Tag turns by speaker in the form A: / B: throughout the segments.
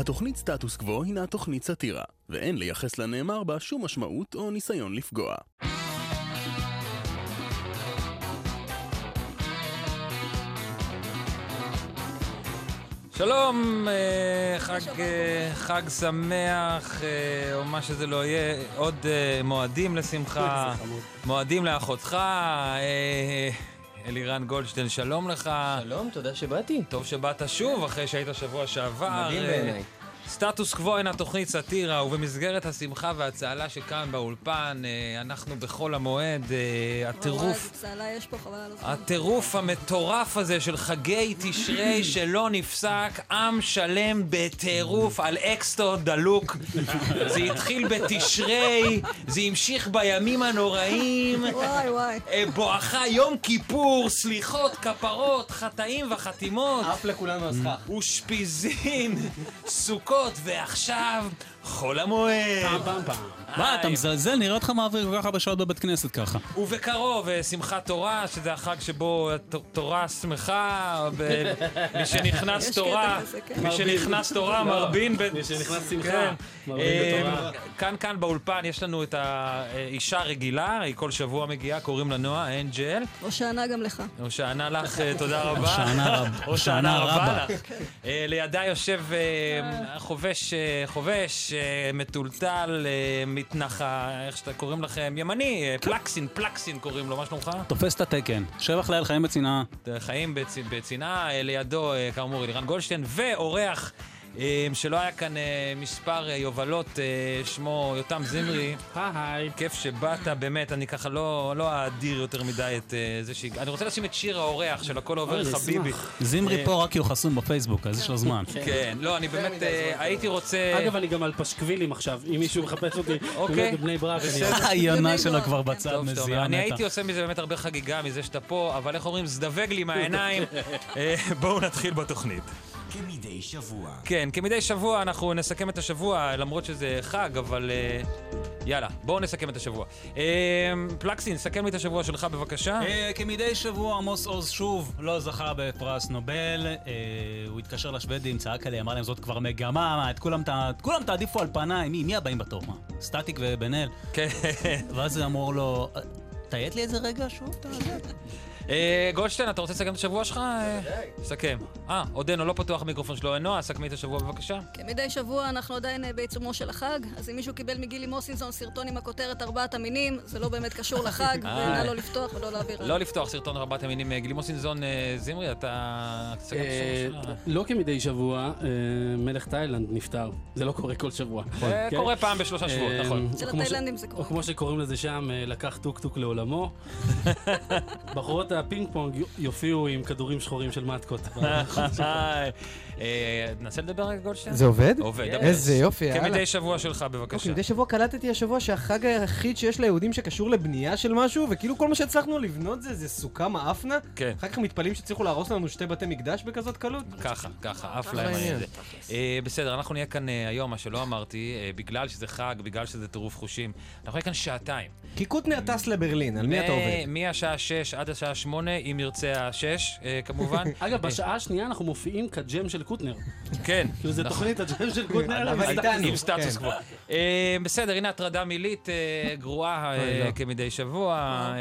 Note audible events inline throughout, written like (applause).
A: התוכנית סטטוס קוו הינה תוכנית סאטירה, ואין לייחס לנאמר בה שום משמעות או ניסיון לפגוע.
B: שלום, אה, חג, אה, חג שמח, אה, או מה שזה לא יהיה, עוד אה, מועדים לשמחה, מועדים לאחותך, אה, אה, אלירן גולדשטיין, שלום לך.
C: שלום, תודה שבאתי.
B: טוב שבאת שוב, אחרי שהיית שבוע שעבר.
C: מדהים
B: אה,
C: בעיניי.
B: סטטוס קוו אינה תוכנית סאטירה, ובמסגרת השמחה והצהלה שכאן באולפן, אה, אנחנו בחול המועד, אה, הטירוף.
D: צהלה יש פה, חבל על הזמן.
B: הטירוף המטורף הזה של חגי תשרי שלא נפסק, עם שלם בטירוף על אקסטו דלוק. זה התחיל בתשרי, זה המשיך בימים הנוראים.
D: וואי וואי.
B: אה, בואכה יום כיפור, סליחות, כפרות, חטאים וחתימות.
C: עף לכולנו הסכך.
B: אושפיזין, סוכות, ועכשיו חול המועד.
E: מה, אתה מזלזל? נראה אותך מעביר כל כך הרבה שעות בבית כנסת ככה.
B: ובקרוב, אה, שמחת תורה, שזה החג שבו הת- תורה שמחה, ב- מי שנכנס
D: יש
B: תורה,
D: קטע כזה, כן.
B: מי שנכנס תורה מרבין. ב-
E: לא. מי שנכנס שמחה,
B: כן.
E: מרבין
B: אה,
E: בתורה.
B: כאן כאן באולפן יש לנו את האישה הרגילה, היא כל שבוע מגיעה, קוראים לה נועה, אנג'ל.
D: או שענה גם לך.
B: הושענה לך, אה, תודה רבה.
E: הושענא רב-
B: הושענא
E: הושענא
B: רבה
E: רבה.
B: לך. אה, לידה יושב אה, חובש, אה, חובש, אה, מטולטל, אה, מתנחל, איך שאתה קוראים לכם, ימני, אה, פלקסין, פלקסין קוראים לו, מה שלומך?
E: תופס את התקן. שבח לאל חיים בצנעה.
B: חיים בצ- בצנעה, אה, לידו אה, כאמור אלירן גולדשטיין, ואורח אה, שלא היה כאן אה, מספר אה, יובלות, אה, שמו יותם זמרי.
E: היי.
B: כיף שבאת, באמת, אני ככה לא לא אאדיר יותר מדי את אה, זה ש... אני רוצה לשים את שיר האורח של הכל עובר
E: אוי,
B: חביבי. אה,
E: זמרי פה רק כי הוא חסום בפייסבוק, אז יש לו זמן.
B: כן, לא, אני באמת אה, הייתי רוצה...
F: אגב, אני גם על פשקווילים עכשיו, אם מישהו מחפש אותי,
B: (laughs) אוקיי.
F: הוא אומר, בני ברק, אני...
E: היונה
D: בני
E: שלו
D: ברק,
E: כבר
D: כן.
E: בצד
B: טוב שאתה אומר.
E: מזיעה
B: אני הייתי
E: נטע.
B: עושה מזה באמת הרבה חגיגה מזה שאתה פה, אבל איך אומרים, זדבג לי
E: (laughs)
B: מהעיניים. אה, בואו נתחיל בתוכנית.
G: כמדי שבוע.
B: כן, כמדי שבוע אנחנו נסכם את השבוע, למרות שזה חג, אבל אה, יאללה, בואו נסכם את השבוע. אה, פלקסין, סכם לי את השבוע שלך בבקשה.
E: אה, כמדי שבוע עמוס עוז שוב לא זכה בפרס נובל, אה, הוא התקשר לשוודים, צעק עליהם, אמר להם זאת כבר מגמה, מה, את כולם ת- את כולם תעדיפו על פניי, מי מי הבאים בתור, מה? סטטיק ובן אל.
B: כן.
E: ואז אמרו לו, תעיית לי איזה רגע שוב, אתה יודע.
B: אה, גולדשטיין, אתה רוצה לסכם את השבוע שלך? אה, סכם. אה, עודנו, לא פתוח המיקרופון שלו. נועה, סכמי את השבוע בבקשה.
D: כמדי שבוע אנחנו עדיין אה, בעיצומו של החג, אז אם מישהו קיבל מגילי מוסינזון סרטון עם הכותרת ארבעת המינים, זה לא באמת קשור לחג, ונא לא לפתוח ולא להעביר.
B: אה. לא לפתוח סרטון רבת המינים. אה, גלימוסינזון אה, זמרי, אתה... תסכם את השבוע שלך.
F: לא כמדי שבוע, אה, מלך תאילנד נפטר. זה לא קורה כל שבוע.
B: אה,
F: אוקיי?
B: קורה פעם בשלושה שבועות,
F: אה,
B: נכון.
F: או
D: אצל
F: כמו ש-
D: התאילנדים זה קורה.
F: או כמו שקוראים לזה שם, אה, לקח טוקטוק
B: (laughs)
F: לעולמו. בחורות הפינג פונג יופיעו עם כדורים שחורים של
B: (laughs)
F: מתקות.
B: היי. אה, תנסה לדבר רגע גולדשטיין?
H: זה עובד?
B: עובד, דבר.
H: איזה יופי, יאללה.
B: כמדי שבוע שלך בבקשה.
H: מדי שבוע קלטתי השבוע שהחג היחיד שיש ליהודים שקשור לבנייה של משהו, וכאילו כל מה שהצלחנו לבנות זה זה סוכה מאפנה.
B: כן.
H: אחר כך מתפלאים שהצליחו להרוס לנו שתי בתי מקדש בכזאת קלות.
B: ככה, ככה, עף להם על
H: העניין.
B: זה. אה, בסדר, אנחנו נהיה כאן אה, היום, מה שלא אמרתי, אה, בגלל שזה חג, בגלל שזה טירוף חושים, אנחנו נהיה כאן שעתיים.
H: כי קוטנר טס לברלין, על מי אתה עובד?
B: אה, מהשעה 6 עד השעה 8, אם ירצה השש, אה, (laughs) כמובן.
F: (laughs) אגב, בשעה השנייה אנחנו מופיעים כג'ם של קוטנר.
B: אה, כן.
F: כאילו, זה תוכנית הג'ם של
B: (laughs)
F: קוטנר.
H: אבל
F: אבל-
H: איתנו,
B: עם סטטוס
H: כן.
B: קוו. אה, בסדר, הנה הטרדה מילית אה, גרועה אה,
H: אוי, לא.
B: כמדי שבוע. אה,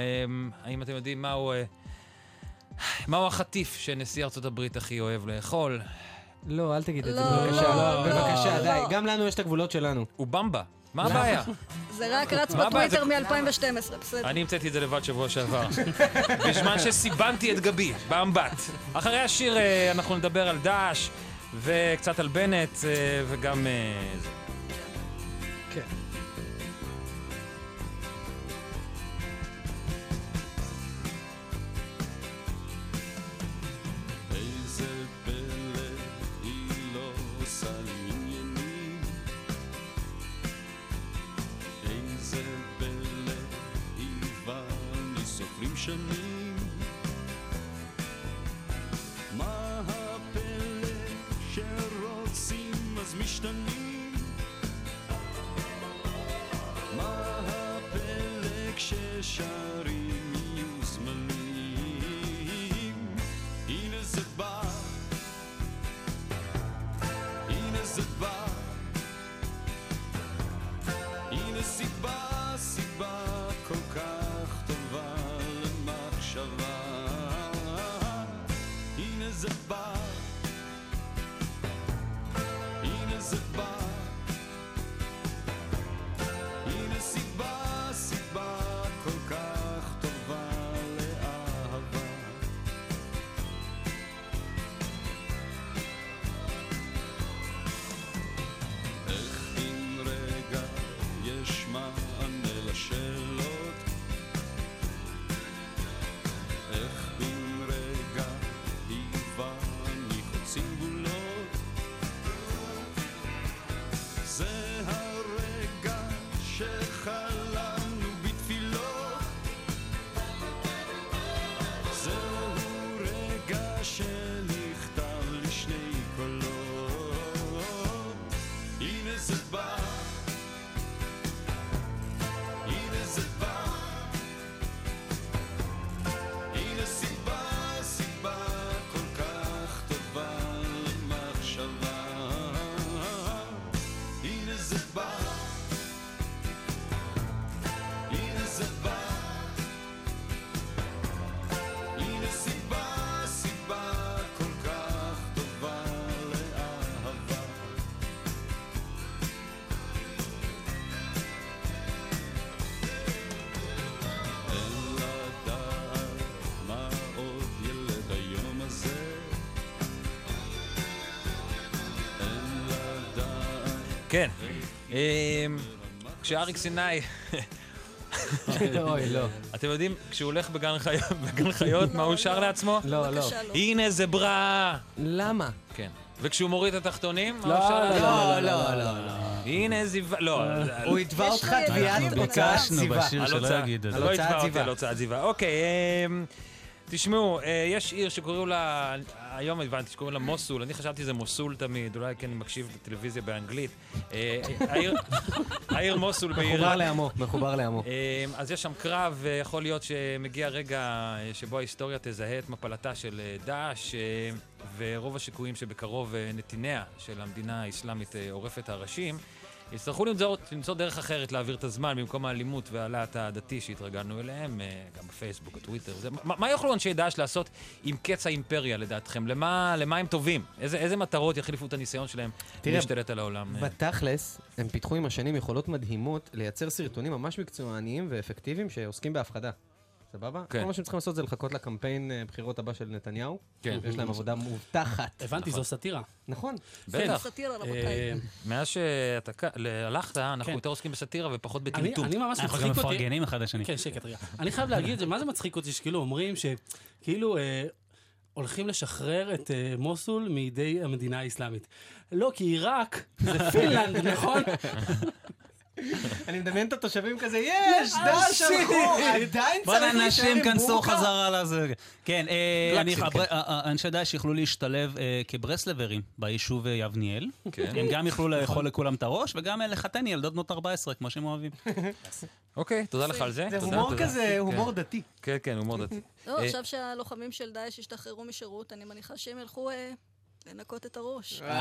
B: האם אתם יודעים מהו... אה, מהו החטיף שנשיא ארצות הברית הכי אוהב לאכול?
H: לא, אל תגיד את זה,
D: לא,
H: בבקשה.
D: לא, לא,
H: בבקשה,
D: לא.
H: די. גם לנו יש את הגבולות שלנו.
B: הוא במבה. מה הבעיה?
D: זה רק רץ
B: מה הבעיה?
D: בטוויטר מ-2012, בסדר.
B: אני המצאתי את זה לבד שבוע שעבר. (laughs) בזמן שסיבנתי את גבי, באמבט. אחרי השיר אה, אנחנו נדבר על דאעש, וקצת על בנט, אה, וגם... אה, זה.
I: איזה פלא היא לא עושה לי עניינים איזה פלא היא ואני סופרים שנים מה הפלא שרוצים אז משתנים מה הפלא כששרים יהיו זמנים? הנה זה בא, הנה זה בא, זה הרגע שחלמנו בתפילות. זהו רגע שנכתב לשני קולות. הנה זה בא. הנה זה בא. הנה סיבה, סיבה כל כך טובה למחשבה. הנה זה בא. הנה זה בא. הנה סיבה, סיבה כל כך טובה לאהבה. אין לדעת מה עוד ילד היום הזה. אין לדעת
B: כן. אמ, כשאריק סיני,
H: אוי, לא.
B: אתם יודעים, כשהוא הולך בגן חיות- בגן חיות, מה הוא שר לעצמו?
H: לא, לא.
D: בבקשה, לא.
B: הנה זה ברא!
H: למה?
B: כן. וכשהוא מוריד את התחתונים, מה
H: לא,
B: הוא שר לעצמו?
H: לא, לא, לא. אה,
B: הנה זיווה, לא,
H: הוא יתבע
D: יש
H: אותך
D: לו
H: תביעת
D: ילדים
H: הוצאת
D: בצד.
E: ביקשנו
H: ציבה.
E: בשיר
B: על
E: שלא
B: הוצאה.
E: יגיד את זה.
H: על
B: לא
H: הוצאת
B: יתבע אותי
H: עזיבה.
B: על הוצאה עזיבה. אוקיי, אמ, תשמעו, אה, יש עיר שקוראים לה, היום הבנתי שקוראים לה מוסול, אני חשבתי שזה מוסול תמיד, אולי כי אני מקשיב בטלוויזיה באנגלית. אה, העיר- העיר מוסול
H: מחובר
B: בעיראק.
H: לעמו, מחובר לעמו.
B: אמ, אז יש שם קרב, ויכול להיות שמגיע רגע אה, שבו ההיסטוריה תזהה את מפלתה של אה, דאעש, אה, ורוב השיקויים שבקרוב אה, נתיניה של המדינה האסלאמית אה, עורפת הראשים, יצטרכו למצוא, למצוא דרך אחרת להעביר את הזמן במקום האלימות והלהט הדתי שהתרגלנו אליהם, אה, גם בפייסבוק, הטוויטר. זה, מה, מה יוכלו אנשי דאעש לעשות עם קץ האימפריה לדעתכם? למה, למה הם טובים? איזה, איזה מטרות יחליפו את הניסיון שלהם
H: תראה,
B: להשתלט על העולם? אה?
H: בתכלס, הם פיתחו עם השנים יכולות מדהימות לייצר סרטונים ממש מקצועניים ואפקטיביים שעוסקים בהפחדה. סבבה?
B: כן.
H: כל מה שהם צריכים לעשות זה לחכות לקמפיין אה, בחירות הבא של נתניהו.
B: כן.
H: יש להם עבודה מובטחת.
F: הבנתי, זו סאטירה.
H: נכון.
B: בטח.
D: כן, סאטירה,
F: אה,
D: רבותיי.
B: מאז שאתה כ- ל- הלכת, אנחנו
F: כן.
B: יותר עוסקים בסאטירה ופחות
F: אני
B: בטמטום.
F: אני ממש
E: אנחנו גם
F: מצחיק אותי.
E: מפרגנים אחד לשני.
F: כן,
B: (laughs)
F: שקט רגע. אני חייב להגיד את זה, מה זה מצחיק אותי שכאילו אומרים שכאילו אה, הולכים לשחרר את אה, מוסול מידי המדינה האסלאמית. לא, כי עיראק זה פינלנד, (laughs) נכון?
H: אני מדמיין את התושבים כזה, יש, דש הלכו, עדיין
E: אה, בואנה,
H: צריך להישאר
E: אנשים
H: עם
E: כנסו
H: בורקה.
E: חזרה לזה. כן, אה,
B: בלאק
E: אני-
B: שיט,
E: הבר- ה- ה- אנשי דאעש יכלו להשתלב אה, כברסלברים ביישוב אה, יבניאל.
B: כן.
E: הם גם יכלו לאכול לכולם את הראש, וגם אה, לחתן ילדות בנות 14, כמו שהם אוהבים.
B: (laughs) אוקיי, תודה לך על זה.
H: זה
B: תודה,
H: הומור
B: תודה.
H: כזה, הומור דתי.
B: כן, כן, הומור דתי.
D: (laughs) לא,
B: אה,
D: עכשיו שהלוחמים של דאעש השתחררו משירות, אני מניחה שהם ילכו אה, לנקות את הראש. אה,
E: אה,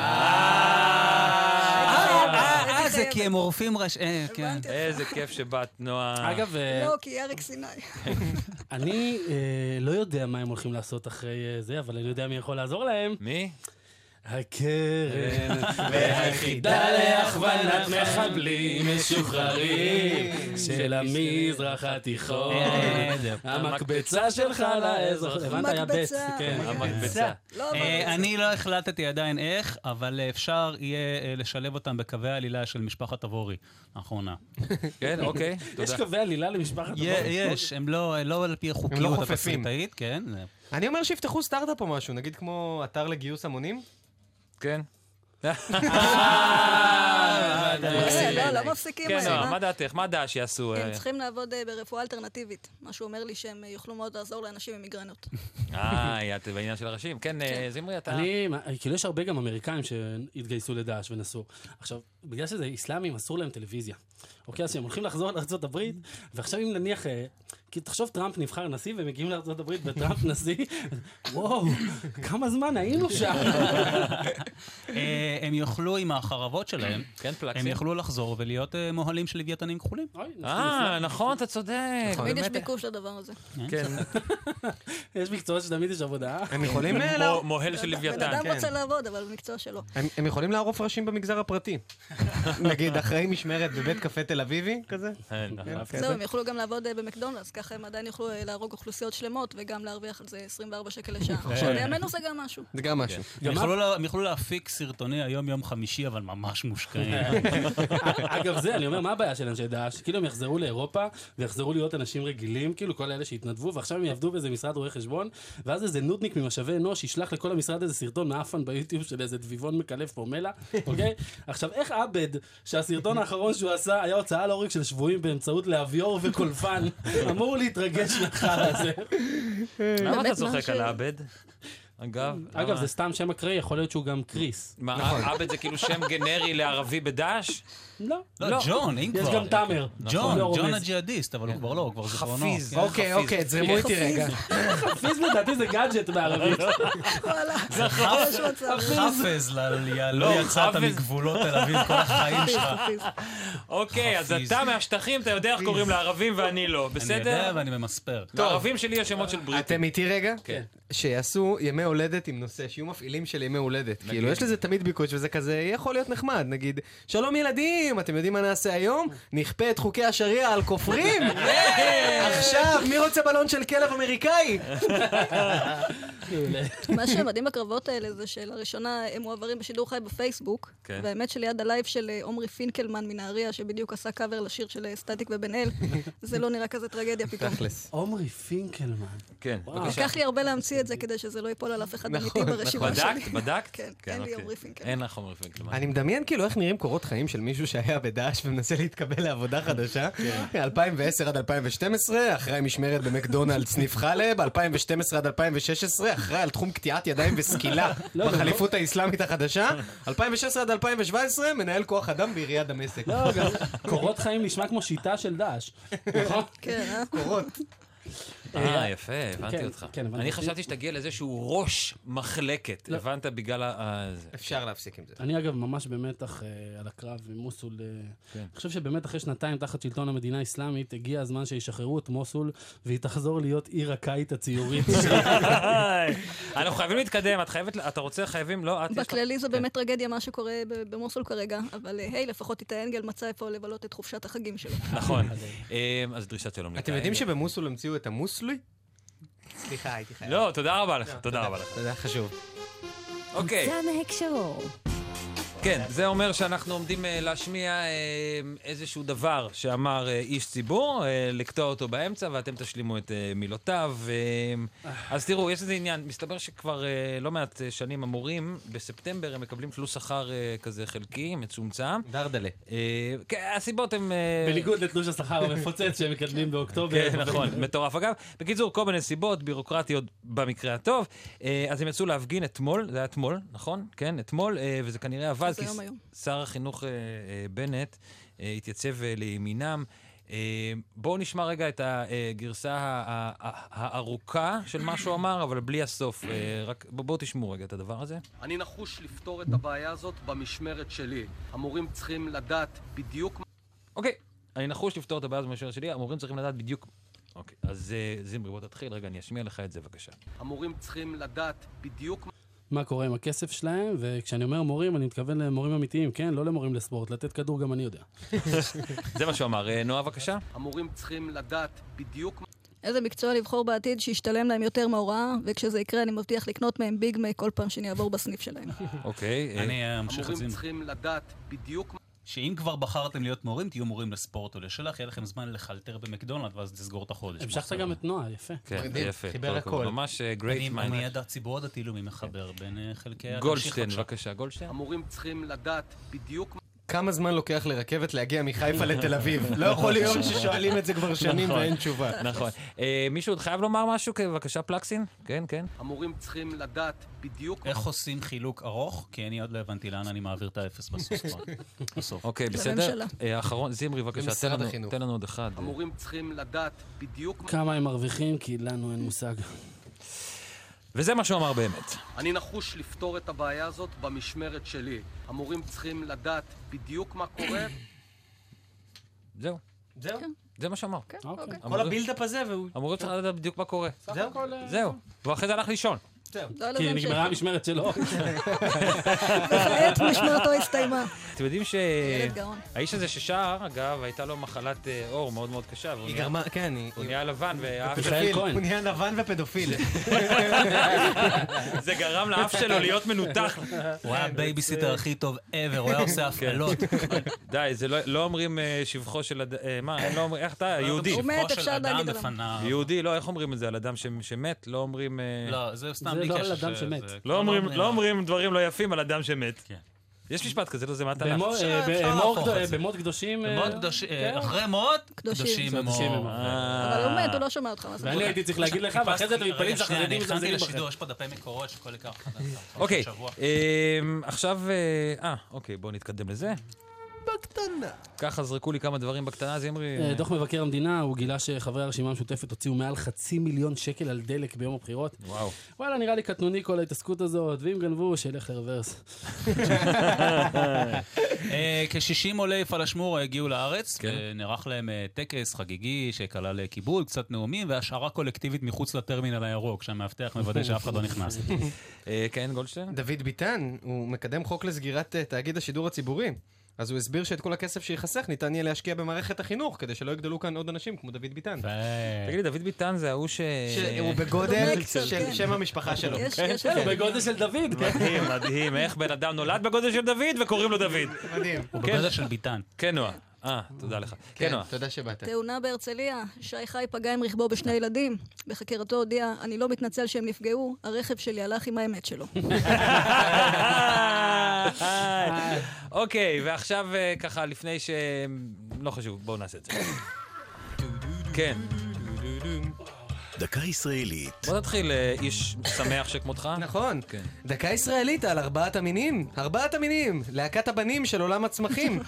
E: אה, זה
D: חייבת.
E: כי הם עורפים ראש... אה, כן.
D: הבנתי.
B: איזה כיף שבאת, נועה.
F: אגב, אה,
D: לא, כי אריק סיני.
F: אני אה, לא יודע מה הם הולכים לעשות אחרי אה, זה, אבל אני יודע מי יכול לעזור להם.
B: מי?
F: (laughs) הקרן והיחידה להכוונת מחבלים משוחררים של המזרח התיכון.
E: אה, זהו.
F: המקבצה שלך לאזרח. הבנת? היה בית.
D: המקבצה.
F: כן.
B: המקבצה.
D: לא, אבל
E: אה,
D: זה-
E: אני לא החלטתי עדיין איך, אבל אה, אפשר יהיה אה, לשלב אותם בקווי העלילה של משפחת אבורי, האחרונה.
B: (laughs) כן, אוקיי,
F: יש
B: תודה.
F: קווי עלילה למשפחת
B: נכון.
E: יה-
F: אבורי?
E: יש, הם לא לא על פי
H: הם לא
E: החוקיות
H: חופפים.
E: התסריטאית, כן. זה-
H: אני אומר שיפתחו סטארט-אפ או משהו, נגיד כמו אתר לגיוס המונים.
E: (laughs)
B: כן. (laughs)
D: אה, לא, לא מפסיקים
B: כן,
D: היום.
B: נועה, מה
D: אה?
B: דעתך? מה דעש יעשו?
D: הם
B: אה?
D: צריכים לעבוד אה, ברפואה אלטרנטיבית, מה שאומר לי שהם אה, יוכלו מאוד לעזור לאנשים עם מיגרנות.
B: אה, את בעניין של הראשים. כן, אה, זמרי, אתה...
F: אני, מה- כאילו יש הרבה גם אמריקאים שהתגייסו לדאעש ונסעו. עכשיו, בגלל שזה איסלאמים, אסור להם טלוויזיה. אוקיי, אז הם הולכים לחזור לארה"ב, ועכשיו אם נניח, אה, כי תחשוב, טראמפ נבחר נשיא, והם מגיעים לארה"ב וטראמפ נשיא, וואו, כמה זמן היינו
H: (laughs)
F: שם.
E: אה, הם יוכלו עם החרבות שלהם,
B: (clears throat) כן,
E: הם
B: פלקסים.
E: יוכלו לחזור ולהיות אה, מוהלים של לוויתנים כחולים.
F: אוי, נשיא
B: אה, נכון, אתה צודק.
D: כן, תמיד יש
H: באמת.
D: ביקוש לדבר הזה.
B: כן,
F: נפלא. יש מקצועות שתמיד יש עבודה.
H: הם יכולים אה,
B: מו-
H: לערוף-
B: מוהל של
D: בן
B: לוויתן.
D: אדם
H: כן.
D: רוצה לעבוד, אבל במקצוע שלו.
H: הם- הם יכולים לערוף ראשים במגזר הפרטי. נגיד אחרי משמרת בבית קפה תל אביבי, כזה.
B: כן, נכון.
H: כן,
D: זהו, הם יוכלו גם לעבוד אה, במקדונלדס, ככה להרוויח, הם עדיין יוכלו אה, להרוג אוכלוסיות שלמות, וגם להרוויח על זה 24 שקל לשעה. בימינו זה גם משהו.
H: זה גם משהו.
E: הם יוכלו לה- הם יוכלו להפיק סרטוני היום יום חמישי, אבל ממש
F: (laughs)
E: מושקעים. (laughs)
F: אגב זה, אני אומר, מה הבעיה של אנשי דאעש? כאילו הם יחזרו לאירופה, ויחזרו להיות אנשים רגילים, כאילו כל אלה שהתנדבו, ועכשיו הם יעבדו באיזה משרד רואי חשבון, ואז איזה נודניק ממשאבי אנוש ישלח לכל המשרד איזה סרטון מאפן ביוטיוב של איזה דביבון מקלף פומלה, אוקיי? עכשיו, איך עבד, שהסרטון האחרון שהוא עשה היה הוצאה להורג של שבויים באמצעות לאביור וקולפן, אמור להתרגש לחרא הזה?
B: למה אתה
D: באמת
J: לא
B: צוחק
D: משהו.
B: על עבד? אגב,
F: אגב,
B: למה?
F: זה סתם שם אקראי, יכול להיות שהוא גם קריס. נכון.
B: מה, עבד זה כאילו שם גנרי לערבי בדאעש?
F: לא.
E: לא, ג'ון, אם
F: יש
E: כבר.
F: גם תאמר.
B: נכון.
E: ג'ון,
F: לא
E: ג'ון
F: רומז.
E: כן, הג'יהאדיסט, אבל הוא כבר לא, הוא כבר זיכרונו.
B: חפיז.
H: אוקיי,
B: חפיז.
H: אוקיי, תזרמו איתי רגע.
F: חפיז לדעתי זה גאדג'ט בערבית.
D: וואלה,
B: נכון.
D: יש מצב.
E: חפז, ל- ל- לא
B: לא,
E: יצאת
B: חפז.
E: מגבולות תל אביב כל החיים
D: חפיז,
E: שלך.
D: חפיז.
B: אוקיי, אז
E: חפיז.
B: אתה מהשטחים, אתה יודע איך קוראים לערבים ואני לא,
E: אני יודע
B: בסדר?
E: ואני ממספר.
B: לערבים שלי יש שמות של בריטים.
H: אתם איתי רגע?
B: כן.
H: שיעשו ימי הולדת עם נושא, שיהיו מפעילים של ימי הולדת. כאילו, יש לזה תמיד ביקוש וזה כזה יכול להיות נחמד. נגיד, שלום ילדים, אתם יודעים מה נעשה היום? נכפה את חוקי השריעה על כופרים? עכשיו, מי רוצה בלון של כלב אמריקאי?
D: מה שמדהים בקרבות האלה זה שלראשונה הם מועברים בשידור חי בפייסבוק,
B: כן.
D: והאמת שליד הלייב של אה, עומרי פינקלמן מנהריה, שבדיוק עשה קאבר לשיר של אה, סטטיק ובן אל, זה לא נראה כזה טרגדיה פתאום.
H: תכלס.
F: עמרי פינקלמן.
B: כן, בבקשה. נכון,
D: לקח לי הרבה להמציא את זה כדי שזה לא ייפול על אף אחד אמיתי ברשימה שלי.
B: בדקת? בדקת?
D: כן, אין לי
B: אוקיי.
D: עומרי פינקלמן.
B: אין לך עומרי פינקלמן.
H: אני מדמיין כאילו איך נראים קורות חיים של מישהו שהיה בדאעש ומנסה להתקבל לעבודה חדשה.
J: כן.
B: כן.
H: 2010 עד 2012, אחראי משמרת במקדונלד סניף חלב, 2012 עד 2016, אחראי על תחום קטיעת ידיים וסקילה
F: (laughs) לא, גם
H: בחליפות האסלאמית החדשה, 2016 עד 2017, מנהל כוח אדם בעיריית דמשק.
F: לא, גם קורות חיים נשמע כמו שיטה של דאעש. נכון?
B: (laughs)
D: כן, אה?
H: קורות.
B: אה, יפה, הבנתי
F: כן,
B: אותך.
F: כן, הבנתי.
B: אני חשבתי שתגיע לזה שהוא ראש מחלקת, הבנת? בגלל ה... ה- זה.
H: אפשר להפסיק עם זה.
F: אני אגב ממש במתח אה, על הקרב עם מוסול. אה,
B: כן.
F: אני חושב שבאמת אחרי שנתיים תחת שלטון המדינה האסלאמית, הגיע הזמן שישחררו את מוסול, והיא תחזור להיות עיר הקיט (laughs) הציורית.
B: היי. אה, אנחנו חייבים להתקדם, את חייבת, אתה רוצה, חייבים, לא, את יש לך...
D: בכללי זה באמת טרגדיה מה שקורה ב- במוסול כרגע, אבל אה, היי, לפחות איתי אנגל מצא איפה לבלות את חופשת החגים שלו.
B: נכון. אמ, אז דרישת שלום.
H: אתם
B: לקהל.
H: יודעים שבמוסול המציאו את המוסלי? סליחה, הייתי חייב.
B: לא, תודה רבה לך, תודה רבה לך.
H: זה היה חשוב.
B: אוקיי,
J: יצא
B: (laughs)
J: מהקשרו.
B: כן, זה אומר שאנחנו עומדים אה, להשמיע אה, איזשהו דבר שאמר אה, איש ציבור, אה, לקטוע אותו באמצע, ואתם תשלימו את אה, מילותיו. אה, אז תראו, יש איזה עניין, מסתבר שכבר אה, לא מעט אה, שנים המורים, בספטמבר הם מקבלים תלוש שכר אה, כזה חלקי, מצומצם.
H: דרדלה.
B: אה, כן, הסיבות הן... אה,
F: בניגוד לתלוש השכר המפוצץ שהם מקדמים באוקטובר.
B: כן, נכון, מטורף אגב. בקיצור, כל מיני סיבות בירוקרטיות במקרה הטוב. אה, אז הם יצאו להפגין אתמול, זה היה אתמול, נכון? כן, אתמול, אה, וזה כנראה עבד,
D: זה
B: כי
D: היום, היום.
B: שר החינוך אה, אה, בנט אה, התייצב אה, לימינם. אה, בואו נשמע רגע את הגרסה ה- ה- ה- הארוכה של מה שהוא אמר, אבל בלי הסוף. אה, רק בואו בואו תשמעו רגע את הדבר הזה.
I: אני נחוש לפתור את הבעיה הזאת במשמרת שלי. המורים צריכים לדעת בדיוק
B: אוקיי, אני נחוש לפתור את הבעיה הזו במשמרת שלי, המורים צריכים לדעת בדיוק... אוקיי, אז אה, זימרי, בוא תתחיל. רגע, אני אשמיע לך את זה, בבקשה.
I: המורים צריכים לדעת בדיוק
F: מה קורה עם הכסף שלהם, וכשאני אומר מורים, אני מתכוון למורים אמיתיים, כן? לא למורים לספורט. לתת כדור גם אני יודע.
B: (laughs) זה מה שהוא אמר. אה, נועה, בבקשה.
I: המורים צריכים לדעת בדיוק
D: איזה מקצוע לבחור בעתיד שישתלם להם יותר מההוראה, וכשזה יקרה אני מבטיח לקנות מהם ביג מק כל פעם שאני אעבור בסניף שלהם.
B: אוקיי. אה,
E: אני אמשיך את זה.
I: המורים צריכים לדעת בדיוק
E: שאם כבר בחרתם להיות מורים, תהיו מורים לספורט או לשלח, יהיה לכם זמן לחלטר במקדונלד, ואז תסגור את החודש.
F: המשכת גם את נועה, יפה.
B: כן, זה
H: מדהים,
B: יפה.
H: חיבר
B: כל הכבוד.
H: הכל.
B: ממש אה,
E: אני-
B: גרייט
E: אני
B: מיינד.
E: עד הציבור הדתי לאומי מחבר בין אה, חלקי... ה-
B: כן. גולדשטיין,
E: תמשיך,
B: בבקשה, גולדשטיין.
I: המורים צריכים לדעת בדיוק
H: כמה זמן לוקח לרכבת להגיע מחיפה לתל
B: (laughs)
H: אביב? לא יכול להיות ששואלים את זה כבר שנים ואין תשובה.
B: נכון. אה, מישהו עוד חייב לומר משהו? כן, בבקשה, פלקסין? כן, כן.
I: המורים צריכים לדעת בדיוק
E: איך עושים חילוק ארוך? כי אני עוד לא הבנתי לאן אני מעביר את האפס בסוף. בסוף.
B: אוקיי, בסדר.
D: לממשלה.
B: אה, אחרון, זמרי, בבקשה, תן
H: למשרד
B: לנו-
H: החינוך.
B: תן לנו עוד אחד.
I: המורים צריכים לדעת בדיוק
F: כמה הם מרוויחים, כי לנו אין מושג.
B: וזה מה שהוא אמר באמת.
I: אני נחוש לפתור את הבעיה הזאת במשמרת שלי. המורים צריכים לדעת בדיוק מה קורה.
B: זהו.
H: זהו?
B: זה מה שאמר.
D: כן,
F: אוקיי.
D: אוקיי.
H: כל הבילדאפ הזה והוא... אה,
B: אמורים צריכים לדעת בדיוק מה קורה.
H: זהו?
B: זהו. ואחרי זה הלך לישון.
H: זהו.
D: לא
F: כי
D: אלעזר
F: נגמרה
D: שפר.
F: המשמרת
D: (laughs)
F: שלו.
D: וכעת
B: (laughs)
D: משמרתו הסתיימה.
B: אתם יודעים
D: ילד גאון.
B: שהאיש הזה ששר, אגב, הייתה לו מחלת אה, עור מאוד מאוד קשה, והוא
H: היא
B: נהיה-
H: גרמה, כן, היא...
B: הוא נהיה לבן, והאף שלו-
F: מיכאל
H: הוא
F: כהן.
H: נהיה לבן ופדופיל.
F: (laughs)
B: זה גרם לאף שלו להיות מנותח. כן.
E: הוא היה הבייביסיטר הכי טוב ever, הוא היה עושה הפעלות.
B: די, זה לא- לא אומרים אה, שבחו של אדם, מה, לא אומרים, איך אתה, יהודי.
D: הוא מת,
E: שבחו של
D: אפשר
E: אדם
D: להגיד עליו.
E: בפניו.
B: יהודי, לא, איך אומרים את זה על אדם ש- שמת? לא אומרים... אה,
E: לא, זה סתם
F: זה
E: בלי
F: לא
E: קשר.
F: על אדם
E: ש-
F: שמת.
E: זה-
B: לא אומרים- לא
E: לה.
B: אומרים דברים לא יפים על אדם שמת.
E: כן.
B: יש משפט כזה, לא זה מהתנ"ך.
F: במות-
E: אפשר-
F: אה,
E: אפשר
F: במות
E: להפוך
F: קדו-
E: את זה.
F: במות קדושים... אה,
E: במות קדושים,
F: כן.
E: אחרי מות,
D: קדושים.
E: קדושים הם
F: קדושים הם
E: אור.
F: אור.
D: אבל הוא מת, הוא לא שומע אותך. מה זה
F: ואני
D: משנה?
F: הייתי צריך להגיד לך, ואחרי זה אתם מתפלאים
E: רגע, שנייה, אני
F: שהחרדים
E: הכנתי
F: מזלזלים בכם.
E: לשידור, יש פה דפי מקורות שכל עיקר אחד עשה.
B: אוקיי,
E: שבוע.
B: אמ, עכשיו... אה, אה, אוקיי, בואו נתקדם לזה.
H: בקטנה.
B: ככה זרקו לי כמה דברים בקטנה, אז אמרי...
F: אה, דוח מבקר המדינה, הוא גילה שחברי הרשימה המשותפת הוציאו מעל חצי מיליון שקל על דלק ביום הבחירות.
B: וואו.
F: וואלה, נראה לי קטנוני כל ההתעסקות הזאת, ואם גנבו, שילך לרוורס.
B: (laughs)
E: אה, כ-60 עולי פלאשמורה הגיעו לארץ,
B: כן.
E: אה, נערך להם אה, טקס חגיגי שכלל אה, קיבול, קצת נאומים והשערה קולקטיבית מחוץ לטרמינל הירוק, שהמאבטח מוודא שאף אחד לא נכנס.
B: (laughs) אה, כן, גולדשטיין?
H: דוד ביטן, הוא מקדם חוק לסגירת אה, תאגיד השידור הציבורי. אז הוא הסביר שאת כל הכסף שייחסך ניתן יהיה להשקיע במערכת החינוך, כדי שלא יגדלו כאן עוד אנשים כמו דוד ביטן.
E: ו-
B: תגיד לי, דוד ביטן זה ההוא ש... אה,
H: שהוא
D: דומה
B: (laughs)
H: בגודל
D: קצת,
H: של
D: כן.
H: שם המשפחה שלו.
D: יש, יש, יש.
F: כן, בגודל של דוד, כן. (laughs)
B: מדהים, מדהים, איך בן אדם נולד בגודל של דוד וקוראים לו דוד.
H: מדהים.
E: הוא בגודל של ביטן.
B: כן, נועה. אה, תודה לך. כן,
H: כן,
B: נועה.
H: תודה שבאת.
D: תאונה בהרצליה, שי חי פגע עם רכבו בשני ילדים. בחקירתו הודיע, אני לא מתנצל שהם נפגעו, הרכב שלי הלך עם האמת שלו.
B: אוקיי, ועכשיו אה, ככה, לפני ש... לא חשוב, בואו נעשה את זה. כן,
A: דקה ישראלית.
B: בוא תתחיל, אה, איש שמח שכמותך.
H: נכון.
B: כן.
H: דקה ישראלית על ארבעת המינים. ארבעת המינים! להקת הבנים של עולם הצמחים.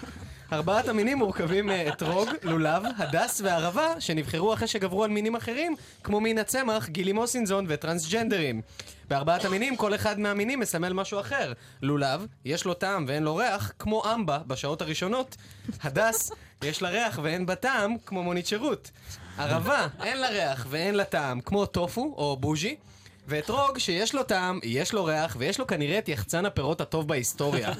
H: ארבעת המינים מורכבים מאתרוג, לולב, הדס וערבה, שנבחרו אחרי שגברו על מינים אחרים, כמו מין הצמח, גילי מוסינזון וטרנסג'נדרים. בארבעת המינים כל אחד מהמינים מסמל משהו אחר. לולב, יש לו טעם ואין לו ריח, כמו אמבה בשעות הראשונות. הדס, יש לה ריח ואין בה טעם, כמו מונית שירות. ערבה, אין לה ריח ואין לה טעם, כמו טופו או בוז'י. ואתרוג שיש לו טעם, יש לו ריח, ויש לו כנראה את יחצן הפירות הטוב בהיסטוריה.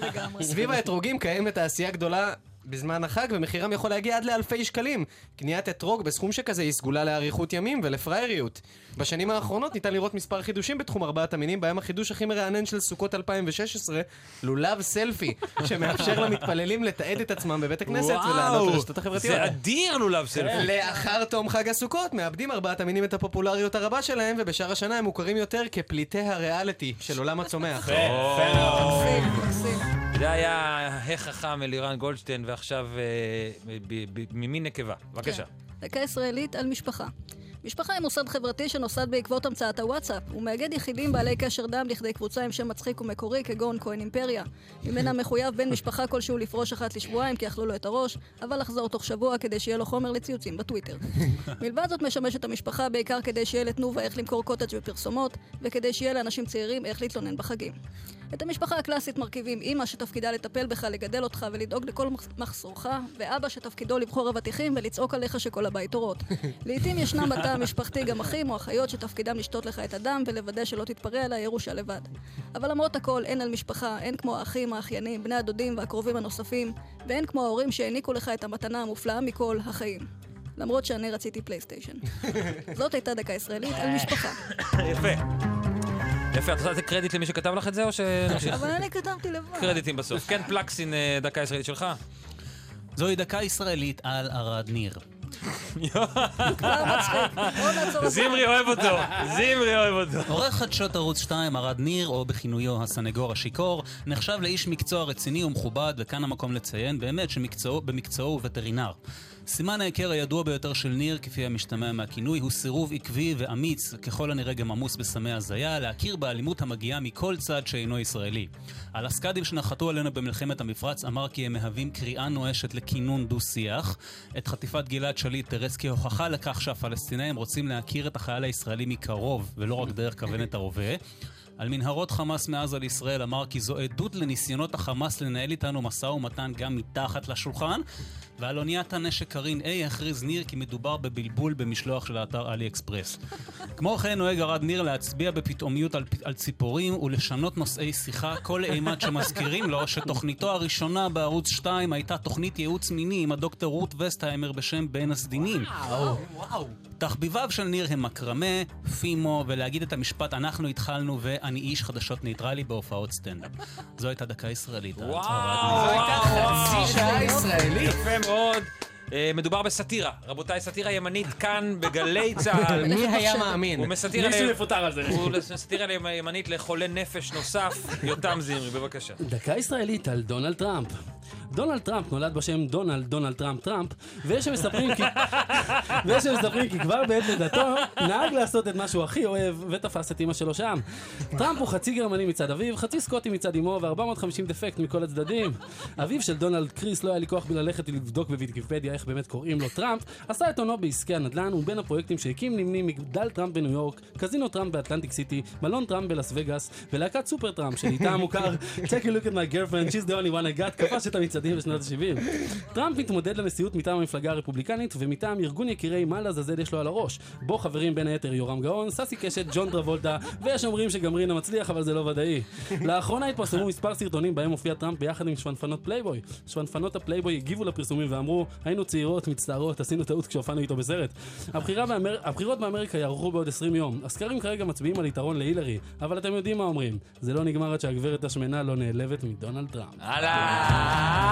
H: סביב האתרוגים קיימת תעשייה גדולה בזמן החג, ומחירם יכול להגיע עד לאלפי שקלים. קניית אתרוג בסכום שכזה היא סגולה לאריכות ימים ולפראייריות. בשנים האחרונות ניתן לראות מספר חידושים בתחום ארבעת המינים, בהם החידוש הכי מרענן של סוכות 2016, לולב סלפי, (laughs) שמאפשר למתפללים לתעד את עצמם בבית הכנסת ולעלות לרשתות החברתיות.
B: זה אדיר לולב סלפי.
H: לאחר תום חג הסוכות מאבדים ארבעת המינים את הפופולריות הרבה שלהם, ובשאר השנה הם מוכרים יותר כפליטי הריאליטי של עולם הצומח.
D: מקסים.
B: זה היה החכם אלירן גולדשטיין, ועכשיו אה, ב- ב- ממין נקבה. בבקשה.
D: כן. דקה ישראלית על משפחה. משפחה היא מוסד חברתי שנוסד בעקבות המצאת הוואטסאפ. הוא מאגד יחידים בעלי קשר דם לכדי קבוצה עם שם מצחיק ומקורי כגון כהן אימפריה. ממנה מחויב בן משפחה כלשהו לפרוש אחת לשבועיים כי אכלו לו את הראש, אבל לחזור תוך שבוע כדי שיהיה לו חומר לציוצים בטוויטר. מלבד זאת משמשת המשפחה בעיקר כדי שיהיה לתנובה איך למכור קוטג' בפרסומות, וכדי שיהיה לאנשים צעירים איך להתלונן בחגים. את המשפחה הקלאסית מרכיבים אימא שתפקידה לטפל בך, לגדל אותך ולדאוג לכל מחס- מחסורך, ואבא שתפקידו לבחור אבטיחים ולצעוק עליך שכל הבית אורות. לעתים ישנם בתא המשפחתי גם אחים או אחיות שתפקידם לשתות לך את הדם ולוודא שלא תתפרע אלא ירושה לבד. אבל למרות הכל, אין על משפחה, אין כמו האחים, האחיינים, בני הדודים והקרובים הנוספים, ואין כמו ההורים שהעניקו לך את המתנה המופלאה מכל, החיים. למרות שאני רציתי פלייסטיישן.
H: כן.
D: זאת הייתה דקה ישראלית על משפחה.
B: יפה. יפה, את רוצה לתת קרדיט למי שכתב לך את זה, או שנמשיך?
H: אה,
D: אבל אני כתבתי לבד.
B: קרדיטים בסוף. כן, פלקסין, אה, דקה ישראלית שלך.
E: זוהי דקה ישראלית על ערד
D: (laughs)
E: ניר.
D: כבר מצחיק. בואו נעצור את זה.
B: זמרי אוהב אותו, זמרי לא אוהב אותו.
E: עורך חדשות ערוץ 2, ערד ניר, או בכינויו הסנגור השיכור, נחשב לאיש מקצוע רציני ומכובד, וכאן המקום לציין באמת שבמקצועו הוא וטרינר. סימן ההיכר הידוע ביותר של ניר, כפי המשתמע מהכינוי, הוא סירוב עקבי ואמיץ, ככל הנראה גם עמוס בסמי הזיה, להכיר באלימות המגיעה מכל צד שאינו ישראלי. על הסקאדים שנחתו עלינו במלחמת המפרץ אמר כי הם מהווים קריאה נואשת לכינון דו-שיח. את חטיפת גלעד שליט תרס כהוכחה לכך שהפלסטינאים רוצים להכיר את החייל הישראלי מקרוב, ולא רק דרך כוונת הרובה. על מנהרות חמאס מאז על ישראל אמר כי זו עדות לניסיונות החמאס לנהל איתנו משא ומתן גם מתחת לשולחן. ועל אוניית הנשק קרין A הכריז ניר כי מדובר בבלבול במשלוח של האתר עלי אקספרס. כמו כן נוהג ארד ניר להצביע בפתאומיות על, על ציפורים ולשנות נושאי שיחה כל אימת שמזכירים לו שתוכניתו הראשונה בערוץ 2 הייתה תוכנית ייעוץ מיני עם הדוקטור רות וסטהיימר בשם בין הסדינים. תחביביו של ניר הם מקרמה, פימו, ולהגיד את המשפט אנחנו התחלנו ואני איש חדשות ניטרלי בהופעות סטנדאפ. זו הייתה דקה ישראלית.
B: וואו,
E: ההצהרה.
B: וואו, וואו.
H: שעה ישראלית.
B: יפה מאוד. אה, מדובר בסאטירה. רבותיי, סאטירה ימנית כאן בגלי צה"ל.
H: מי היה
D: מחשבת.
H: מאמין?
B: הוא מסאטירה
F: מישהו
B: ל-
F: יפוטר על זה.
B: הוא סאטירה ל- ימנית לחולה נפש נוסף, יותם זמרי, בבקשה.
F: דקה ישראלית על דונלד טראמפ. דונלד טראמפ נולד בשם דונלד דונלד טראמפ טראמפ, ויש שמספרים כי... ויש שמספרים כי כבר בעת לידתו נהג לעשות את מה שהוא הכי אוהב, ותפס את אמא שלו שם. טראמפ הוא חצי גרמני מצד אביו, חצי סקוטי מצד אמו, ו-450 דפקט מכל הצדדים. אביו של דונלד קריס לא היה לי כוח בללכת לבדוק בוויקיפדיה איך באמת קוראים לו טראמפ, עשה את הונו בעסקי הנדל"ן, ובין הפרויקטים שהקים נמנים מגדל טראמפ בניו יורק, קזינו טראמפ באטלנטיק סיטי, מלון טראמפ בלאס וגאס, ולהקת סופר טראמפ, שלעיתה המוכר Take a look at my girlfriend, she's the only one I got, כבש את המצעדים בשנות ה-70. טראמפ מתמודד לנשיאות מטעם המפלגה הרפובליקנית, ומטעם ארגון יקירי מה לעזאזל יש לו על הראש, בו חברים בין היתר יורם גאון, ססי קשת, ג'ון טרבולטה, ויש אומרים שגם רינה מצליח, אבל זה לא ודאי. לאחרונה התפרסמו מספר סרטונים בהם הופיע טראמפ ביחד עם שפנפנות פלייבוי. שפנפנות הפלייבוי הגיבו לפרסומים ואמרו, היינו צעירות, מצטערות, עשינו טעות כשהופענו איתו בסרט. הבחירה באמר... הבחירות באמריקה יערכו בעוד 20 יום. הסקרים כרגע מצביעים על יתרון להילרי, אבל אתם יודעים מה אומרים, זה לא נגמר עד שהגברת השמנה לא נעלבת מדונלד טראמפ.
B: אהלן!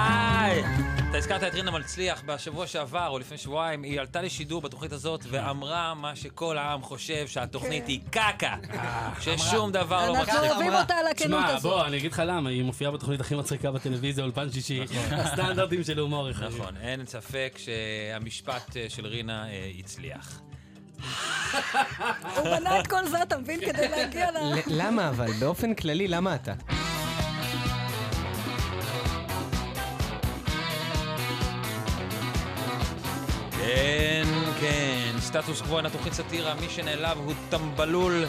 B: אתה הזכרת את רינה מצליח בשבוע שעבר, או לפני שבועיים, היא עלתה לשידור בתוכנית הזאת ואמרה מה שכל העם חושב, שהתוכנית היא קקה. ששום דבר לא
D: אנחנו
B: מצחיק.
D: אוהבים אותה על הכנות
F: שמע,
D: הזאת.
F: בוא, אני אגיד לך למה, היא מופיעה בתוכנית הכי מצחיקה בטלוויזיה, אולפן שישי, (laughs) הסטנדרטים של הומור אחד.
B: נכון, אין ספק שהמשפט אה, של רינה אה, הצליח.
D: הוא בנה את כל זה, אתה מבין? כדי להגיע ל...
H: ל- למה אבל? באופן כללי, למה אתה?
B: כן, כן, סטטוס קוו אינה תוכנית סאטירה, מי שנעלב הוא טמבלול,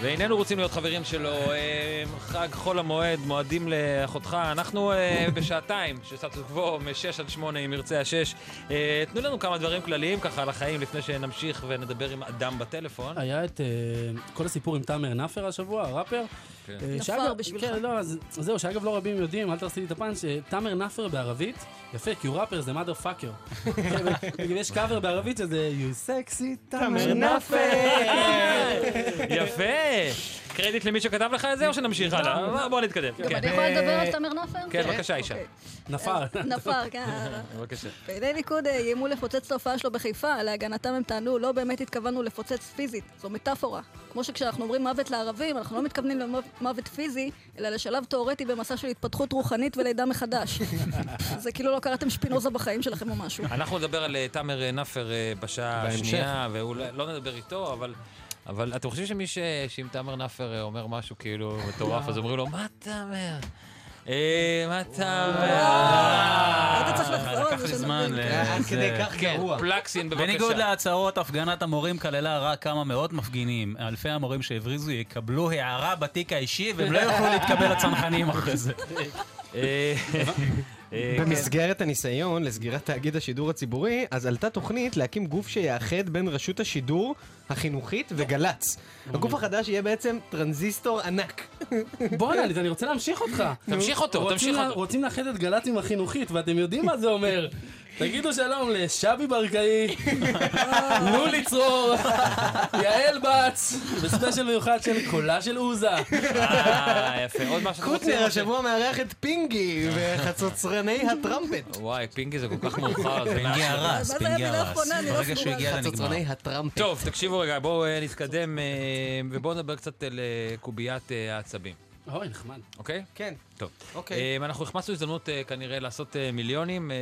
B: ואיננו רוצים להיות חברים שלו. אה, חג חול המועד, מועדים לאחותך. אנחנו אה, בשעתיים של סטטוס קוו, מ-6 עד 8, אם ירצה השש. אה, תנו לנו כמה דברים כלליים ככה על החיים, לפני שנמשיך ונדבר עם אדם בטלפון.
F: היה את אה, כל הסיפור עם תאמר נאפר השבוע, הראפר.
B: כן.
F: אה,
D: נפר
F: שאגב-
D: בשבילך.
F: כן, לא, אז- זהו, שאגב לא רבים יודעים, אל תעשי לי את הפאנץ', אה, תאמר נאפר בערבית, יפה, כי הוא ראפר זה mother
B: (laughs)
F: fucker. כן, יש קאבר בערבית שזה you sexy תאמר (laughs) נאפר.
B: יפה! קרדיט למי שכתב לך את זה, או שנמשיך הלאה? בוא- בוא נתקדם.
D: גם
B: כן.
D: לא, אני יכולה לדבר על תמר נופר?
B: כן, בבקשה, ישי.
D: אוקיי.
F: נפר.
D: נפר, כן.
B: בבקשה.
D: פעילי ליכוד אה, איימו לפוצץ את ההופעה שלו בחיפה, להגנתם הם טענו, לא באמת התכוונו לפוצץ פיזית, זו מטאפורה. כמו שכשאנחנו אומרים מוות לערבים, אנחנו לא מתכוונים למוות פיזי, אלא לשלב תאורטי במסע של התפתחות רוחנית ולידה מחדש. זה כאילו לא קראתם שפינוזה בחיים שלכם או משהו.
B: אנחנו נדבר על אה, תאמר אה, נאפר אה, בשעה
H: בהמשך.
B: השנייה, ואולי לא נדבר איתו, אבל... אבל אתם חושבים שמי ש... שאם תאמר נאפר אה, אומר משהו כאילו מטורף, אז אומרים לו, מה אתה אומר? אה, מה אה, אתה אומר?
D: היית צריך לחזור על
E: לקח
D: זה
E: לי
D: שנבין.
E: זמן ל...
H: עד כדי כך
B: כן,
H: גרוע.
B: פלקסין, בבקשה.
E: בניגוד להצהרות, הפגנת המורים כללה רק כמה מאות מפגינים. אלפי המורים שהבריזו יקבלו הערה בתיק האישי, והם לא יוכלו להתקבל לצנחנים אחרי זה.
B: אה, אה,
H: במסגרת הניסיון לסגירת תאגיד השידור הציבורי, אז עלתה תוכנית להקים גוף שיאחד בין רשות השידור החינוכית וגל"צ.
F: אוקיי.
H: הגוף החדש יהיה בעצם טרנזיסטור ענק.
F: בואנה,
H: כן.
F: אני רוצה להמשיך אותך.
B: תמשיך אותו,
F: רוצים
B: תמשיך
F: לה-
B: אותו.
F: רוצים לאחד את גל"צ עם החינוכית, ואתם יודעים מה זה
B: (laughs)
F: אומר. תגידו שלום לשבי ברקאי, לולי צרור, יעל בץ, בספיישל מיוחד של קולה של עוזה.
B: אה, יפה, עוד משהו שאתם רוצים?
H: קוטנר השבוע מארח את פינגי וחצוצרני הטראמפט.
B: וואי, פינגי זה כל כך מאוחר. זה
E: פינגי
B: משהו.
E: הרס,
D: מה זה
E: פינגי
D: המילה
E: הרס.
D: האחרונה? אני לא
E: ברגע שהוא
D: סגורה.
E: הגיע לנגמר.
H: חצוצרני הטראמפט.
B: טוב, תקשיבו רגע, בואו אה, נתקדם, אה, ובואו נדבר קצת על אה, קוביית אה, העצבים,
F: אוי, נחמד.
B: אוקיי?
H: כן,
B: טוב.
H: אוקיי.
B: Okay. אנחנו החמצנו הזדמנות אה, כנראה לעשות אה, מיליונים. אה,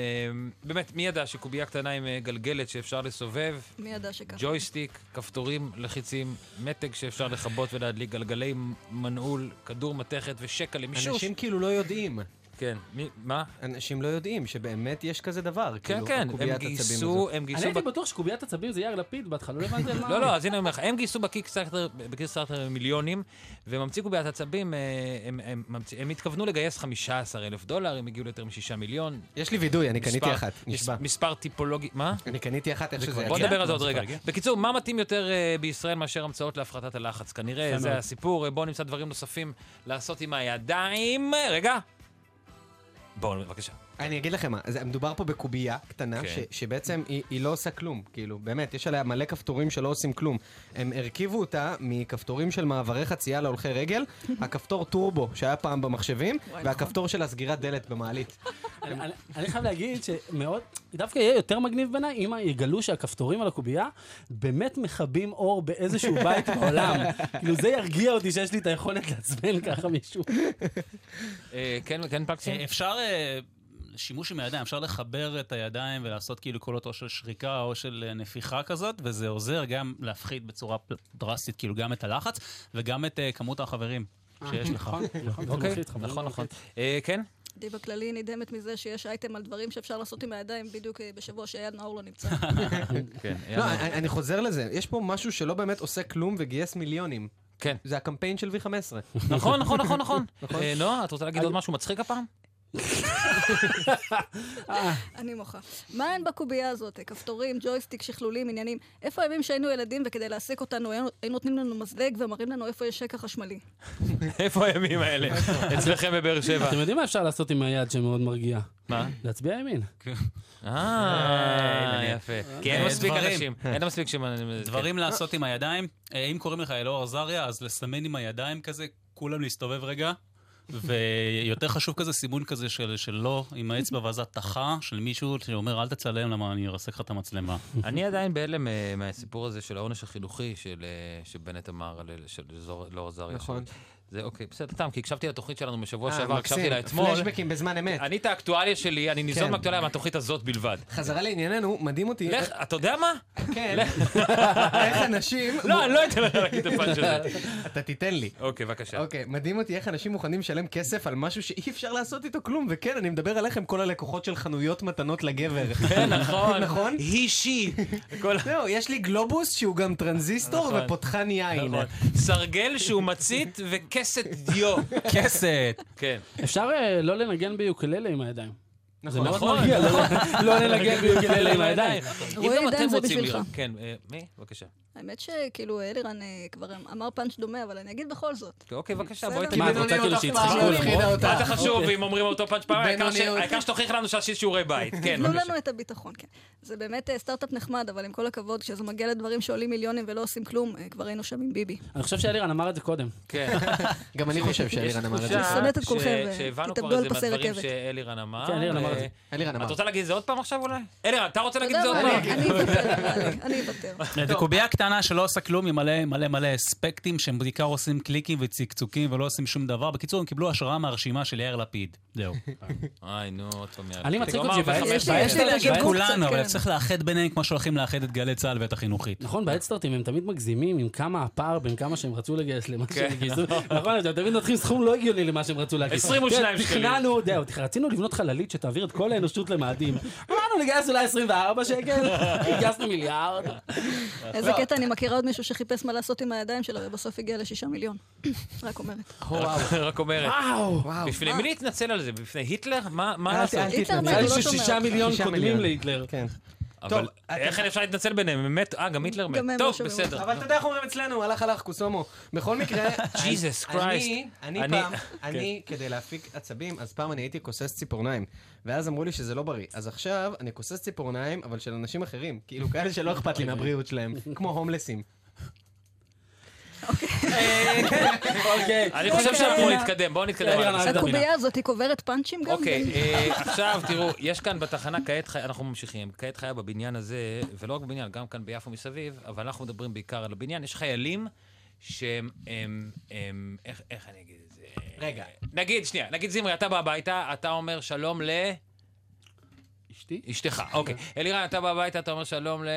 B: באמת, מי ידע שקובייה קטנה עם אה, גלגלת שאפשר לסובב,
D: מי ידע שככה?
B: ג'ויסטיק, כפתורים, לחיצים, מתג שאפשר לכבות ולהדליק, גלגלי מנעול, כדור מתכת ושקע למישהו.
H: אנשים כאילו לא יודעים.
B: כן, מי, מה?
H: אנשים לא יודעים שבאמת יש כזה דבר.
B: כן,
H: כאילו,
B: כן, הם
H: קוביית עצבים
B: גייסו,
H: הזאת.
B: הם
F: אני
B: גייסו...
F: הייתי
B: ב-
F: בטוח שקוביית עצבים זה יאיר לפיד בהתחלה, לא הבנתי על מה...
B: לא, לא, אז הנה אני אומר לך, הם גייסו בקיקסטארטר בקיקסטארטר מיליונים, והם המציקו בעיית עצבים, אה, הם- הם ממציא- הם התכוונו לגייס 15 אלף דולר, הם הגיעו ליותר מ-6 מיליון.
H: יש לי וידוי, אני קניתי
B: מספר-
H: אחת,
B: מס-
H: נשבע.
B: מספר טיפולוגי, מה?
H: אני קניתי אחת איך שזה לא,
B: בוא
H: יגיע.
B: נדבר על זה עוד
E: זה
B: רגע.
E: כבר הגיע?
B: בקיצור, מה מתאים יותר אה, בישראל מאשר המצאות להפחתת הלחץ? כנראה,
F: יפה
B: זה
F: מאוד.
B: הסיפור. אה, בואו נמצא דברים נוספים לעשות עם הידיים. אה, רגע. בואו, בבקשה.
H: אני אגיד לכם מה, זה- מדובר פה בקובייה קטנה,
B: כן.
H: ש- שבעצם היא- היא לא עושה כלום, כאילו, באמת, יש עליה מלא כפתורים שלא עושים כלום. הם הרכיבו אותה מכפתורים של מעברי חצייה להולכי
B: (laughs)
H: רגל, הכפתור טורבו שהיה פעם במחשבים,
B: נכון.
H: והכפתור של הסגירת דלת במעלית.
F: אני- אני- אני חייב להגיד שמאוד, דווקא יהיה יותר מגניב בעיניי אם יגלו שהכפתורים על הקובייה באמת מכבים אור באיזשהו בית בעולם. כאילו זה ירגיע אותי שיש לי את היכולת לעצבן ככה מישהו.
B: אה, כן, כן, פקסים?
E: אה, אפשר, אה, שימוש עם הידיים, אפשר לחבר את הידיים ולעשות כאילו קולות או של שריקה או של אה, נפיחה כזאת, וזה עוזר גם להפחית בצורה פל- דרסטית כאילו גם את הלחץ וגם את אה, כמות החברים שיש לך.
F: נכון, נכון, זה
B: אוקיי,
F: מלחיץ, חברים.
B: נכון, נכון. אה, כן?
D: די בכללי נדהמת מזה שיש אייטם על דברים שאפשר לעשות עם הידיים בדיוק אה, בשבוע שאייל נאור לא נמצא.
B: כן.
H: לא, אני אני חוזר לזה, יש פה משהו שלא באמת עושה כלום וגייס מיליונים.
B: כן.
H: זה הקמפיין של V15.
B: (laughs) נכון, נכון, נכון,
H: (laughs)
B: נכון. אה, נועה, את רוצה להגיד עוד משהו מצחיק הפעם?
D: אני מוחה. מה אין בקובייה הזאת? כפתורים, ג'ויסטיק, שכלולים, עניינים. איפה הימים שהיינו ילדים וכדי להעסיק אותנו היו היו נותנים לנו מזלג ומראים לנו איפה יש שקע חשמלי?
B: איפה הימים האלה? אצלכם בבאר שבע.
F: אתם יודעים מה אפשר לעשות עם היד שמאוד מרגיע?
B: מה?
F: להצביע ימין.
B: אה, יפה. כי אין
E: אה,
B: מספיק
E: דברים.
B: אנשים. אין מספיק כן. ש...
E: דברים לעשות עם הידיים, אה, אם קוראים לך אלאור עזריה, אז לסמן עם הידיים כזה, כולם להסתובב רגע. ויותר חשוב כזה סימון כזה של, של לא עם האצבע ואז התכה של מישהו שאומר אל תצלם למה אני ארסק לך את המצלמה.
B: אני עדיין בהלם אה, מהסיפור הזה של העונש החינוכי של, אה, שבנט אמר, על אלה- של זור- לא עזריה.
H: נכון.
B: של- זה אוקיי, בסדר, תם, כי הקשבתי לתוכנית שלנו בשבוע
H: אה,
B: שעבר,
H: מקסים.
B: הקשבתי לה אתמול.
H: פלשבקים בזמן אמת.
B: אני את האקטואליה שלי, אני ניזון
H: כן.
B: מהאקטואליה מהתוכנית הזאת בלבד.
H: חזרה לענייננו, מדהים אותי
B: לך, אתה יודע מה?
H: כן. איך אנשים...
B: לא, אני לא אתן לך להגיד את הפאנץ' הזה.
H: אתה תיתן לי.
B: אוקיי, בבקשה.
H: אוקיי, מדהים אותי איך אנשים מוכנים לשלם כסף על משהו שאי אפשר לעשות איתו כלום, וכן, אני מדבר עליכם כל הלקוחות של חנויות מתנות לגבר.
B: (laughs) כן, נכון.
H: נכון?
B: הישי. כל-
H: זהו, יש לי גלובוס שהוא גם טרנזיסטור
B: נכון.
H: ופותחן יין.
B: נכון. סרגל שהוא מצית וכסת דיו.
E: כסת!
B: כן.
F: אפשר אה, לא לנגן ביוקללה עם הידיים. זה
H: נכון.
F: מאוד
B: נכון.
F: מרגיע, לא- לא לנגן ביוקללה עם הידיים.
B: אם
D: רועי
B: גם
D: עידן,
B: אתם
D: זה
B: רוצים
D: בשבילך.
B: לראות. כן, אה, מי? בבקשה.
D: האמת שכאילו אלירן אה, כבר אמר פאנץ' דומה, אבל אני אגיד בכל זאת.
B: אוקיי, בבקשה,
D: בסדר.
B: בואי
D: מה,
F: מה, את
B: תגידי.
F: רוצה כאילו
H: פעם
F: שיצחקו
H: לא הפחידה
F: למרות?
H: אותה.
B: מה זה חשוב אם אומרים אותו פאנץ' פעמיים? העיקר ש-
H: בינוניות.
B: העיקר שתוכיח לנו שעשית שיעורי
D: (laughs)
B: בית. כן,
D: תנו
B: בבקשה.
D: לנו את הביטחון, כן. זה באמת אה, סטארט-אפ נחמד, אבל עם כל הכבוד, כשזה מגיע לדברים שעולים מיליונים ולא עושים כלום, אה, כבר היינו שם עם ביבי.
F: אני חושב שאלירן אמר את זה קודם.
B: כן.
H: (laughs) גם אני חושב שאלירן אמר את זה.
D: אני שונאת את כולכם, ו-
B: שהבנו כבר
D: תתאבדו
B: איזה
D: על פסי
B: מהדברים
D: רכבת.
B: שאלירן אמר.
F: כן, אלירן אמר את זה.
B: אה,
H: אלירן
B: את
H: אמר.
B: רוצה להגיד את זה עוד פעם עכשיו אולי? אלירן, אתה רוצה להגיד את זה עוד
D: אתה יודע מה, אני אוותר,
B: פעם? (laughs)
D: נראה לי, אני אוותר.
E: זו קובייה קטנה שלא עושה כלום, עם מלא מלא מלא אספקטים, שהם בעיקר עושים קליקים וצקצוקים ולא עושים שום דבר. בקיצור, הם קיבלו השראה מהרשימה של יאיר לפיד. זהו.
B: איי, נו, עוד פעם. יאללה.
F: אני מצחיק
B: הוא
F: אותי,
B: אמר
F: אבל
B: בחמש
D: יש לי- יש לי
F: בעיה.
D: להגיד
E: של
D: קצת,
E: כולנו,
D: כן.
E: אבל צריך לאחד ביניהם כמו שהולכים לאחד את גלי צה"ל ואת החינוכית.
F: נכון, בהדסטארטים הם תמיד מגזימים עם כמה הפער בין כמה שהם רצו לגייס למה
B: כן.
F: שהם
B: (laughs)
F: גייסו. נכון, אתם תמיד נותנים סכום לא הגיוני למה שהם רצו להגיש.
B: 22
F: כן,
B: שקלים.
F: תכננו, זהו, תכננו, רצינו לבנות חללית שתעביר את כל האנושות למאדים. אמרנו לגייס אולי 24 שקל,
B: (laughs)
F: גייסנו מיליארד.
D: איזה
B: לא,
D: קטע, אני מכירה עוד מישהו שחיפש מה לעשות עם הידיים שלו, ובסוף הגיע לשישה מיליון. (clears throat) רק אומרת.
B: רק אומרת.
F: וואו.
B: בפני מי להתנצל על זה? בפני היטלר? מה מה
H: אל-
B: לעשות?
H: אל
D: היטלר
H: תתנצל.
D: מה, הוא לא
F: נראה
D: שומע
F: לי ששישה
D: אותך.
F: מיליון
H: שישה
F: קודמים
H: מיליון.
F: להיטלר.
H: כן.
B: אבל
H: טוב,
B: איך אפשר להתנצל ביניהם? הם מתו, אה, גם היטלר מת.
D: גם הם לא
B: טוב,
D: שומעים
B: בסדר.
H: אבל אתה יודע איך אומרים אצלנו, הלך הלך קוסומו. בכל מקרה,
B: (laughs) Jesus
H: אני-
B: Christ.
H: אני
B: אני- (laughs) כן.
H: פעם, אני כדי להפיק עצבים, אז פעם אני הייתי כוסס ציפורניים. ואז אמרו לי שזה לא בריא. אז עכשיו אני כוסס ציפורניים, אבל של אנשים אחרים. כאילו כאלה שלא אכפת
B: (laughs)
H: לי מהבריאות שלהם, כמו הומלסים.
F: אוקיי.
B: אני חושב שאנחנו נתקדם, בואו נתקדם.
F: יאללה,
B: הלאה.
F: נעשה
D: הקובייה הזאת היא קוברת פאנצ'ים גם?
B: אוקיי, אה, עכשיו תראו, יש כאן בתחנה כעת חיה, אנחנו ממשיכים, כעת חיה בבניין הזה, ולא רק בבניין, גם כאן ביפו מסביב, אבל אנחנו מדברים בעיקר על הבניין, יש חיילים שהם, הם, הם, איך, איך אני אגיד את זה?
H: רגע.
B: נגיד, שנייה, נגיד זמרי, אתה בא הביתה, אתה אומר שלום ל...
H: אשתי? (laughs)
B: אשתך, אוקיי. אלירן, אתה בא הביתה, אתה אומר שלום ל...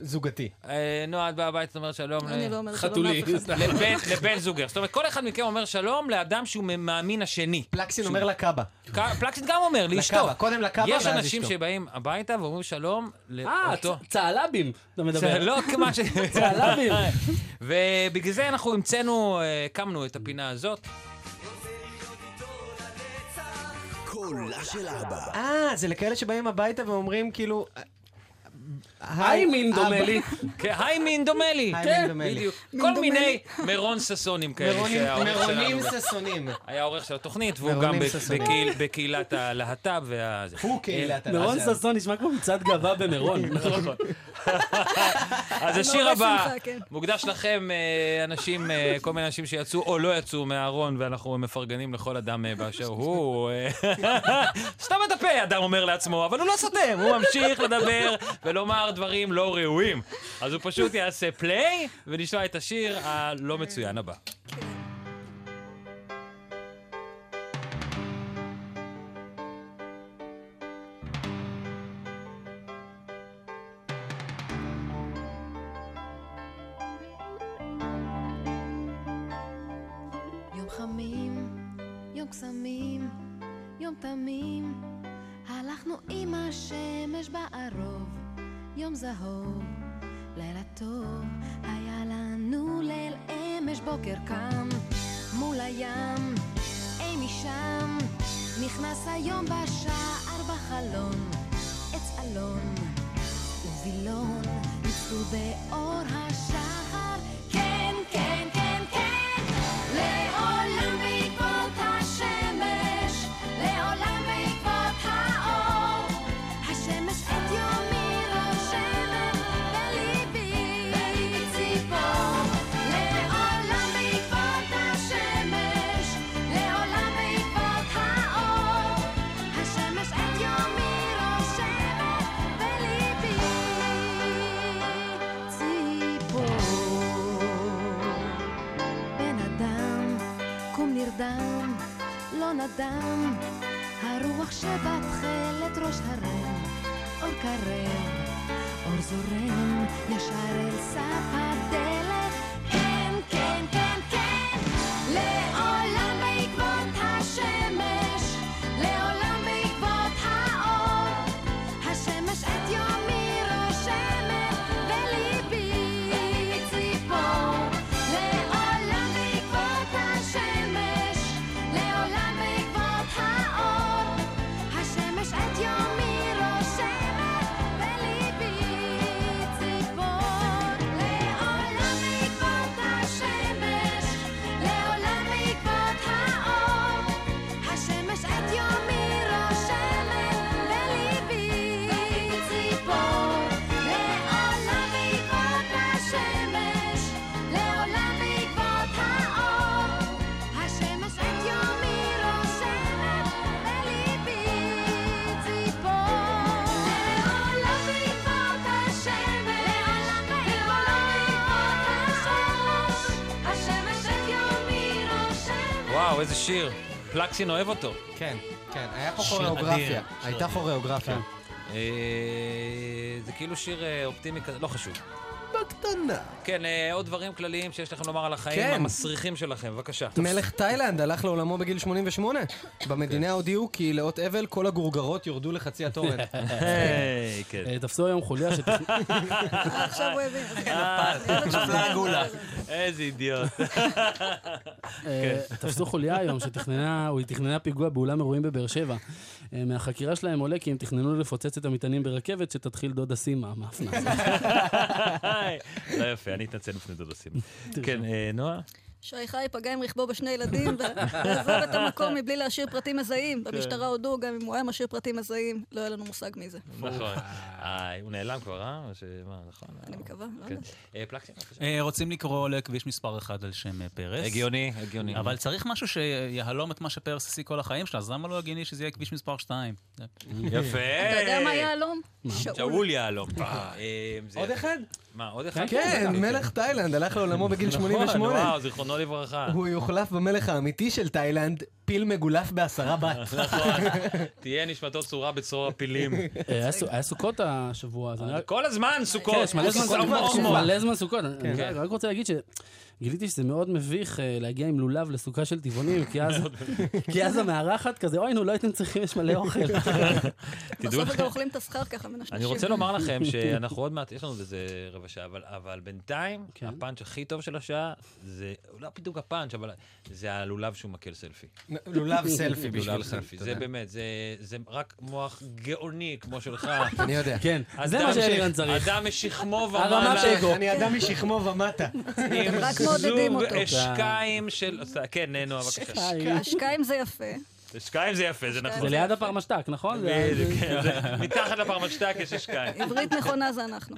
H: זוגתי.
B: אה, נועה, את באה הביתה, אתה אומר שלום ל...
D: אני לא אומרת שלום
F: חתולי.
D: לאף אחד.
B: (laughs) לבן, לבן זוגר. זאת אומרת, כל אחד מכם אומר שלום לאדם שהוא מאמין השני.
H: פלקסין אומר לקאבה.
B: ק- פלקסית גם אומר, לאשתו.
H: לקאבה, קודם לקאבה,
B: יש
H: ואז
B: אנשים
H: אשתו.
B: שבאים הביתה ואומרים שלום
F: אה,
B: לאותו.
F: צ- צהלבים, אתה
B: זה
F: מדבר.
D: (laughs)
B: לא כמה ש...
F: (laughs) צהלבים.
B: (laughs) ובגלל זה אנחנו המצאנו, אה, הקמנו את הפינה הזאת.
G: קולה של אבא.
H: אה, זה לכאלה שבאים הביתה ואומרים כאילו...
F: היי מין דומה
H: אבא.
F: לי.
B: כן, היי מין דומה לי.
H: היי,
F: כן,
H: מין דומה לי.
B: בדיוק.
D: מין
B: כל
D: דומה
B: מיני
D: לי.
B: מרון ששונים כאלה.
H: מרונים-
B: שהעורך
H: מרונים
B: שלנו-
H: ששונים.
B: היה עורך של התוכנית, והוא גם
H: מרונים
B: ב-
H: ששונים.
B: בקהיל- בקהילת הלהט"ב וה... זה. אה,
H: הוא קהילת
F: מירון
H: הלהט"ב. נכון.
F: ששון נשמע כמו מצעד גאווה
H: (laughs)
F: במירון. (laughs)
B: אז השיר
D: נורא
B: הבא
D: שמחה, כן.
B: מוקדש לכם, אה, אנשים, אה, כל מיני אנשים שיצאו או לא יצאו מהארון, ואנחנו מפרגנים לכל אדם אה, באשר הוא. אה, (laughs) סתם את הפה, אדם אומר לעצמו, אבל הוא לא סותם, הוא ממשיך לדבר ולומר דברים לא ראויים. אז הוא פשוט יעשה פליי, ונשמע את השיר הלא מצוין הבא.
J: יום חמים, יום קסמים, יום תמים, הלכנו עם השמש בערוב, יום זהוב, לילה טוב, היה לנו ליל אמש בוקר קם, מול הים, אי משם, נכנס היום בשער בחלון, עץ אלון. ובילון יצאו באור השחר. כן, כן, כן, כן, לעולם בעקבות השמש, לעולם בעקבות האור. השמש את יומי רושמת בליבי, בליבי ציפור. לעולם בעקבות השמש, לעולם בעקבות האור. השמש את יומי רושמת בליבי ציפור. בן אדם, קום נרדם, לא נדם, הרוח שבתכלת ראש הרם, אור קרב, אור זורם, ישר אל סף הדלת. כן, כן, כן, כן, לעולם בעקבות השמש, לעולם בעקבות האור. השמש את יומי רושמת בליבי ציפור. לעולם בעקבות השמש, לעולם בעקבות האור. השמש את יומי רושמת בליבי ציפור. לעולם בעקבות השמש, לעולם בעקבות האור. השמש את יומי רושמת בליבי ציפור. לעולם בעקבות השמש, לעולם בעקבות האור. השמש את יומי רושמת בליבי ציפור. לעולם בעקבות השמש, לעולם בעקבות השמש. השמש את יומי רושמת
B: וואו, איזה שיר. פלקסין אוהב אותו.
H: כן, כן, היה פה
E: שיר
H: כוריאוגרפיה.
E: אדיר, שיר
H: הייתה כוריאוגרפיה.
B: כן. אה, זה כאילו שיר אה, אופטימי כזה, לא חשוב.
H: בקטנה.
B: כן, אה, עוד דברים כלליים שיש לכם לומר על החיים
H: כן.
B: המסריחים שלכם, בבקשה.
H: (laughs) מלך תאילנד הלך לעולמו בגיל 88.
F: כן.
H: במדינה הודיעו כי לאות אבל כל הגורגרות יורדו לחצי התורן.
B: היי, כן.
F: (laughs) אה, תפסו היום חוליה
B: (laughs)
F: שתכנ...
D: אה, עכשיו הוא הבין.
B: נפלה הגולה. איזה אידיוט. כן.
F: אה, תפסו חוליה היום שתכננה, או היא תכננה פיגוע באולם אירועים בבאר שבע. אה, מהחקירה שלהם עולה כי הם תכננו לפוצץ את המטענים ברכבת שתתחיל דודה סימה, מאפנה.
B: (laughs) לא יפה, אני אתנצל בפני דודוסים. כן, אה, נועה?
D: שי חי פגע עם רכבו בשני ילדים ועזב את המקום מבלי להשאיר פרטים מזהים.
B: כן.
D: במשטרה הודו, גם אם הוא היה משאיר פרטים מזהים, לא היה לנו מושג מי זה.
B: (laughs) נכון. אה, הוא נעלם כבר, אה? או ש- מה, נכון?
D: אני מקווה, לא
B: כן.
D: יודעת.
B: אה, פלקסין, בבקשה.
E: אה, רוצים לקרוא לכביש מספר 1 על שם אה, פרס.
B: הגיוני, הגיוני.
E: אבל צריך משהו שיהלום את מה שפרס עשי כל החיים שלו, אז למה לא הגיוני שזה יהיה כביש מספר 2?
B: (laughs) יפה.
D: אתה יודע מה יהלום? שאול. (laughs)
B: שאול יהלום. אה, זה-
H: עוד אחד?
B: מה, עוד אחד?
H: כן, מלך
F: נכון,
H: תאילנד הלך לעולמו בגיל 88.
B: וואו, נכון, זיכרונו לברכה.
H: הוא יוחלף במלך האמיתי של תאילנד, פיל מגולף בעשרה
F: (laughs)
H: בת.
B: (laughs) תהיה נשמתו צורה בצרור הפילים. אה,
F: אה, היה סו- היה סוכות השבוע, אז אני רק...
B: כל הזמן סוכות. אה,
F: כן, יש מלא זמן
B: סוכות,
F: סוכות.
B: הומו.
F: מלא זמן סוכות. אני
B: כן.
F: רק- רק רוצה להגיד שגיליתי שזה מאוד מביך אה, להגיע עם לולב לסוכה של טבעונים,
B: (laughs)
F: כי אז- כי אז המארחת כזה, אוי, נו, לא הייתם צריכים, יש מלא
B: (laughs)
F: אוכל.
B: תדעו
D: בסוף
B: לכם-
D: אתם אוכלים את הסכר ככה מנשנשים.
B: אני רוצה לומר לכם שאנחנו עוד מעט, יש לנו עוד איזה רבע שעה, אבל, אבל בינתיים,
F: כן.
B: הפאנץ' הכי טוב של השעה, זה לא בדיוק הפאנץ', אבל זה הלולב שהוא מקל סלפי.
H: לולב סלפי
B: לולב
H: בשבילכם,
B: סלפי, זה
H: תודה.
B: באמת, זה, זה רק מוח גאוני כמו שלך.
H: אני יודע. כן, זה
B: אדם
H: מה שאלירן
B: ש-
H: צריך.
B: אדם משכמו
H: הרמת
B: ומעלה.
H: אגו. אני אדם משכמו ומטה.
B: עם
D: רק מעודדים
B: זוג
D: אותו.
B: אשקיים של... כן, נועה, בבקשה.
D: השקיים זה יפה.
B: אשקיים זה יפה, זה נכון.
F: זה ליד הפרמשטק, נכון?
B: בדיוק, כן, זה- מתחת לפרמשטק יש אשקיים.
D: עברית נכונה זה אנחנו.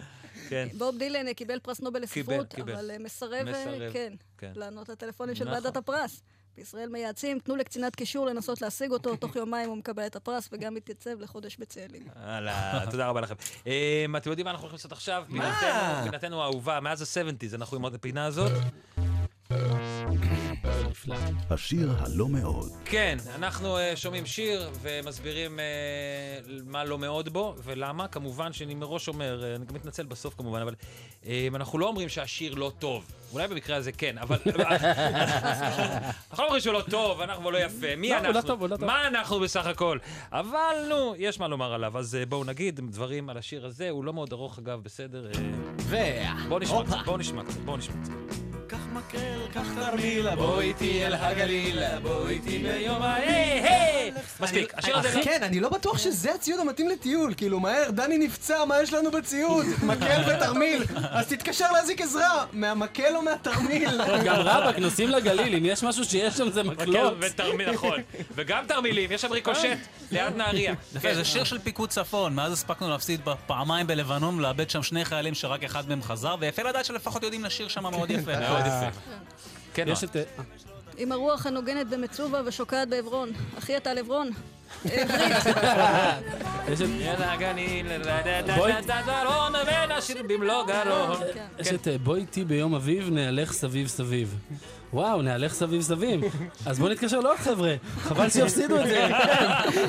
B: כן.
D: בוב דילן אה, קיבל פרס נובל לספרות,
B: קיבל, קיבל.
D: אבל אה, מסרב, אה,
B: מסרב,
D: כן,
B: כן.
D: לענות לטלפונים של
B: נכון.
D: ועדת הפרס. בישראל מייעצים, תנו לקצינת קישור לנסות להשיג אותו, תוך יומיים הוא מקבל את הפרס וגם מתייצב לחודש בצאלים.
B: הלאה, תודה רבה לכם. אמ, אתם יודעים מה אנחנו הולכים לעשות עכשיו? פינתנו- פינתנו האהובה, מאז ה-70's אנחנו עם הפינה הזאת.
G: השיר הלא מאוד.
B: כן, אנחנו אה, שומעים שיר ומסבירים אה, מה לא מאוד בו ולמה. כמובן שאני מראש אומר, אה, אני גם מתנצל בסוף כמובן, אבל אה, אנחנו לא אומרים שהשיר לא טוב. אולי במקרה הזה כן, אבל... (laughs) אנחנו לא אומרים שהוא לא טוב, אנחנו לא יפה. מי
F: לא, הוא לא
B: אנחנו?
F: טוב, הוא לא טוב.
B: מה אנחנו בסך הכל? אבל נו, יש מה לומר עליו, אז אה, בואו נגיד דברים על השיר הזה, הוא לא מאוד ארוך אגב, בסדר? אה,
H: ו...
B: בואו נשמע
H: הופה.
B: קצת, בואו נשמע קצת, בואו נשמע קצת.
H: קח תרמילה, בוא איתי אל הגליל, בוא איתי ביום ה... היי, היי!
B: מספיק, השיר הזה... לא-
H: כן, אני לא בטוח שזה הציוד המתאים לטיול. כאילו, מהר, דני נפצע, מה יש לנו
F: (laughs)
H: בציוד? מקל ותרמיל. אז תתקשר להזיק עזרה, מהמקל או מהתרמיל?
F: (laughs) גם רבאק, נוסעים לגליל, אם יש משהו שיש שם זה מקלות.
E: לא.
B: מקל ותרמיל,
E: (laughs)
F: (laughs)
B: נכון. וגם תרמילים, יש שם ריקושט ליד נהריה. כן.
E: יפה, זה
B: (laughs)
E: שיר של פיקוד צפון, מאז הספקנו להפסיד פעמיים בלבנון, לאבד שם שני חיילים שרק אחד מהם חזר, ויפה לדעת שלפחות יודעים לשיר שם מאוד יפה.
B: מאוד יפה. כן,
F: יש
B: נועה.
F: את... אה,
D: עם הרוח הנוגנת במצובה ושוקעת בעברון. אחי אתה על עברון. עברית.
F: יש את-
B: יד הגליל,
F: בואי-
B: דרון בין השיר במלוא גרון.
D: כן.
F: יש את אה, בוא איתי ביום אביב, נהלך סביב סביב. וואו, נהלך סביב סביב. אז בואו נתקשר לעוד חבר'ה, חבל שיפסידו את זה.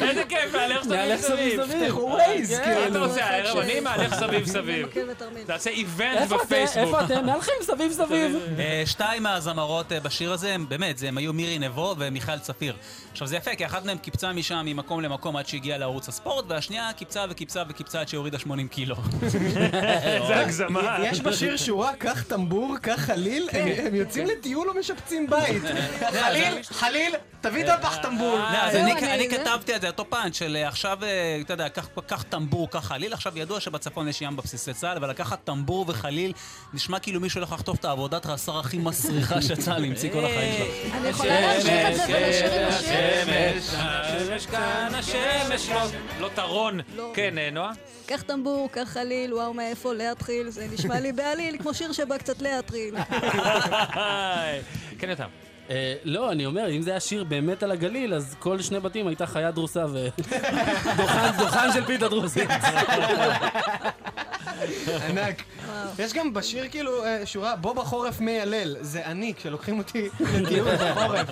B: איזה כיף, מהלך סביב
F: נהלך סביב
B: סביב.
F: סביב. כן.
H: ווייז,
B: מה אתה
H: כאילו.
B: רוצה הערב? אני מהלך סביב סביב.
D: מקל ותרמיל.
B: תעשה איבנט
F: איפה אתם?
B: בפייסבוק.
F: איפה אתם? (laughs) מהלכים סביב סביב.
E: אה, שתיים מהזמרות אה, בשיר הזה, הם באמת, זה- הם היו מירי נבו ומיכל צפיר. עכשיו זה יפה, כי אחת מהן קיפצה משם ממקום למקום עד שהגיעה לערוץ הספורט, והשנייה קיפצה וקיפצה וקיפצה עד שהורידה 80
H: (laughs)
E: קילו.
B: זה הגזמה.
H: יש בשיר שורה, קח טמבור, קח חליל,
F: כן.
H: הם הם יוצאים לטיול ומשפצים
F: (laughs)
H: בית.
F: אה,
H: חליל, חליל, תביא דבח טמבור. אה,
E: לא, אז אני-
D: אני-
E: אני
D: זה-
E: כתבתי על זה, אותו פאנץ' של אה, עכשיו, אה, אתה יודע, קח- קח טמבור, קח חליל, עכשיו ידוע שבצפון יש ים בבסיסי צה"ל, אבל לקחת טמבור וחליל, נשמע כאילו מישהו הולך לחטוף את העבודת רס"ר הכי מסריחה
D: (laughs)
E: שצה"ל המציא כל החיים שלו.
D: אני יכולה להמשיך את זה ולשיר עם השיר.
B: השמש כאן, השמש לא- לא טרון. כן, אה, נועה?
D: קח טמבור, קח חליל, וואו מאיפה להתחיל, זה נשמע לי בעליל, כמו שיר שבא קצת להטריל.
B: כן, יותם.
F: אה, לא, אני אומר, אם זה היה שיר באמת על הגליל, אז כל שני בתים הייתה חיה דרוסה ו... (laughs) דוכן- דוכן של פיתה דרוסית.
H: ענק. יש גם בשיר כאילו אה, שורה, בוא בחורף מיילל. זה אני, כשלוקחים אותי לטיול
F: (laughs)
H: בחורף.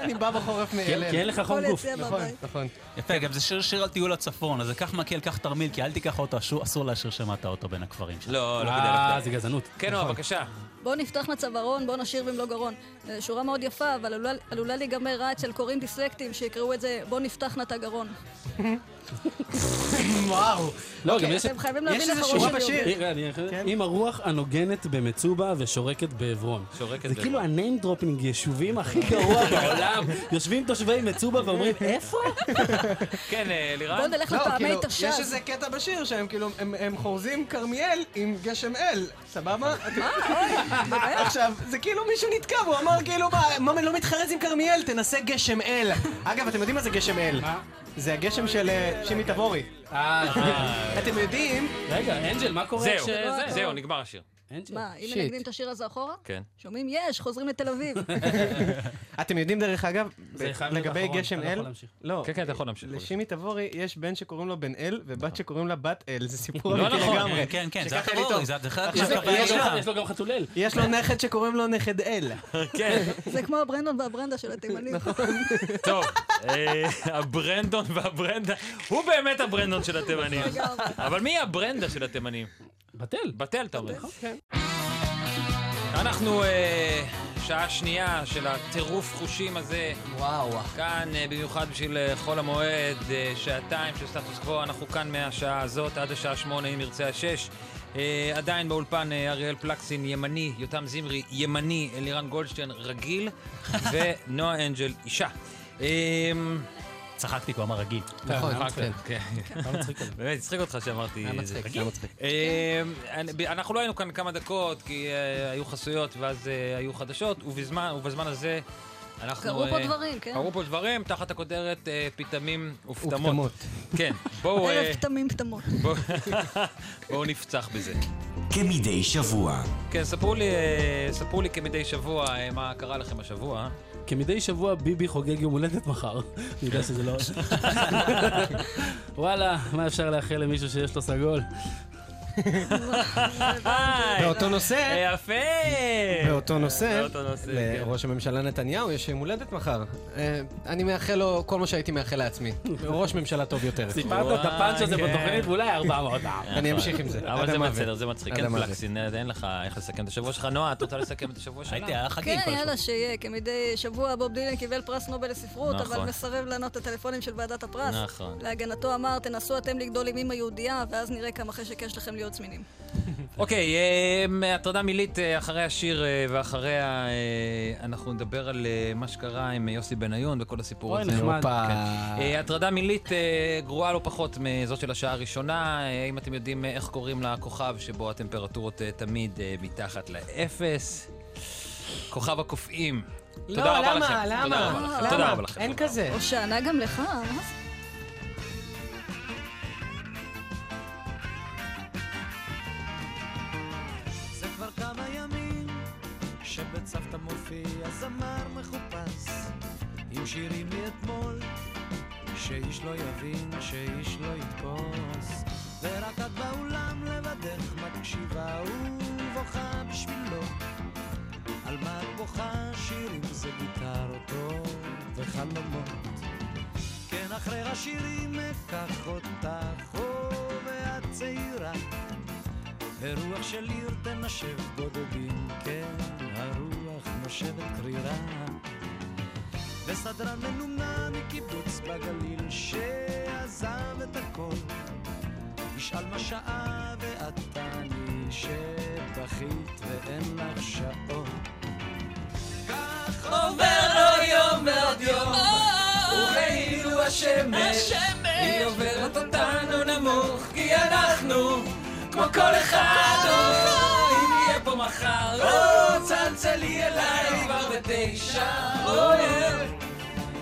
H: אני בא בחורף מיילל.
F: כי אין לך חום
D: הכל
F: גוף.
D: יצא
H: נכון,
D: מהבית.
H: נכון.
E: יפה, גם זה שיר שיר על טיול הצפון, אז קח מקל, קח תרמיל, כי אל תיקח אותו, אסור- אסור להשאיר שמעת אותו בין הכפרים נכון. שלך.
B: לא, לא כדאי לך.
F: אה, זה גזענות.
B: כן, נועה, בבקשה.
D: בואו נפתח לצווארון, בואו נשיר במלוא גרון. אה, שורה מאוד יפה, אבל עלולה- עלולה להיגמר רע אצל קוראים דיסלקטים שיקראו את זה בואו נפתח נא את הגרון.
H: וואו.
F: לא, גם יש...
D: אוקיי, אתם חייבים להבין
H: יש
D: איך כן.
H: איזה
D: הראש
H: שורה
D: שלי
H: בשיר.
D: עובד.
F: רגע, אני- עם הרוח הנוגנת במצובה ושורקת בעברון.
B: שורקת
F: זה
B: בעברון.
F: כאילו הניים דרופינג יישובים הכי גרוע בעולם. יושבים תושבי מצובה ואומרים, איפה?
B: כן, אה, לירן?
D: בואו נלך
H: לא,
D: לפעמי
H: כאילו,
D: תש"ז.
H: יש איזה קטע בשיר שהם כאילו, הם- הם חורזים כרמיאל עם גשם אל, סבבה? עכשיו, זה כאילו מישהו נתקע, והוא אמר כאילו, מה, מה, לא מתחרז עם כרמיאל, תנסה גשם אל. אגב, אתם יודעים מה זה גשם אל? זה הגשם של אה, שימי תבורי. אתם יודעים
F: אה. רגע, אנג'ל, מה קורה
B: זהו,
F: כש...
B: כן,
H: נכון.
B: זהו, נגמר השיר.
F: אין
D: מה, אם
H: שיט.
D: מנגנים את השיר הזה אחורה?
B: כן.
D: שומעים יש, חוזרים לתל אביב.
H: אתם יודעים דרך אגב,
B: זה
H: ב-
B: חייב להיות
H: לגבי
B: אחרון,
H: גשם
B: אתה לא יכול
H: אל,
B: להמשיך.
H: לא,
B: כן, כן, אתה יכול להמשיך. אה.
H: לשימי תבורי יש בן שקוראים לו בן אל ובת שקוראים לה בת אל, זה סיפור
E: לא
H: אמיתי
E: נכון,
H: לגמרי.
E: כן, כן, זה
H: שככה
E: התבורי,
H: לי טוב.
E: זה- זה חלק
H: עכשיו,
E: מהבעיה
H: יש לו-
E: שלנו.
F: יש לו גם חתולל.
H: יש לו נכד שקוראים לו נכד אל.
B: כן.
D: זה כמו הברנדון והברנדה של התימנים.
B: טוב, אה, הברנדון והברנדה, הוא באמת הברנדון של התימנים. אבל מי הברנדה של התימנים?
F: בטל.
B: בטל, אתה אומר. אנחנו אה, שעה שנייה של הטירוף חושים הזה.
C: וואו.
B: כאן אה, במיוחד בשביל אה, חול המועד, אה, שעתיים של סטטוס קוו, אנחנו כאן מהשעה הזאת עד השעה שמונה, אם ירצה השש. אה, עדיין באולפן אה, אריאל פלקסין ימני, יותם זמרי ימני, אלירן גולדשטיין (laughs) רגיל, ונועה אנג'ל אישה. אה,
E: צחקתי, הוא אמר רגיל.
B: נכון,
E: היה מצחיק.
B: כן.
E: היה מצחיק עליו.
B: באמת, הצחיק אותך שאמרתי...
E: היה
B: זה.
E: מצחיק,
B: רגיל?
E: היה מצחיק.
B: אה, אני- אנחנו לא היינו כאן כמה דקות, כי אה, היו חסויות ואז אה, היו חדשות, ובזמן ובזמן הזה אנחנו...
D: קרו פה
B: אה,
D: דברים, כן.
B: קרו פה דברים, תחת הכותרת אה, פיתמים ופטמות.
H: ופטמות.
B: כן,
D: (laughs)
B: בואו... אה,
D: ערב פטמים פטמות.
B: בואו- (laughs) בואו נפצח בזה.
K: כמדי שבוע.
B: כן, ספרו לי, אה, ספרו לי כמדי שבוע אה, מה קרה לכם השבוע.
F: כמדי שבוע ביבי חוגג יום הולדת מחר. אני יודע
B: (laughs)
F: שזה לא... וואלה, מה אפשר לאחל למישהו שיש לו
B: (laughs)
F: סגול?
H: באותו נושא,
B: אה, יפה!
H: באותו נושא,
B: באותו נושא, כן.
H: לראש הממשלה נתניהו יש יום הולדת מחר. אה, אני מאחל לו כל מה שהייתי מאחל
B: (laughs)
H: לעצמי. ראש ממשלה טוב יותר.
F: סיפרת את הפאנץ' הזה
B: כן.
F: בתוכנית ואולי 400 פעם.
H: אני אמשיך עם זה.
B: אוקיי. אבל
H: עד
B: זה
H: המוות.
B: בסדר, זה מצחיק.
H: עד
B: כן,
H: המוות.
B: פלקסין, אין לך איך לסכם את השבוע שלך. נועה, את רוצה לסכם את השבוע שלך?
E: הייתי, היה חגים
D: כן,
E: כל
D: יאללה, שיהיה. כמדי שבוע בוב דילן קיבל פרס נובל לספרות, אבל
B: נכון.
D: מסרב לענות לטלפונים של ועדת הפרס.
B: נכון.
D: להגנתו אמר, תנסו אתם לגדול עם אימא יהודייה, ואז נראה כמה חשק יש לכם להיות זמינים.
H: כן.
B: אוקיי, אה, הטרדה מילית אה, אחרי השיר אה, ואחריה אה, אנחנו נדבר על אה, מה שקרה עם יוסי בניון וכל הסיפור
F: אוי,
B: הזה.
F: נחמד.
H: הופה.
B: אה, הטרדה מילית אה, גרועה לא פחות מזאת של השעה הראשונה. אה, אם אתם יודעים אה, איך קוראים לכוכב שבו הטמפרטורות אה, תמיד אה, מתחת לאפס. כוכב הקופאים. תודה
H: לא,
B: רבה
H: למה?
B: לכם. תודה
H: למה?
B: רבה לכם.
H: למה?
B: תודה רבה לכם.
H: אין כזה.
D: או שענה גם לך, אה? מה זה?
L: זה כבר כמה ימים שבצוותא מופיע זמר מחופש עם שירים מאתמול שאיש לא יבין, שאיש לא יתפוס ורק את באולם לבדך מקשיבה ובוכה בשבילו על מה את בוכה? שירים זה גיטרותו וחלומות כן, אחרי השירים אקח אותך, או ואת צעירה ורוח של עיר תנשב בודדים, כן, הרוח נושבת קרירה. וסדרן מנומנם מקיבוץ בגליל שעזב את הכל, ישאל מה שעה ואת תעני שבכית ואין לך שעות. כך עובר לו יום ועוד יום, וכאילו השמש, היא עוברת אותנו נמוך, כי אנחנו כמו כל אחד, או אם יהיה פה מחר, או צלצלי אליי כבר בתשע, או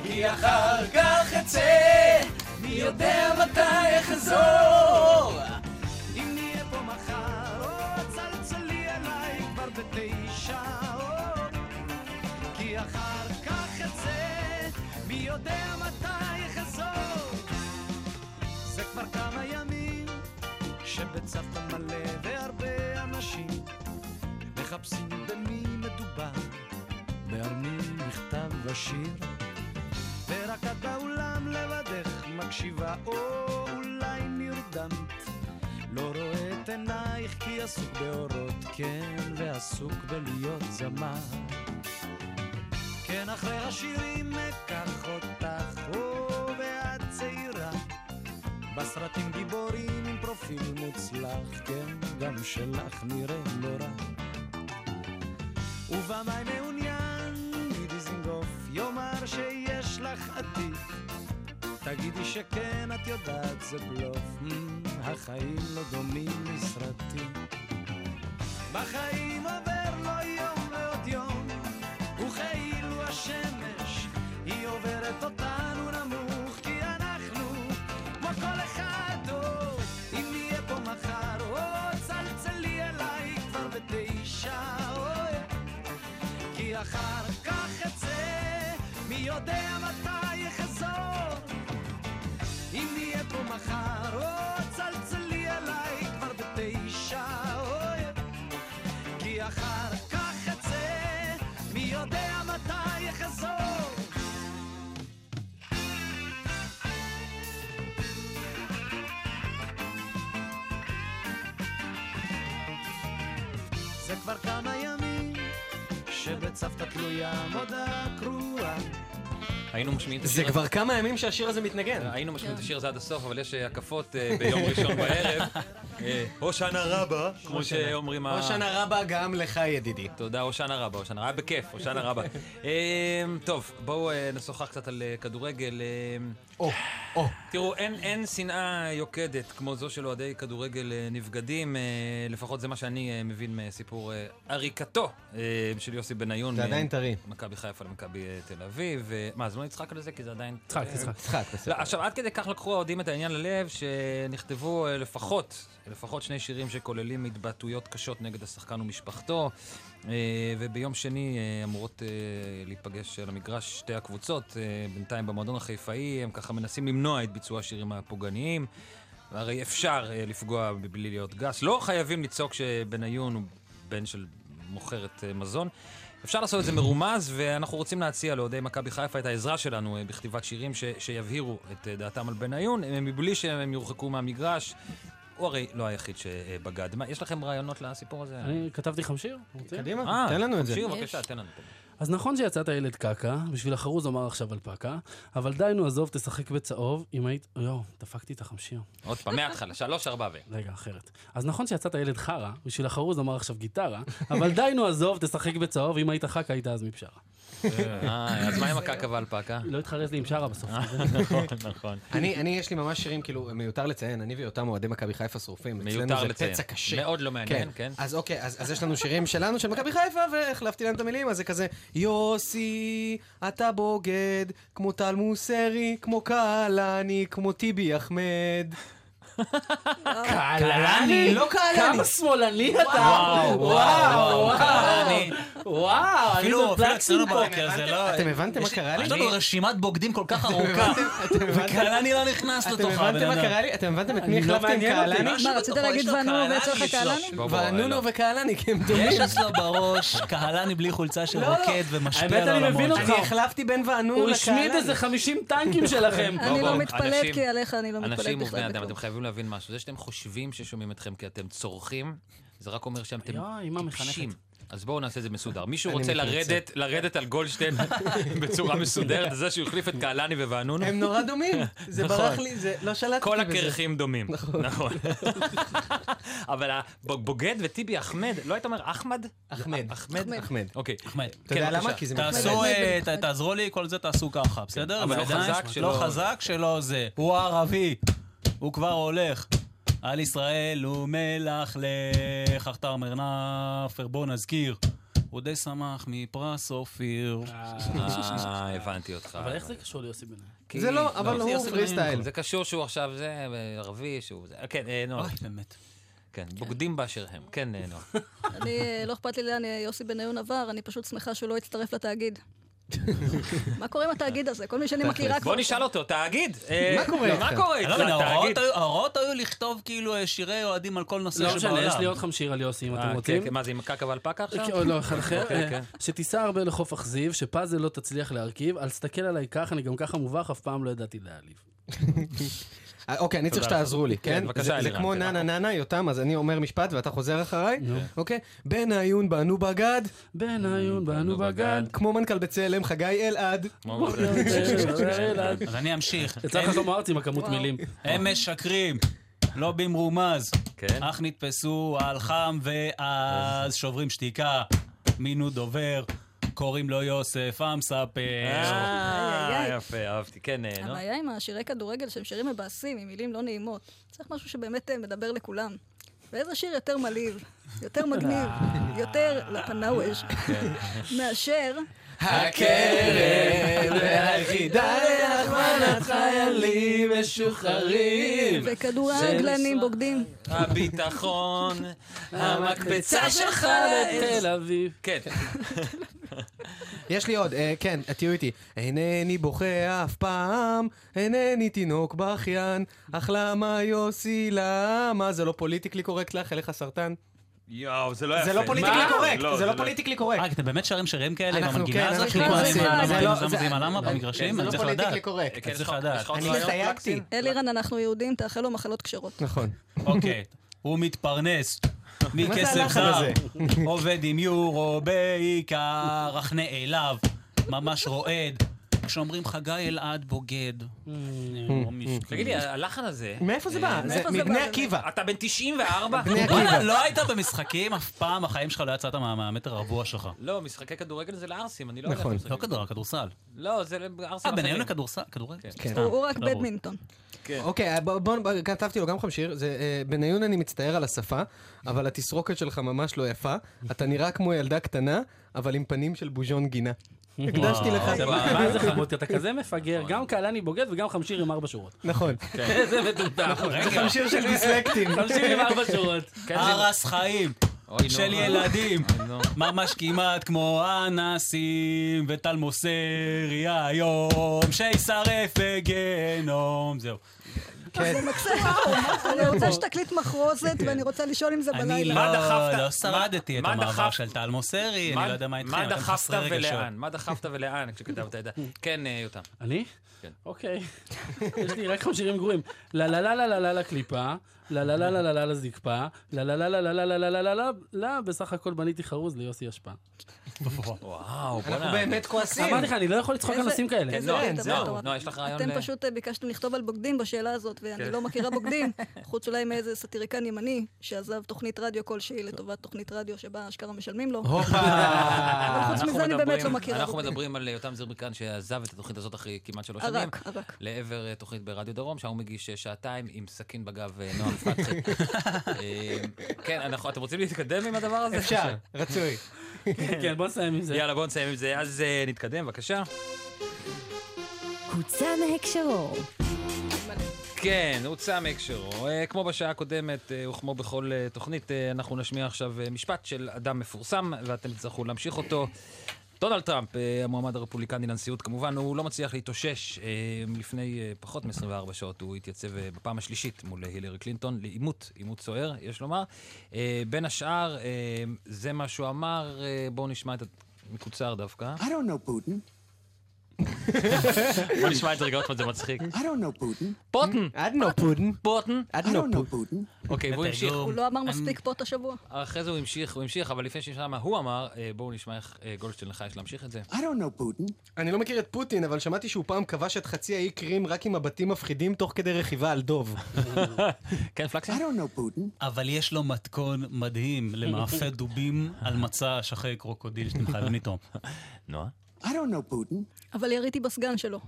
L: כי אחר כך אצא, מי יודע מתי אחזור. אם נהיה פה מחר, או צלצלי אליי כבר בתשע, או כי אחר כך אצא, מי יודע מתי אחזור. זה כבר כמה ימים שבצוותא מלא והרבה אנשים מחפשים במי מדובר, ועל מי נכתב השיר. ורק את באולם לבדך מקשיבה, או אולי נרדמת. לא רואה את עינייך כי עסוק באורות, כן, ועסוק בלהיות זמר. כן, אחרי השירים אקח אותך, או ואת צעירה. בסרטים גיבורים עם פרופיל מוצלח, כן, גם שלך נראה לא רע. ובמאי מעוניין מדיזנגוף יאמר שיש לך עתיד. תגידי שכן, את יודעת זה בלוף, מ, החיים לא דומים לסרטים. בחיים עובר לא לו יום ועוד יום, וכאילו השמש היא עוברת אותנו נמוך, כי אנחנו כמו כל אחד, או אם יהיה פה מחר, או צלצלי אליי כבר בתשע. מחר, קח את זה, מי יודע מתי יחזור. אם נהיה פה מחר, או צלצלי אליי כבר בתשע, אוי. כי אחר כך את זה, מי יודע מתי יחזור. זה כבר כמה ימים שבצוותא תלויה מודה קרועה
B: היינו משמיעים את
H: זה
B: השיר הזה.
H: כבר כמה ימים שהשיר הזה מתנגן.
B: היינו משמיעים את השיר הזה עד הסוף, אבל יש אה, הקפות אה, ביום ראשון בערב. אה, הושענא רבה, כמו שאומרים ה...
H: הושענא רבה גם לך, ידידי.
B: תודה, הושענא רבה, הושענא רבה. היה בכיף, הושענא רבה. אה, טוב, בואו אה, נשוחח קצת על אה, כדורגל.
H: או, או.
B: תראו, אין- אין שנאה יוקדת כמו זו של אוהדי כדורגל אה, נבגדים, אה, לפחות זה מה שאני אה, מבין מסיפור אה, עריקתו אה, של יוסי בניון.
H: זה
B: אה,
H: עדיין טרי.
B: מכבי חיפה למכבי אה, תל אביב. אה, מה, אז לא נצחק על זה? כי זה עדיין...
F: צחק,
B: אה,
F: צחק.
H: (laughs) צחק,
B: לא, עכשיו, עד כדי כך לקחו האוהדים את העניין ללב, שנכתבו אה, לפחות, לפחות שני שירים שכוללים התבטאויות קשות נגד השחקן ומשפחתו, אה, וביום שני אה, אמורות אה, להיפגש על המגרש שתי הקבוצות. אה, בינתיים במועדון החיפאי הם ככה מנסים למנוע את ביצוע השירים הפוגעניים. והרי אפשר אה, לפגוע בלי להיות גס. לא חייבים לצעוק שבניון הוא בן של מוכרת אה, מזון. אפשר לעשות את זה מרומז, ואנחנו רוצים להציע לאוהדי מכבי חיפה את העזרה שלנו אה, בכתיבת שירים ש- שיבהירו את אה, דעתם על בניון, אה, מבלי שהם יורחקו מהמגרש. הוא הרי לא היחיד שבגד. מה, יש לכם רעיונות לסיפור הזה?
F: אני כתבתי לך שיר? רוצה?
B: כן. אה,
F: תן לנו את זה.
B: שיר,
F: יש.
B: בבקשה, תן לנו. תן לנו.
F: אז נכון שיצאת ילד קקה, בשביל החרוז אמר עכשיו אלפקה, אבל די נו עזוב, תשחק בצהוב, אם היית... יואו, דפקתי את החמשיר.
B: עוד פעם, מההתחלה, שלוש, ארבע ו...
F: רגע, אחרת. אז נכון שיצאת ילד חרא, בשביל החרוז אמר עכשיו
B: (laughs)
F: גיטרה, אבל די נו עזוב, תשחק בצהוב, אם היית חכה היית אז מבשארה.
B: אה, אז מה עם הקקה והלפקה?
F: לא התחרז לי עם שרה בסוף.
B: (laughs) נכון, נכון.
H: אני, אני, יש לי ממש שירים, כאילו, מיותר לציין, אני ואותם אוהדי מכבי חיפה שרופים. אצלנו
B: מיותר
H: זה
B: לציין.
H: פצע קשה.
B: מאוד לא מעניין, כן.
H: אז אוקיי, אז, אז יש לנו שירים שלנו, של מכבי חיפה, והחלפתי להם את המילים, אז זה כזה, יוסי, אתה בוגד, כמו טל מוסרי, כמו קהלני, כמו טיבי אחמד. קהלני? לא קהלני.
F: כמה שמאלני אתה!
H: וואו, וואו,
F: וואו,
H: קהלני.
F: וואו, אני
E: אפילו אפילו
F: בפלקסים
E: אצלנו
F: פה.
E: בבוקר זה לא...
H: אתם הבנתם מה קרה לי?
E: יש לנו
H: אני-
E: רשימת בוגדים כל כך ארוכה, וקהלני לא נכנס
H: אתם
E: לתוכה.
H: הבנתם
E: הבן
H: מה
E: אדם.
H: קרה לי? אתם הבנתם את
E: אני
H: מי
E: לא
H: החלפתי עם
E: מעניין אותי.
H: קהלני?
E: משהו
D: מה, רצית
E: בתוכו,
D: להגיד
E: יש לו
D: ואנונו
E: קהלני לא,
D: ואצלך
E: אצלו.
D: קהלני?
E: בוא, בוא,
H: ואנונו
E: אלו.
H: וקהלני, כי הם דומים.
E: יש אצלו בראש קהלני בלי חולצה של
H: לא, לא.
E: רוקד ומשפיע על
H: האמת,
E: העולמות.
H: אני מבין אותך. אני החלפתי בין ואנונו
F: הוא השמיד איזה 50 טנקים שלכם.
D: אני
B: בוא,
D: לא
B: בוא,
D: מתפלאת,
B: אנשים-
D: כי עליך אני לא מתפלאת
B: אנשים ובני
D: בכלל.
B: אדם, אתם חייבים להבין משהו. זה שאתם חושבים ששומעים אתכם כי אתם צורכים, זה רק אומר שאתם
F: יואי, אמא מחנכת.
B: טיפשים. אז בואו נעשה את זה מסודר. מישהו
F: אני
B: רוצה
F: מתנצל.
B: לרדת, לרדת על גולדשטיין בצורה מסודרת, זה שהוא החליף את קהלני וואנונו?
H: הם נורא דומים. זה
B: נכון.
H: ברח לי, זה לא שלטתי בזה.
B: כל הקרחים דומים. נכון. (laughs) אבל הבוגד וטיבי אחמד, לא היית אומר אחמד?
H: אחמד.
B: אחמד?
H: אחמד.
B: אוקיי.
E: אחמד.
B: כן, בבקשה.
E: תעשו, אה, ת- תעזרו לי, כל זה תעשו ככה, בסדר?
B: אבל לא
E: ועדיין-
B: חזק שלא-
E: לא חזק שלא זה. הוא ערבי, הוא כבר הולך. על ישראל הוא מלכלך, אך תמר נאפר, בוא נזכיר. הוא די שמח מפרס אופיר.
B: אה, הבנתי אותך.
F: אבל איך זה קשור ליוסי בן
B: כי-
H: זה לא, אבל הוא
B: יוסי
H: פרי סטייל.
B: בניון. זה קשור שהוא עכשיו זה, אה, ערבי, שהוא זה. אה, כן, אה, נועה.
E: אוי, באמת.
B: כן, בוגדים באשר הם. כן, אה,
E: (laughs)
B: נועה.
D: אני, אה, לא אכפת לי לאן אה, יוסי בניון עבר, אני פשוט שמחה שהוא לא הצטרף
B: (laughs)
D: לתאגיד. מה קורה עם התאגיד הזה? כל מי שאני מכירה כבר...
B: בוא נשאל אותו, תאגיד. אה, מה קורה
E: אני
B: איתך?
E: לא מבין, ההוראות
B: תאגיד.
E: היו- ההוראות היו לכתוב כאילו אה, שירי אוהדים על כל
F: לא
E: נושא שבעולם.
F: משנה, יש לי עוד חמשיר על יוסי, אם
B: אה,
F: אתם
B: כן,
F: רוצים.
B: כן, מה זה, עם קקה והלפקה עכשיו?
F: כן, עוד לא, אחד אחר.
B: אוקיי,
F: אה,
B: כן.
F: שתיסע הרבה לחוף אכזיב, שפאזל לא תצליח להרכיב, אל תסתכל עליי כך, אני גם ככה מובך, אף פעם לא ידעתי להעליב.
H: אה, אוקיי, אני צריך
F: תודה.
H: שתעזרו לי, כן?
F: כן, בבקשה,
H: זה- זה
F: אלירן,
H: כמו
F: כן.
H: ננה ננה, יותם, אז אני אומר משפט ואתה חוזר אחריי? אוקיי. בן עיון בנו בגד.
F: בן עיון בנו בגד.
H: כמו מנכ"ל בצלם, חגי אלעד. לא,
E: (laughs) אז אני אמשיך.
F: יצא לך שלמה ארצי עם הכמות
E: וואו.
F: מילים.
E: הם משקרים, לא במרומז.
H: כן.
E: אך נתפסו על חם ואז שוברים שתיקה. מינו דובר, קוראים לו יוסף
H: אה,
E: אמספר.
D: איי,
B: אה,
D: איי.
B: יפה, אהבתי. כן, אה,
E: לא?
B: נועה.
D: הבעיה עם השירי כדורגל שהם שירים מבאסים, עם מילים לא נעימות. צריך משהו שבאמת אה, מדבר לכולם. ואיזה שיר יותר
L: כן.
D: מלהיב, יותר מגניב, יותר לפנאווז' מאשר
J: הקרן
L: והיחידה
J: להכוונת חיילים
L: משוחררים.
D: וכדורגלנים בוגדים.
E: (laughs)
B: הביטחון, המקפצה שלך לתל
F: אביב.
B: כן.
F: (laughs)
H: יש לי עוד, אה, כן, תהיו איתי. אינני בוכה אף פעם, אינני תינוק בכיין, אך למה יוסי למה? זה לא פוליטיקלי קורקט לך, אין לך סרטן?
B: יואו, זה לא
H: זה
B: יפה.
H: לא פוליטיקלי
B: מה?
H: קורקט,
B: לא,
H: זה לא פוליטיקלי קורקט.
E: אה, אתם באמת שרים שירים כאלה עם
H: אנחנו,
E: המנגינה
H: כן,
E: הזאת?
H: אנחנו
E: כאילו,
H: לא
E: למה
H: עושים,
E: למה,
H: זה
E: למה,
H: לא-
E: למה,
H: זה-
E: למה, למה
H: כן,
E: במגרשים?
H: זה
E: אני
H: לא
E: צריך
H: פוליטיקלי
E: לדעת.
H: קורקט.
E: אני לא כן.
H: כן,
E: צריך
H: יש לך-
E: לדעת.
H: יש לך עוד אני רעיון, הסתייגתי. פלקסין?
D: אלירן, אנחנו יהודים, תאכלו מחלות כשרות.
H: נכון.
E: אוקיי, הוא מתפרנס.
H: מה זה
E: מכסף
H: הלחן
E: זר,
H: הזה?
E: עובד עם יורו בעיקר, אך נעלב, ממש רועד. כשאומרים חגי אלעד בוגד. או מסכן.
B: תגיד לי, הלחן הזה...
E: מאיפה זה בא?
B: אה,
E: זה
B: מאיפה
E: מבני
B: בא?
E: עקיבא.
B: אתה בן 94?
E: וואלה, לא היית במשחקים אף פעם, החיים שלך לא יצאת מה- מהמטר הרבוע שלך.
B: לא, משחקי כדורגל זה לערסים, אני לא הולך
E: נכון.
B: לשחק.
E: לא כדור, כדורסל.
B: לא, זה
E: אה,
B: לערסים
E: בניון לכדורסל? כדורגל? סתם. לא ברור.
B: כן.
H: אוקיי, בוא, בוא, בוא, כתבתי לו גם חם שיר, זה, אה, בניון אני מצטער על השפה, אבל התסרוקת שלך ממש לא יפה, אתה נראה כמו ילדה קטנה, אבל עם פנים של בוז'ון גינה. הקדשתי לך.
F: זה מה זה חמוד, אתה כזה מפגר, גם קהלני בוגד וגם חמשיר עם ארבע שורות.
H: נכון.
B: אוקיי. (laughs)
F: זה מטומטם.
H: זה חמשיר של דיסלקטים.
F: (laughs) חמשיר עם ארבע שורות.
E: הרס חיים
F: כן, אוי,
E: של
F: נו. (laughs)
E: ילדים, ממש כמעט כמו אנסים וטל מוסרי היום, שישרף בגיהנום, זהו. כן.
B: כן.
D: זה מקסים. וואו, (laughs) אני רוצה שתקליט מחרוזת, ואני רוצה לשאול אם זה בלילה.
E: אני
B: מה
E: לא
B: דחפת?
E: לא שרדתי את
B: מה- מה
E: המעבר
B: דחפת?
E: של טל מוסרי, אני לא יודע מה איתכם,
B: מה
E: אתם
B: דחפת
E: חסרי רגשות.
B: ולאן? מה דחפת ולאן כשכתבת
E: (laughs)
B: את זה? כן, אה, יותם.
F: אני?
B: כן.
F: אוקיי. יש לי רק חמשירים גרועים. לה לה לה לה לה לה לקליפה, לה לה לה לה לה לה לזקפה, לה לה לה לה לה לה לה לה לה לה לה לה בסך הכל בניתי חרוז ליוסי אשפה.
B: וואו,
H: אנחנו בוא'נה. באמת כועסים.
F: אה, אמרתי לך, אני לא יכול לצחוק על לא,
D: איזה-
F: נושאים כאלה.
D: איזה
B: נועה,
D: קטע,
B: נועה,
D: מטורף.
B: נועה, יש לך רעיון ל-
D: אתם פשוט אה, ביקשתם לכתוב על בוגדים בשאלה הזאת, ואני
B: כן.
D: לא מכירה בוגדים, חוץ אולי מאיזה סטיריקן ימני, שעזב תוכנית רדיו כלשהי לטובת תוכנית רדיו שבה אשכרה משלמים לו. אבל חוץ
B: אה, אנחנו
D: מזה אני באמת לא
B: מדברים-
D: מכירה
B: אנחנו
D: בוגדים.
B: מדברים על יותם זרביקן שעזב את התוכנית הזאת אחרי כמעט שלוש
D: ערק,
B: שנים.
D: ערק.
B: לעבר אה, תוכנית ברדיו דרום, שם הוא מגיש אה, שעתיים עם סכין בגב אה,
D: (laughs)
B: נועם פתחי. אה, כן, אנחנו- אתם רוצים להתקדם עם הדבר הזה?
H: אפשר, רצוי.
F: כן, בוא נסיים עם זה.
B: יאללה, בוא נסיים עם זה. אז אה, נתקדם, בבקשה.
M: הוצא מהקשרו.
B: כן, הוצא מהקשרו. אה, כמו בשעה הקודמת, אה, וכמו בכל אה, תוכנית, אה, אנחנו נשמיע עכשיו אה, משפט של אדם מפורסם, ואתם תצטרכו להמשיך אותו. דונלד טראמפ, אה, המועמד הרפובליקני לנשיאות כמובן, הוא לא מצליח להתאושש. אה, לפני אה, פחות מ-24 שעות הוא התייצב אה, בפעם השלישית מול הילרי קלינטון לעימות, עימות סוער, יש לומר. אה, בין השאר, אה, זה מה שהוא אמר, אה, בואו נשמע את ה... מקוצר (laughs) דווקא.
N: I don't know Putin.
B: בואו נשמע את זה רגע עוד פעם, זה מצחיק.
N: I don't know Putin.
B: פוטן!
H: I don't know Putin.
B: פוטן!
N: I don't know Putin.
B: אוקיי, והוא המשיך.
D: הוא לא אמר מספיק פוט השבוע.
B: אחרי זה הוא המשיך, הוא המשיך, אבל לפני שנשמע מה הוא אמר, אה, בואו נשמע איך אה, גולדשטיין לך יש להמשיך את זה.
H: I don't know Putin. אני לא מכיר את פוטין, אבל שמעתי שהוא פעם כבש את חצי האי קרים רק עם הבתים מפחידים תוך כדי רכיבה על
F: (laughs)
H: דוב.
B: כן, פלקסי?
H: I don't know Putin.
E: (laughs) אבל יש לו מתכון מדהים למאפה דובים על מצע שחי קרוקודיל שאתם חייבים לטעום.
B: נועה?
N: I don't know Putin.
D: אבל יריתי בסגן שלו.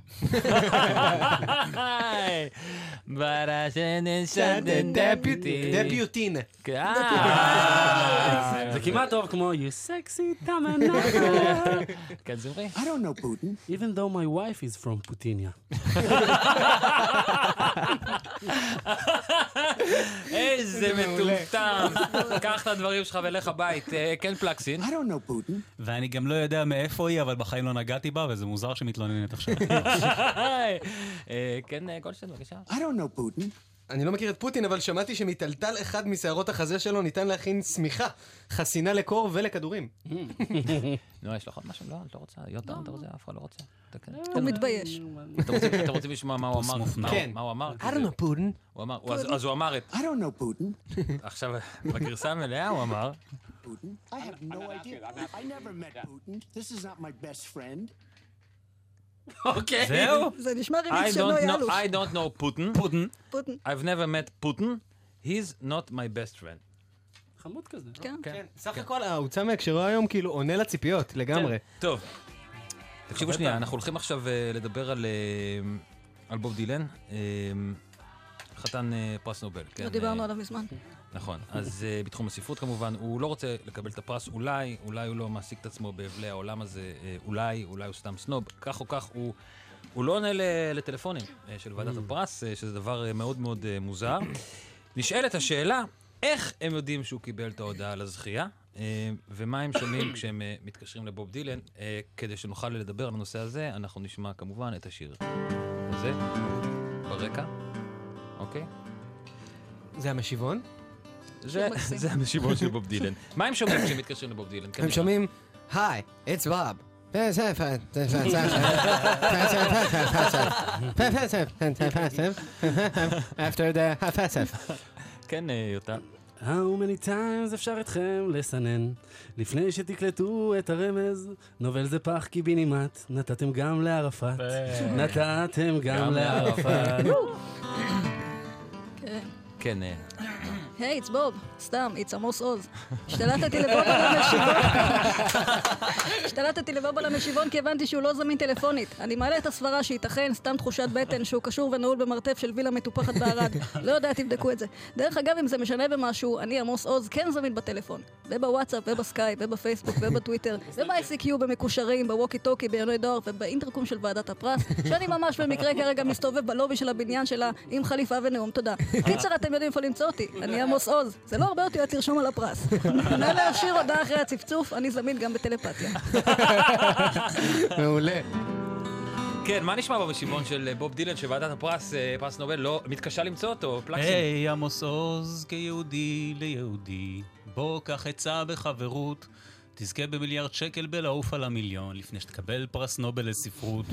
H: דפיוטין.
F: כן. אה, זה כמעט טוב כמו You sexy תמנה.
B: כן, זמרי.
N: I don't know Putin.
F: Even though my wife is from פוטיניה.
B: איזה
E: מעולה.
B: מטומטם. (laughs) קח את הדברים שלך ולך הבית. אה, כן,
E: (laughs)
B: פלקסין.
N: I don't know Putin.
E: ואני גם לא יודע מאיפה היא, אבל בחיים לא נגעתי בה, וזה מוזר שמתלוננת עכשיו.
B: אה, כן, אה, גולדשטיין, בבקשה.
H: I don't know Putin. אני לא מכיר את פוטין, אבל שמעתי שמטלטל אחד משערות החזה שלו ניתן להכין שמיכה, חסינה לקור ולכדורים.
B: Mm. נועה, יש לך עוד משהו? לא, את לא רוצה. יותם, אתה רוצה? אף אחד לא רוצה. אתה כן.
D: הוא מתבייש.
B: אתם רוצים- אתם רוצים לשמוע מה הוא
H: פוס
B: אמר?
H: מופנם.
B: מה הוא-
H: כן.
B: מה הוא אמר?
H: I don't know Putin.
B: הוא אמר, הוא- אז- אז הוא אמר את...
N: I don't know Putin.
B: עכשיו, (laughs) בגרסה המלאה הוא אמר,
N: I have no idea. I never met Putin. This is not my best friend.
B: אוקיי. זהו?
D: זה נשמע
B: I
D: רימיקס של
B: don't
D: נוי
B: know,
D: אלוש.
B: I don't know Putin. Putin.
D: פוטן.
B: I've never met Putin. He's not my best friend.
F: (laughs) חמוד כזה. לא?
B: כן.
H: סך הכל ההוצאה מהקשרו היום כאילו עונה לציפיות לגמרי.
B: טוב. תקשיבו שנייה, אנחנו הולכים עכשיו אה, לדבר על אה, על בוב דילן, אה, חתן אה, פרס נובל. כן,
D: לא דיברנו
B: אה,
D: עליו מזמן.
B: נכון, אז אה, בתחום הספרות כמובן, הוא לא רוצה לקבל את הפרס, אולי, אולי הוא לא מעסיק את עצמו באבלי העולם הזה, אה, אולי, אולי הוא סתם סנוב, כך או כך הוא... הוא לא עונה ל- לטלפונים אה, של ועדת
O: Mm.
B: הפרס, אה, שזה דבר אה, מאוד מאוד אה, מוזר. (clears throat) נשאלת השאלה, איך הם יודעים שהוא קיבל את ההודעה על הזכייה, אה, ומה הם שומעים כשהם אה, מתקשרים לבוב דילן. אה, כדי שנוכל לדבר על הנושא הזה, אנחנו נשמע כמובן את השיר הזה, ברקע, אוקיי?
H: זה המשיבון?
B: זה, (laughs) זה המשיבון של בוב דילן. מה הם שומעים כשהם מתקשרים לבוב דילן? כן,
H: הם שומעים, היי, it's
B: (laughs)
H: Bob. After the הפסף.
B: כן, אה, יוטה.
F: How many times אפשר אתכם לסנן? לפני שתקלטו את הרמז, נובל זה פח קיבינימט, נתתם גם לערפאת. נתתם גם
B: גם
F: לערפאת.
B: לערפאת.
D: כן.
B: כן, אה,
D: היי, it's בוב. סתם, it's עמוס עוז. השתלטתי לבוב על המשיבון. השתלטתי לבוב על המשיבון כי הבנתי שהוא לא זמין טלפונית. אני מעלה את הסברה שייתכן, סתם תחושת בטן, שהוא קשור ונעול במרתף של וילה מטופחת בערד. לא יודע, תבדקו את זה. דרך אגב, אם זה משנה במשהו, אני, עמוס עוז, כן זמין בטלפון. ובוואטסאפ, ובסקייפ, ובפייסבוק, ובטוויטר, וב-ICQ, במקושרים, בווקי טוקי, בעיוני דואר, ובאינטרקום של ועדת הפרס, שאני ממש במקרה כרגע מסתובב בלובי של הבניין שלה עם חליפה ונאום תודה. קיצר, אתם יודעים איפה למצוא אותי. אני עמוס עוז. זה לא הרבה אותיות לרשום על הפרס. נא להשאיר הודעה אחרי הצפצוף, אני זמין גם בטלפתיה.
H: מעולה.
B: כן, מה נשמע במשיבון של אה, בוב דילן, שוועדת הפרס, אה, פרס נובל, לא מתקשה למצוא אותו, פלקסים.
E: היי, עמוס עוז, כיהודי ליהודי, בוא קח עצה בחברות. תזכה במיליארד שקל בלעוף על המיליון, לפני שתקבל פרס נובל לספרות.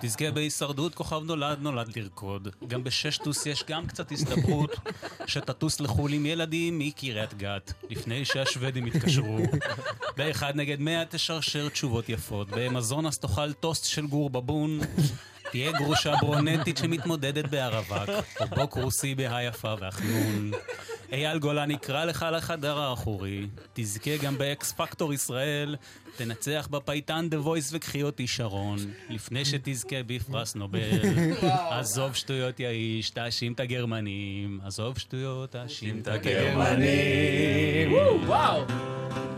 E: תזכה בהישרדות, כוכב נולד, נולד לרקוד. גם בששטוס יש גם קצת הסתברות שתטוס לחו"ל עם ילדים מקריית גת, לפני שהשוודים יתקשרו. באחד נגד מאה תשרשר תשובות יפות. באמזון אז תאכל טוסט של גור בבון. תהיה גרושה ברונטית שמתמודדת בהרווק, או בוק רוסי בהיפה והחנון. אייל גולן יקרא לך לחדר האחורי, תזכה גם באקס פקטור ישראל, תנצח בפייטן דה וויס וקחי אותי שרון, לפני שתזכה בפרס נובל.
J: וואו.
E: עזוב שטויות יא איש, תאשים את הגרמנים, עזוב שטויות, תאשים את
J: הגרמנים.
E: הגרמנים.
D: וואו!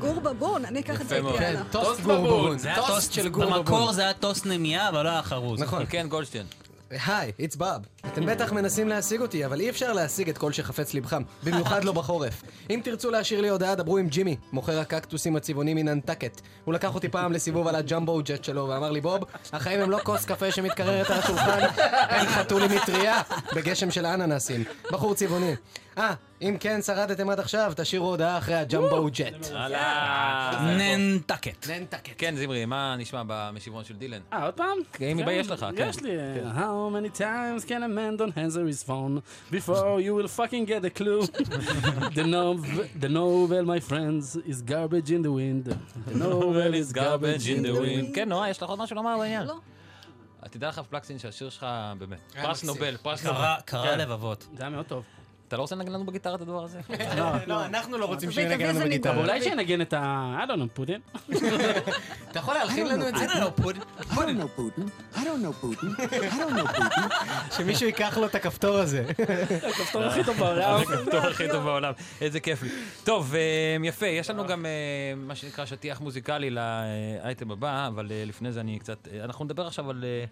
D: גור בבון, אני אקח את זה איתי הלאה.
E: זה היה כן, טוסט של גור בבון. במקור זה היה טוסט נמייה, אבל לא היה חרוז.
H: נכון.
B: כן, גולדשטיין.
H: היי, it's Bob. אתם בטח מנסים להשיג אותי, אבל אי אפשר להשיג את כל שחפץ לבכם, במיוחד לא בחורף. אם תרצו להשאיר לי הודעה, דברו עם ג'ימי, מוכר הקקטוסים הצבעוני מננטקט. הוא לקח אותי פעם לסיבוב על הג'מבו ג'ט שלו, ואמר לי, בוב, החיים הם לא כוס קפה שמתקררת על השולחן, הם חתול עם מטריה, בגשם של אננסים. בחור צבעוני. אה, אם כן שרדתם עד עכשיו, תשאירו הודעה אחרי הג'מבו ג'ט.
B: הלאה.
E: ננטקט.
H: ננטקט.
B: כן, זמרי, מה נשמע במשיבון של דילן?
F: אה, עוד פעם?
B: כן, אם יש לך, כן.
F: יש לי. אה, How many times can a man don't answer his phone before you will fucking get a clue? the, novel, the novel, my friends, is garbage in the wind. The novel is garbage in the wind.
B: כן, נועה, יש לך עוד משהו לומר בעניין? לא. תדע לך, פלקסין, שהשיר שלך באמת,
F: היה
B: פרס
F: מקסים.
B: נובל, פרס
F: קרה-
B: נובל.
F: קרה
B: כן.
E: לבבות.
F: זה היה מאוד טוב.
B: אתה לא רוצה לנגן לנו בגיטרה את הדבר הזה?
F: לא,
H: אנחנו לא רוצים
F: תביא,
H: שינגן
F: תביא
H: לנו
F: איזה
H: בגיטרה.
F: ניגון. אולי שינגן את ה... I don't know, פודין.
H: אתה יכול להלחין לנו את זה? לא,
P: I don't know Putin. I don't know Putin. I don't know Putin.
H: שמישהו ייקח לו את הכפתור הזה.
F: הכפתור
B: הכי טוב בעולם. (laughs) הכפתור הכי טוב בעולם, איזה כיף לי. טוב, אה, יפה, יש לנו גם אה, מה שנקרא שטיח מוזיקלי לאייטם הבא, אבל אה, לפני זה אני קצת... אה, אנחנו נדבר עכשיו על... אה,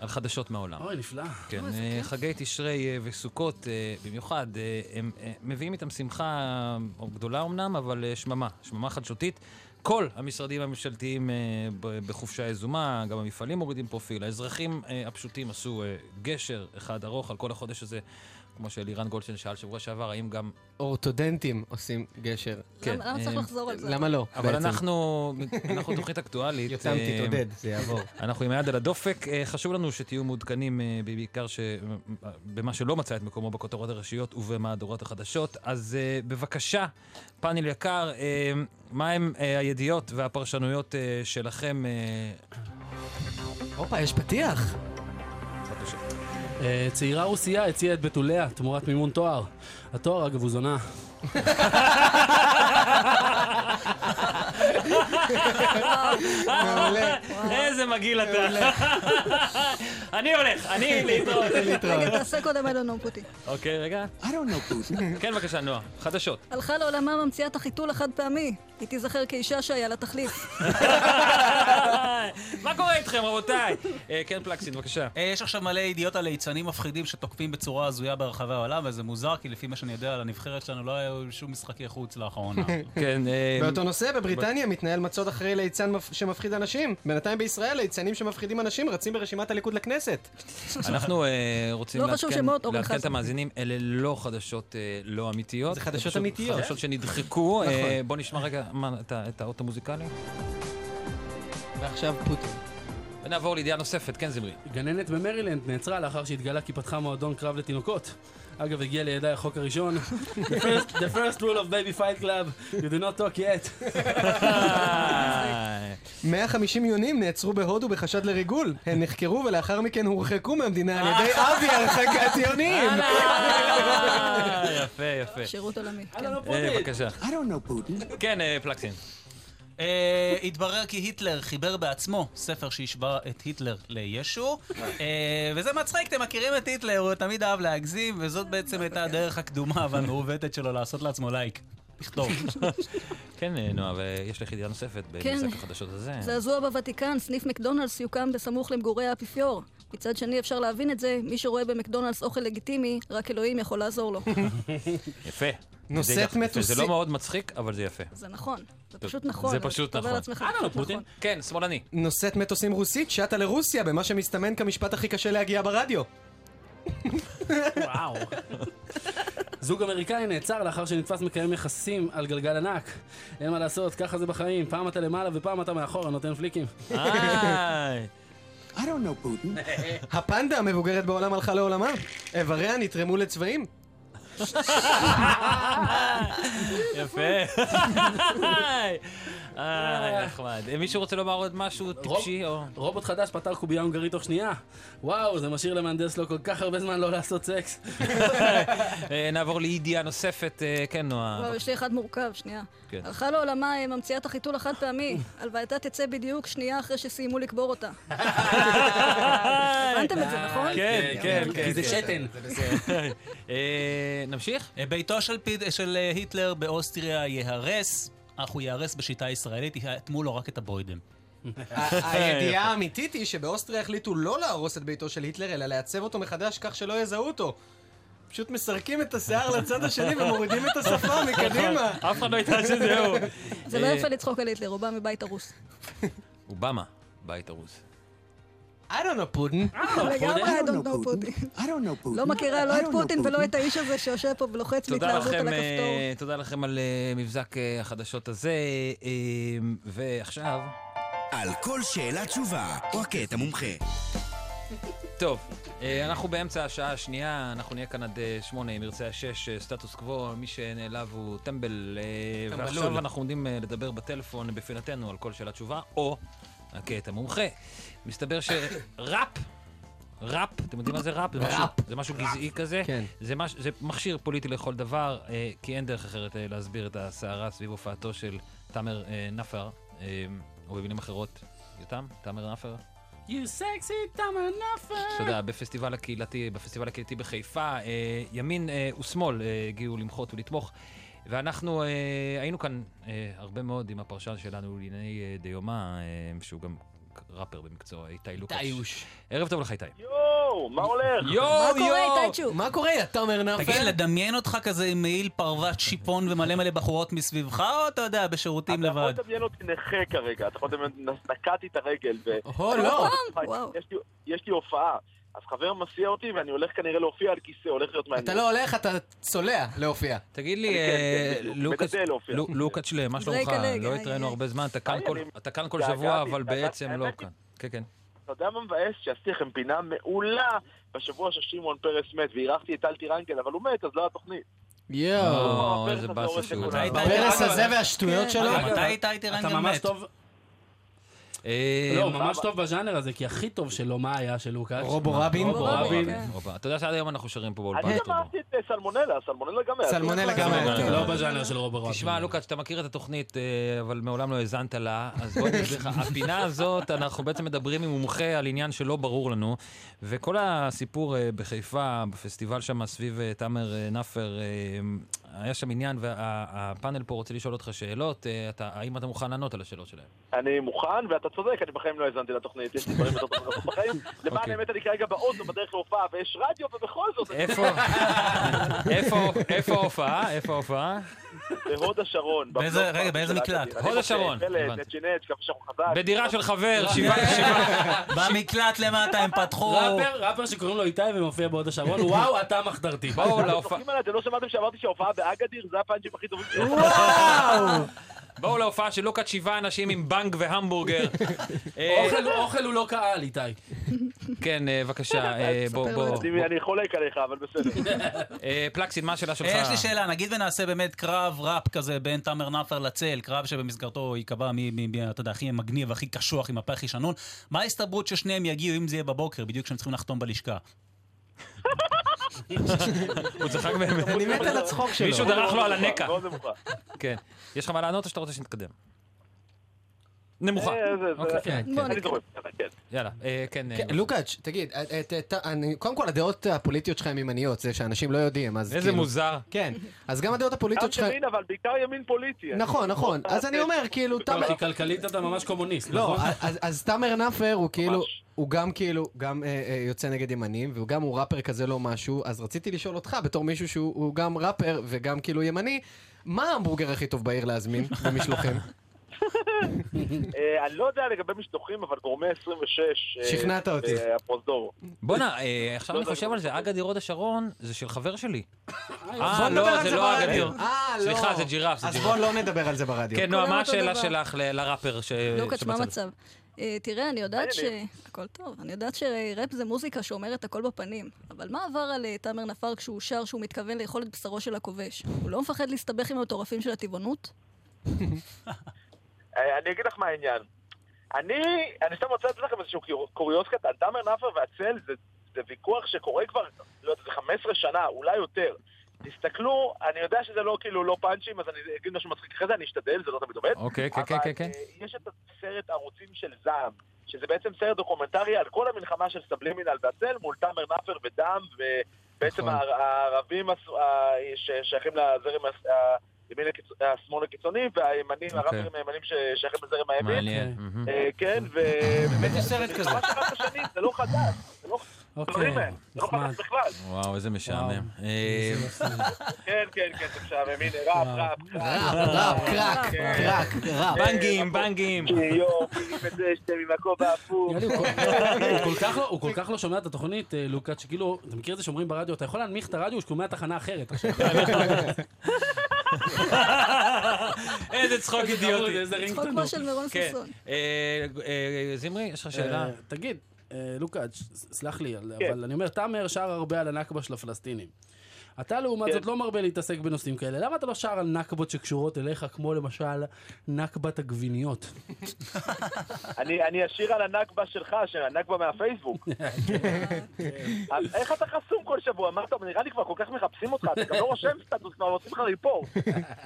B: על חדשות מהעולם.
F: אוי, נפלא.
B: כן,
F: אוי, איזה
B: אה,
F: כיף.
B: חגי תשרי אה, וסוכות אה, במיוחד, אה, הם אה, מביאים איתם שמחה אה, גדולה אמנם, אבל אה, שממה, שממה חדשותית. כל המשרדים הממשלתיים אה, ב- בחופשה יזומה, גם המפעלים מורידים פרופיל, האזרחים אה, הפשוטים עשו אה, גשר אחד ארוך על כל החודש הזה, כמו שלירן גולדשטיין שאל שבוע שעבר, האם גם...
H: אורתודנטים עושים גשר. כן,
D: למה- למה צריך
B: אה,
D: לחזור על זה?
H: למה לא?
B: אבל
H: בעצם?
B: אנחנו, אנחנו תוכנית אקטואלית.
H: יותם,
B: אה,
H: תתעודד, זה יעבור.
B: אנחנו עם היד על הדופק. אה, חשוב לנו שתהיו מעודכנים אה, בעיקר ש- במה שלא מצא את מקומו בכותרות הראשיות ובמהדורות החדשות. אז אה, בבקשה, פאנל יקר, אה, מהם אה, הידיעות והפרשנויות אה, שלכם? אה,
H: הופה, יש
B: (laughs)
H: פתיח.
B: בבקשה.
F: אה, צעירה רוסייה הציעה את בתוליה תמורת מימון תואר. התואר, אגב, הוא זונה.
B: מעולה. איזה מגעיל אתה. (laughs) אני הולך, אני להתראות.
D: רגע, תעשה קודם אלון אומפוטי.
B: אוקיי, רגע. (laughs) כן, בבקשה, נועה. חדשות.
D: הלכה לעולמה ממציאת החיתול החד פעמי. היא תיזכר כאישה שהיה לה תחליף.
B: מה קורה איתכם, רבותיי? אה, כן, פלקסין, בבקשה.
E: אה, יש עכשיו מלא ידיעות על ליצנים מפחידים שתוקפים בצורה הזויה ברחבי העולם, וזה מוזר, כי לפי מה שאני יודע, לנבחרת שלנו לא היו שום משחקי חוץ
H: אמ,
B: (laughs)
E: לאחרונה.
B: כן,
H: באותו נושא, בבריטניה מתנהל מצוד אחרי ליצן מפ- שמפחיד אנשים. בינתיים בישראל ליצנים שמפחידים אנשים רצים ברשימת הליכוד לכנסת.
B: אנחנו אה, רוצים
H: לא חשוב
B: לעדכן-
H: שמות, אורן
B: לעדכן את
H: חזן.
B: המאזינים, אלה לא חדשות אה, לא אמיתיות. זה
H: חדשות
B: פשוט
H: אמיתיות.
B: חדשות שנדחקו. אה,
H: נכון.
B: בוא נשמע רגע מה, את ה- את האות המוזיקלי.
H: ועכשיו פוטין.
B: ונעבור לידיעה נוספת, כן זמרי.
F: גננת במרילנד נעצרה לאחר שהתגלה כי פתחה מועדון קרב לתינוקות. אגב, הגיע לידי החוק הראשון. The first- The first rule of baby fight club, you do not talk yet.
B: (laughs)
H: 150 יונים נעצרו בהודו בחשד לריגול. הם נחקרו ולאחר מכן הורחקו מהמדינה על ידי אבי הרחקת (laughs) יונים.
B: אה, יפה, יפה.
D: שירות עולמי.
B: אה, בבקשה. כן, אה, פלקסין.
E: אה, התברר כי היטלר חיבר בעצמו ספר שהשווה את היטלר לישו, אה, וזה מצחיק, אתם מכירים את היטלר, הוא תמיד אהב להגזים, וזאת בעצם הייתה הדרך הקדומה והמעוותת שלו לעשות לעצמו לייק. לכתוב.
B: (laughs) כן, אה, נועה, ויש לך ידיעה נוספת
D: כן.
B: במשחק החדשות הזה.
D: זעזוע בוותיקן, סניף מקדונלדס יוקם בסמוך למגורי האפיפיור. מצד שני אפשר להבין את זה, מי שרואה במקדונלדס אוכל לגיטימי, רק אלוהים יכול לעזור לו.
B: יפה.
H: נושאת
B: זה יפה. זה
H: מטוסים.
B: לא מאוד מצחיק, אבל זה יפה.
D: זה נכון, זה פשוט נכון.
B: זה
D: אבל
B: פשוט
D: תדבר
B: נכון.
D: לעצמך,
B: אה, לא,
D: פשוט
B: פוטין.
D: נכון.
B: כן, שמאלני.
H: נושאת מטוסים רוסית שטה לרוסיה במה שמסתמן כמשפט הכי קשה להגיע ברדיו.
F: וואו. זוג אמריקאי נעצר לאחר שנתפס מקיים יחסים על גלגל ענק. אין מה לעשות, ככה זה בחיים. פעם אתה למעלה ופעם אתה מאחורה, נותן פליקים.
N: I don't know Putin.
H: הפנדה המבוגרת בעולם הלכה לעולמה. איבריה נתרמו
B: (laughs)
H: לצבעים.
L: (laughs)
B: יפה. אה, נחמד. מישהו רוצה לומר עוד משהו טיפשי או...
F: רובוט חדש פתר קובייה הונגרית תוך שנייה. וואו, זה משאיר למהנדס לו כל כך הרבה זמן לא לעשות סקס.
B: (laughs) אה, נעבור לידיעה נוספת, אה, כן נועה.
D: וואו, יש לי אחד מורכב, שנייה.
B: כן.
D: הלכה לעולמה אה, ממציאת החיתול החד
B: (laughs)
D: פעמי. הלווייתה תצא בדיוק שנייה אחרי שסיימו לקבור אותה. הבנתם
H: אה,
D: את זה, נכון?
B: כן, כן, כן.
E: כי זה
B: כן.
E: שתן.
B: זה בסדר. אה, נמשיך?
E: ביתו של פיד- של אה, היטלר באוסטריה ייהרס, אך הוא ייהרס בשיטה ישראלית, יאטמו לו רק את הבוידם.
B: (laughs) אה,
H: הידיעה האמיתית היא שבאוסטריה החליטו לא להרוס את ביתו של היטלר, אלא לעצב אותו מחדש כך שלא יזהו אותו. פשוט מסרקים את השיער לצד השני ומורידים את
B: (laughs)
H: השפה מקדימה.
B: אף אחד לא ידע שזה הוא.
D: זה לא
B: אה,
D: יפה לצחוק על היטלר, הוא בא מבית הרוס.
B: אובמה, בית הרוס.
H: I don't know Putin.
D: (laughs)
B: אה, נכון.
D: לגמרי, I don't know פוטין. לא מכירה לא את פוטין ולא את האיש הזה שיושב פה ולוחץ
B: תודה
D: בהתלהבות
B: לכם,
D: על
B: אה,
D: הכפתור.
B: תודה לכם על אה, מבזק אה, החדשות הזה, אה, ועכשיו...
K: על כל שאלה תשובה, או הקטע מומחה.
B: טוב, אה, אנחנו באמצע השעה השנייה, אנחנו נהיה כאן עד אה, שמונה, אם ירצה השש, אה, סטטוס קוו, מי שנעלב הוא טמבל. אה,
K: טמבלול.
B: ועכשיו אנחנו עומדים אה, לדבר בטלפון בפינתנו על כל שאלה תשובה, או הקטע מומחה. מסתבר שראפ, ראפ, אתם יודעים מה זה ראפ? זה משהו-
H: ראפ.
B: זה משהו גזעי כזה.
H: כן.
B: זה מש- זה מכשיר פוליטי לכל דבר, אה, כי אין דרך אחרת אה, להסביר את הסערה סביב הופעתו של תאמר אה, נפר, אה, או במילים אחרות, יותם? תאמר נפר?
F: You sexy תמה נאפר.
B: אתה יודע, בפסטיבל הקהילתי, בפסטיבל הקהילתי בחיפה, אה, ימין אה, ושמאל אה, הגיעו למחות ולתמוך. ואנחנו אה, היינו כאן אה, הרבה מאוד עם הפרשן שלנו לענייני אה, דיומא, אה, שהוא גם ראפר במקצוע, איתי לוקאץ'.
H: איוש.
B: ערב טוב לך, איתי.
M: יואו, מה הולך?
B: יואו, יואו!
H: מה קורה, יא תומר נאפר?
E: תגיד, לדמיין אותך כזה עם מעיל פרוות שיפון ומלא מלא בחורות מסביבך, או אתה יודע, בשירותים
M: אתה
E: לבד?
M: יכול לדמיין אותי נכה כרגע, אתה יכול לדמיין, נקעתי את הרגל ו...
E: או, לא.
M: יש לי- יש לי הופעה, אז חבר מסיע אותי ואני הולך כנראה להופיע על כיסא, הולך להיות מעניין.
H: אתה לא הולך, אתה צולע להופיע.
B: תגיד לי,
M: אני כן,
B: אה,
M: כן, בדיוק,
B: לוקאץ'-
M: מגדל אופי.
B: לו- לוקאץ' לב, מה שלומך?
M: רגע, רגע,
B: לא
M: היי,
B: התראינו
M: היי.
B: הרבה זמן, אתה כאן
M: היי,
B: כל-
M: אני-
B: אתה כאן כל
M: התגעגעתי,
B: שבוע, אבל
M: התגעגעתי.
B: בעצם לא
M: האמת היא-
B: כאן. כן, כן.
M: אתה יודע מה מבאס? שעשיתי לכם פינה מעולה בשבוע ששמעון פרס מת, ואירחתי את אלטי רנקל, אבל הוא מת, אז לא היה תוכנית.
B: או,
J: אה,
B: איזה באסה שהוא...
H: ברס הזה והשטויות שלו?
E: מתי איתי
F: אתה
E: טירנגל
F: ממש
E: מת?
F: טוב.
B: אה,
F: לא, ממש טוב בז'אנר הזה, כי הכי טוב שלו, מה היה של לוקאץ'?
H: רובו רבין.
F: רובו רבין.
B: רובה. אתה יודע שעד היום אנחנו שרים פה באולפן.
M: אני גם אהבתי את אה, סלמונלה, סלמונלה גם היה.
B: לא
F: בז'אנר של רובר רבין.
B: תשמע, לוקאץ', אתה מכיר את התוכנית, אה, אבל מעולם לא האזנת לה, אז בוא נסביר לך. הפינה הזאת, אנחנו בעצם מדברים עם מומחה על עניין שלא ברור לנו, וכל הסיפור אה, בחיפה, בפסטיבל שם סביב אה, תאמר אה, נאפר, אה, היה שם עניין, והפאנל פה רוצה לשאול אותך שאלות, אה, אתה- האם אתה מוכן לענות על השאלות
F: (laughs)
B: שלהם?
M: אני מוכן, ואתה צודק, אני בחיים לא האזנתי לתוכנית, יש לי דברים יותר טובים לעשות בחיים.
H: אוקיי.
M: למען האמת, אני כרגע באוטו בדרך להופעה, ויש רדיו, ובכל זאת... אני-
B: איפה? איפה- איפה ההופעה? איפה ההופעה?
M: בהוד השרון.
B: באיזה-
M: בפלוט
B: רגע, באיזה
M: של
B: מקלט?
M: הגליל.
B: הוד
M: אני
B: השרון,
M: חושב, פלד,
B: הבנתי.
M: נצ'ינץ', כמה שרון חזק.
B: בדירה של חבר,
M: שבעה-
E: במקלט למטה הם פתחו...
F: ראפר, ראפר שקוראים לו איתי ומופיע בהוד השרון, וואו, אתה מחתרתי.
M: אתם צוחקים עליי, אתם לא שמעתם שאמרתי שההופעה באגדיר זה הפאנצ'ים הכי טובים שיש.
B: בואו להופעה של לוקאץ' שבעה אנשים עם בנג והמבורגר.
F: (laughs)
B: אה,
F: אוכל- אוכל הוא לא קהל, איתי.
B: כן, אה,
F: (laughs)
B: בבקשה, (laughs) אה, בוא, בוא.
M: אני- אני חולק עליך, אבל בסדר.
B: אה, פלקסין, מה השאלה שלך? (laughs)
E: אה, יש לי שאלה, נגיד ונעשה באמת קרב ראפ כזה בין תאמר נפר לצל, קרב שבמסגרתו ייקבע מי, מי, מי, אתה יודע, הכי מגניב, הכי קשוח, עם הפה הכי שנון, מה ההסתברות ששניהם יגיעו, אם זה יהיה בבוקר, בדיוק כשהם צריכים לחתום בלשכה?
B: הוא צחק באמת. אני מת על הצחוק שלו. מישהו דרך לו על הנקע. כן. יש לך מה לענות או שאתה רוצה שנתקדם? נמוכה.
M: אה, זה- זה-
B: אוקיי.
M: כן,
B: כן.
M: בוא אני נתקדם.
B: יאללה, אה, כן. אה,
H: כן,
F: לא-
H: לוקאץ', תגיד, את- את- את- אני- קודם כל הדעות הפוליטיות שלך הן ימניות, זה שאנשים לא יודעים, אז
B: איזה
H: כאילו-
B: מוזר.
H: כן, אז גם הדעות
M: גם
H: הפוליטיות שלך...
M: ימין, אבל בעיקר ימין פוליטי.
H: נכון, נכון, אז אני אומר, כאילו, תאמר...
F: לא, כי כלכלית אתה ממש קומוניסט,
H: לא,
F: נכון?
H: אז- אז תאמר נאפר הוא כאילו, הוא גם כאילו, גם אה, אה, יוצא נגד ימנים, והוא גם הוא ראפר כזה לא משהו, אז רציתי לשאול אותך, בתור מישהו שהוא הוא גם ראפר וגם כאילו ימני, מה ההמבורגר הכי טוב בעיר (laughs) להזמין במשלוחים?
M: אה, אני לא יודע לגבי משלוחים, אבל גורמי 26... אה,
H: שכנעת אותי.
M: בפרוזדור.
B: בואנה, אה, עכשיו אני
M: לא,
B: חושב על זה, אגדיר הוד השרון זה של חבר שלי.
H: בוא
B: אה,
H: נדבר
B: לא,
H: על
B: זה
H: זה
B: לא
H: ברדיו.
B: אגדיר.
H: אה, לא.
B: סליחה, זה ג'ירף, זה
H: אז
B: ג'ירף.
H: בוא לא נדבר על זה ברדיו.
B: כן, נועה,
D: כולם
B: מה
D: אותו
B: השאלה
D: דבר.
B: שלך ל- לראפר ש...
F: לא
D: לוקאץ', מה
B: שבצד?
D: המצב? אה, תראה, אני יודעת ש... הכל טוב. אני יודעת שראפ זה מוזיקה שאומרת הכל בפנים. אבל מה עבר על אה, תאמר נפאר כשהוא שר שהוא מתכוון לאכול את בשרו של הכובש? הוא לא מפחד להסתבך עם המטורפים של הטבעונות?
M: אה, אני אגיד לך מה העניין. אני, אני סתם רוצה לתת לכם איזשהו קיור- קוריוז קטן. דאמר נאפר והצל זה, זה ויכוח שקורה כבר, לא יודע, זה 15 שנה, אולי יותר. תסתכלו, אני יודע שזה לא כאילו לא פאנצ'ים, אז אני אגיד משהו מצחיק אחרי זה, אני אשתדל, זה לא תמיד עובד.
B: אוקיי, כן, כן,
M: אבל,
B: כן, כן.
M: אה, יש את הסרט ערוצים של זעם, שזה בעצם סרט דוקומנטרי על כל המלחמה של סבלימינל והצל מול תאמר נאפר ודם, ובעצם
H: נכון.
M: הער- הערבים הס- ה- ששייכים לזרם הס- ה- ימין הקיצ- השמאל הקיצוני והימנים, הראפרים הימנים ששייכים לזרם
B: אוקיי.
M: הימין.
B: מעניין. מהמם.
M: אה, כן, ובאמת יש סרט
B: כזה.
M: זה לא חדש, זה לא הדברים האלה, זה לא
F: נחמד.
M: חדש בכלל.
B: וואו, איזה משעמם. אה,
M: כן, כן, כן, זה משעמם, הנה, ראפ, ראפ,
J: אה,
H: ראפ, קרק,
M: כן.
H: קרק, ראפ.
B: (laughs) בנגים, בנגים.
M: אה, יואו, פילים את זה, שאתם עם הכובע הפוך.
F: הוא כל כך לא- הוא כל כך לא שומע את התוכנית, אה, לוקאץ', שכאילו, אתה מכיר את זה שאומרים ברדיו, אתה יכול להנמיך את הרדיו שהוא שומע תחנה אחרת עכשיו. (laughs)
B: איזה צחוק
F: איזה חמוד,
B: אידיוטי.
F: איזה רינג
D: צחוק כמו
F: קטנות.
D: של מרון
B: כן.
D: ששון.
B: (laughs) אה, אה, זמרי, יש לך שאלה?
F: אה, תגיד, אה, לוקאץ', ס- סלח לי, על-
B: כן.
F: אבל אני אומר, תאמר שר הרבה על הנכבה של הפלסטינים. אתה לעומת זאת לא מרבה להתעסק בנושאים כאלה, למה אתה לא שר על נכבות שקשורות אליך, כמו למשל נכבת הגביניות?
M: אני אני אשיר על הנכבה שלך, שהנכבה מהפייסבוק. אז איך אתה חסום כל שבוע? מה אתה, נראה לי כבר כל כך מחפשים אותך, אתה גם לא רושם סטטוס, כבר עושים לך ריפורט.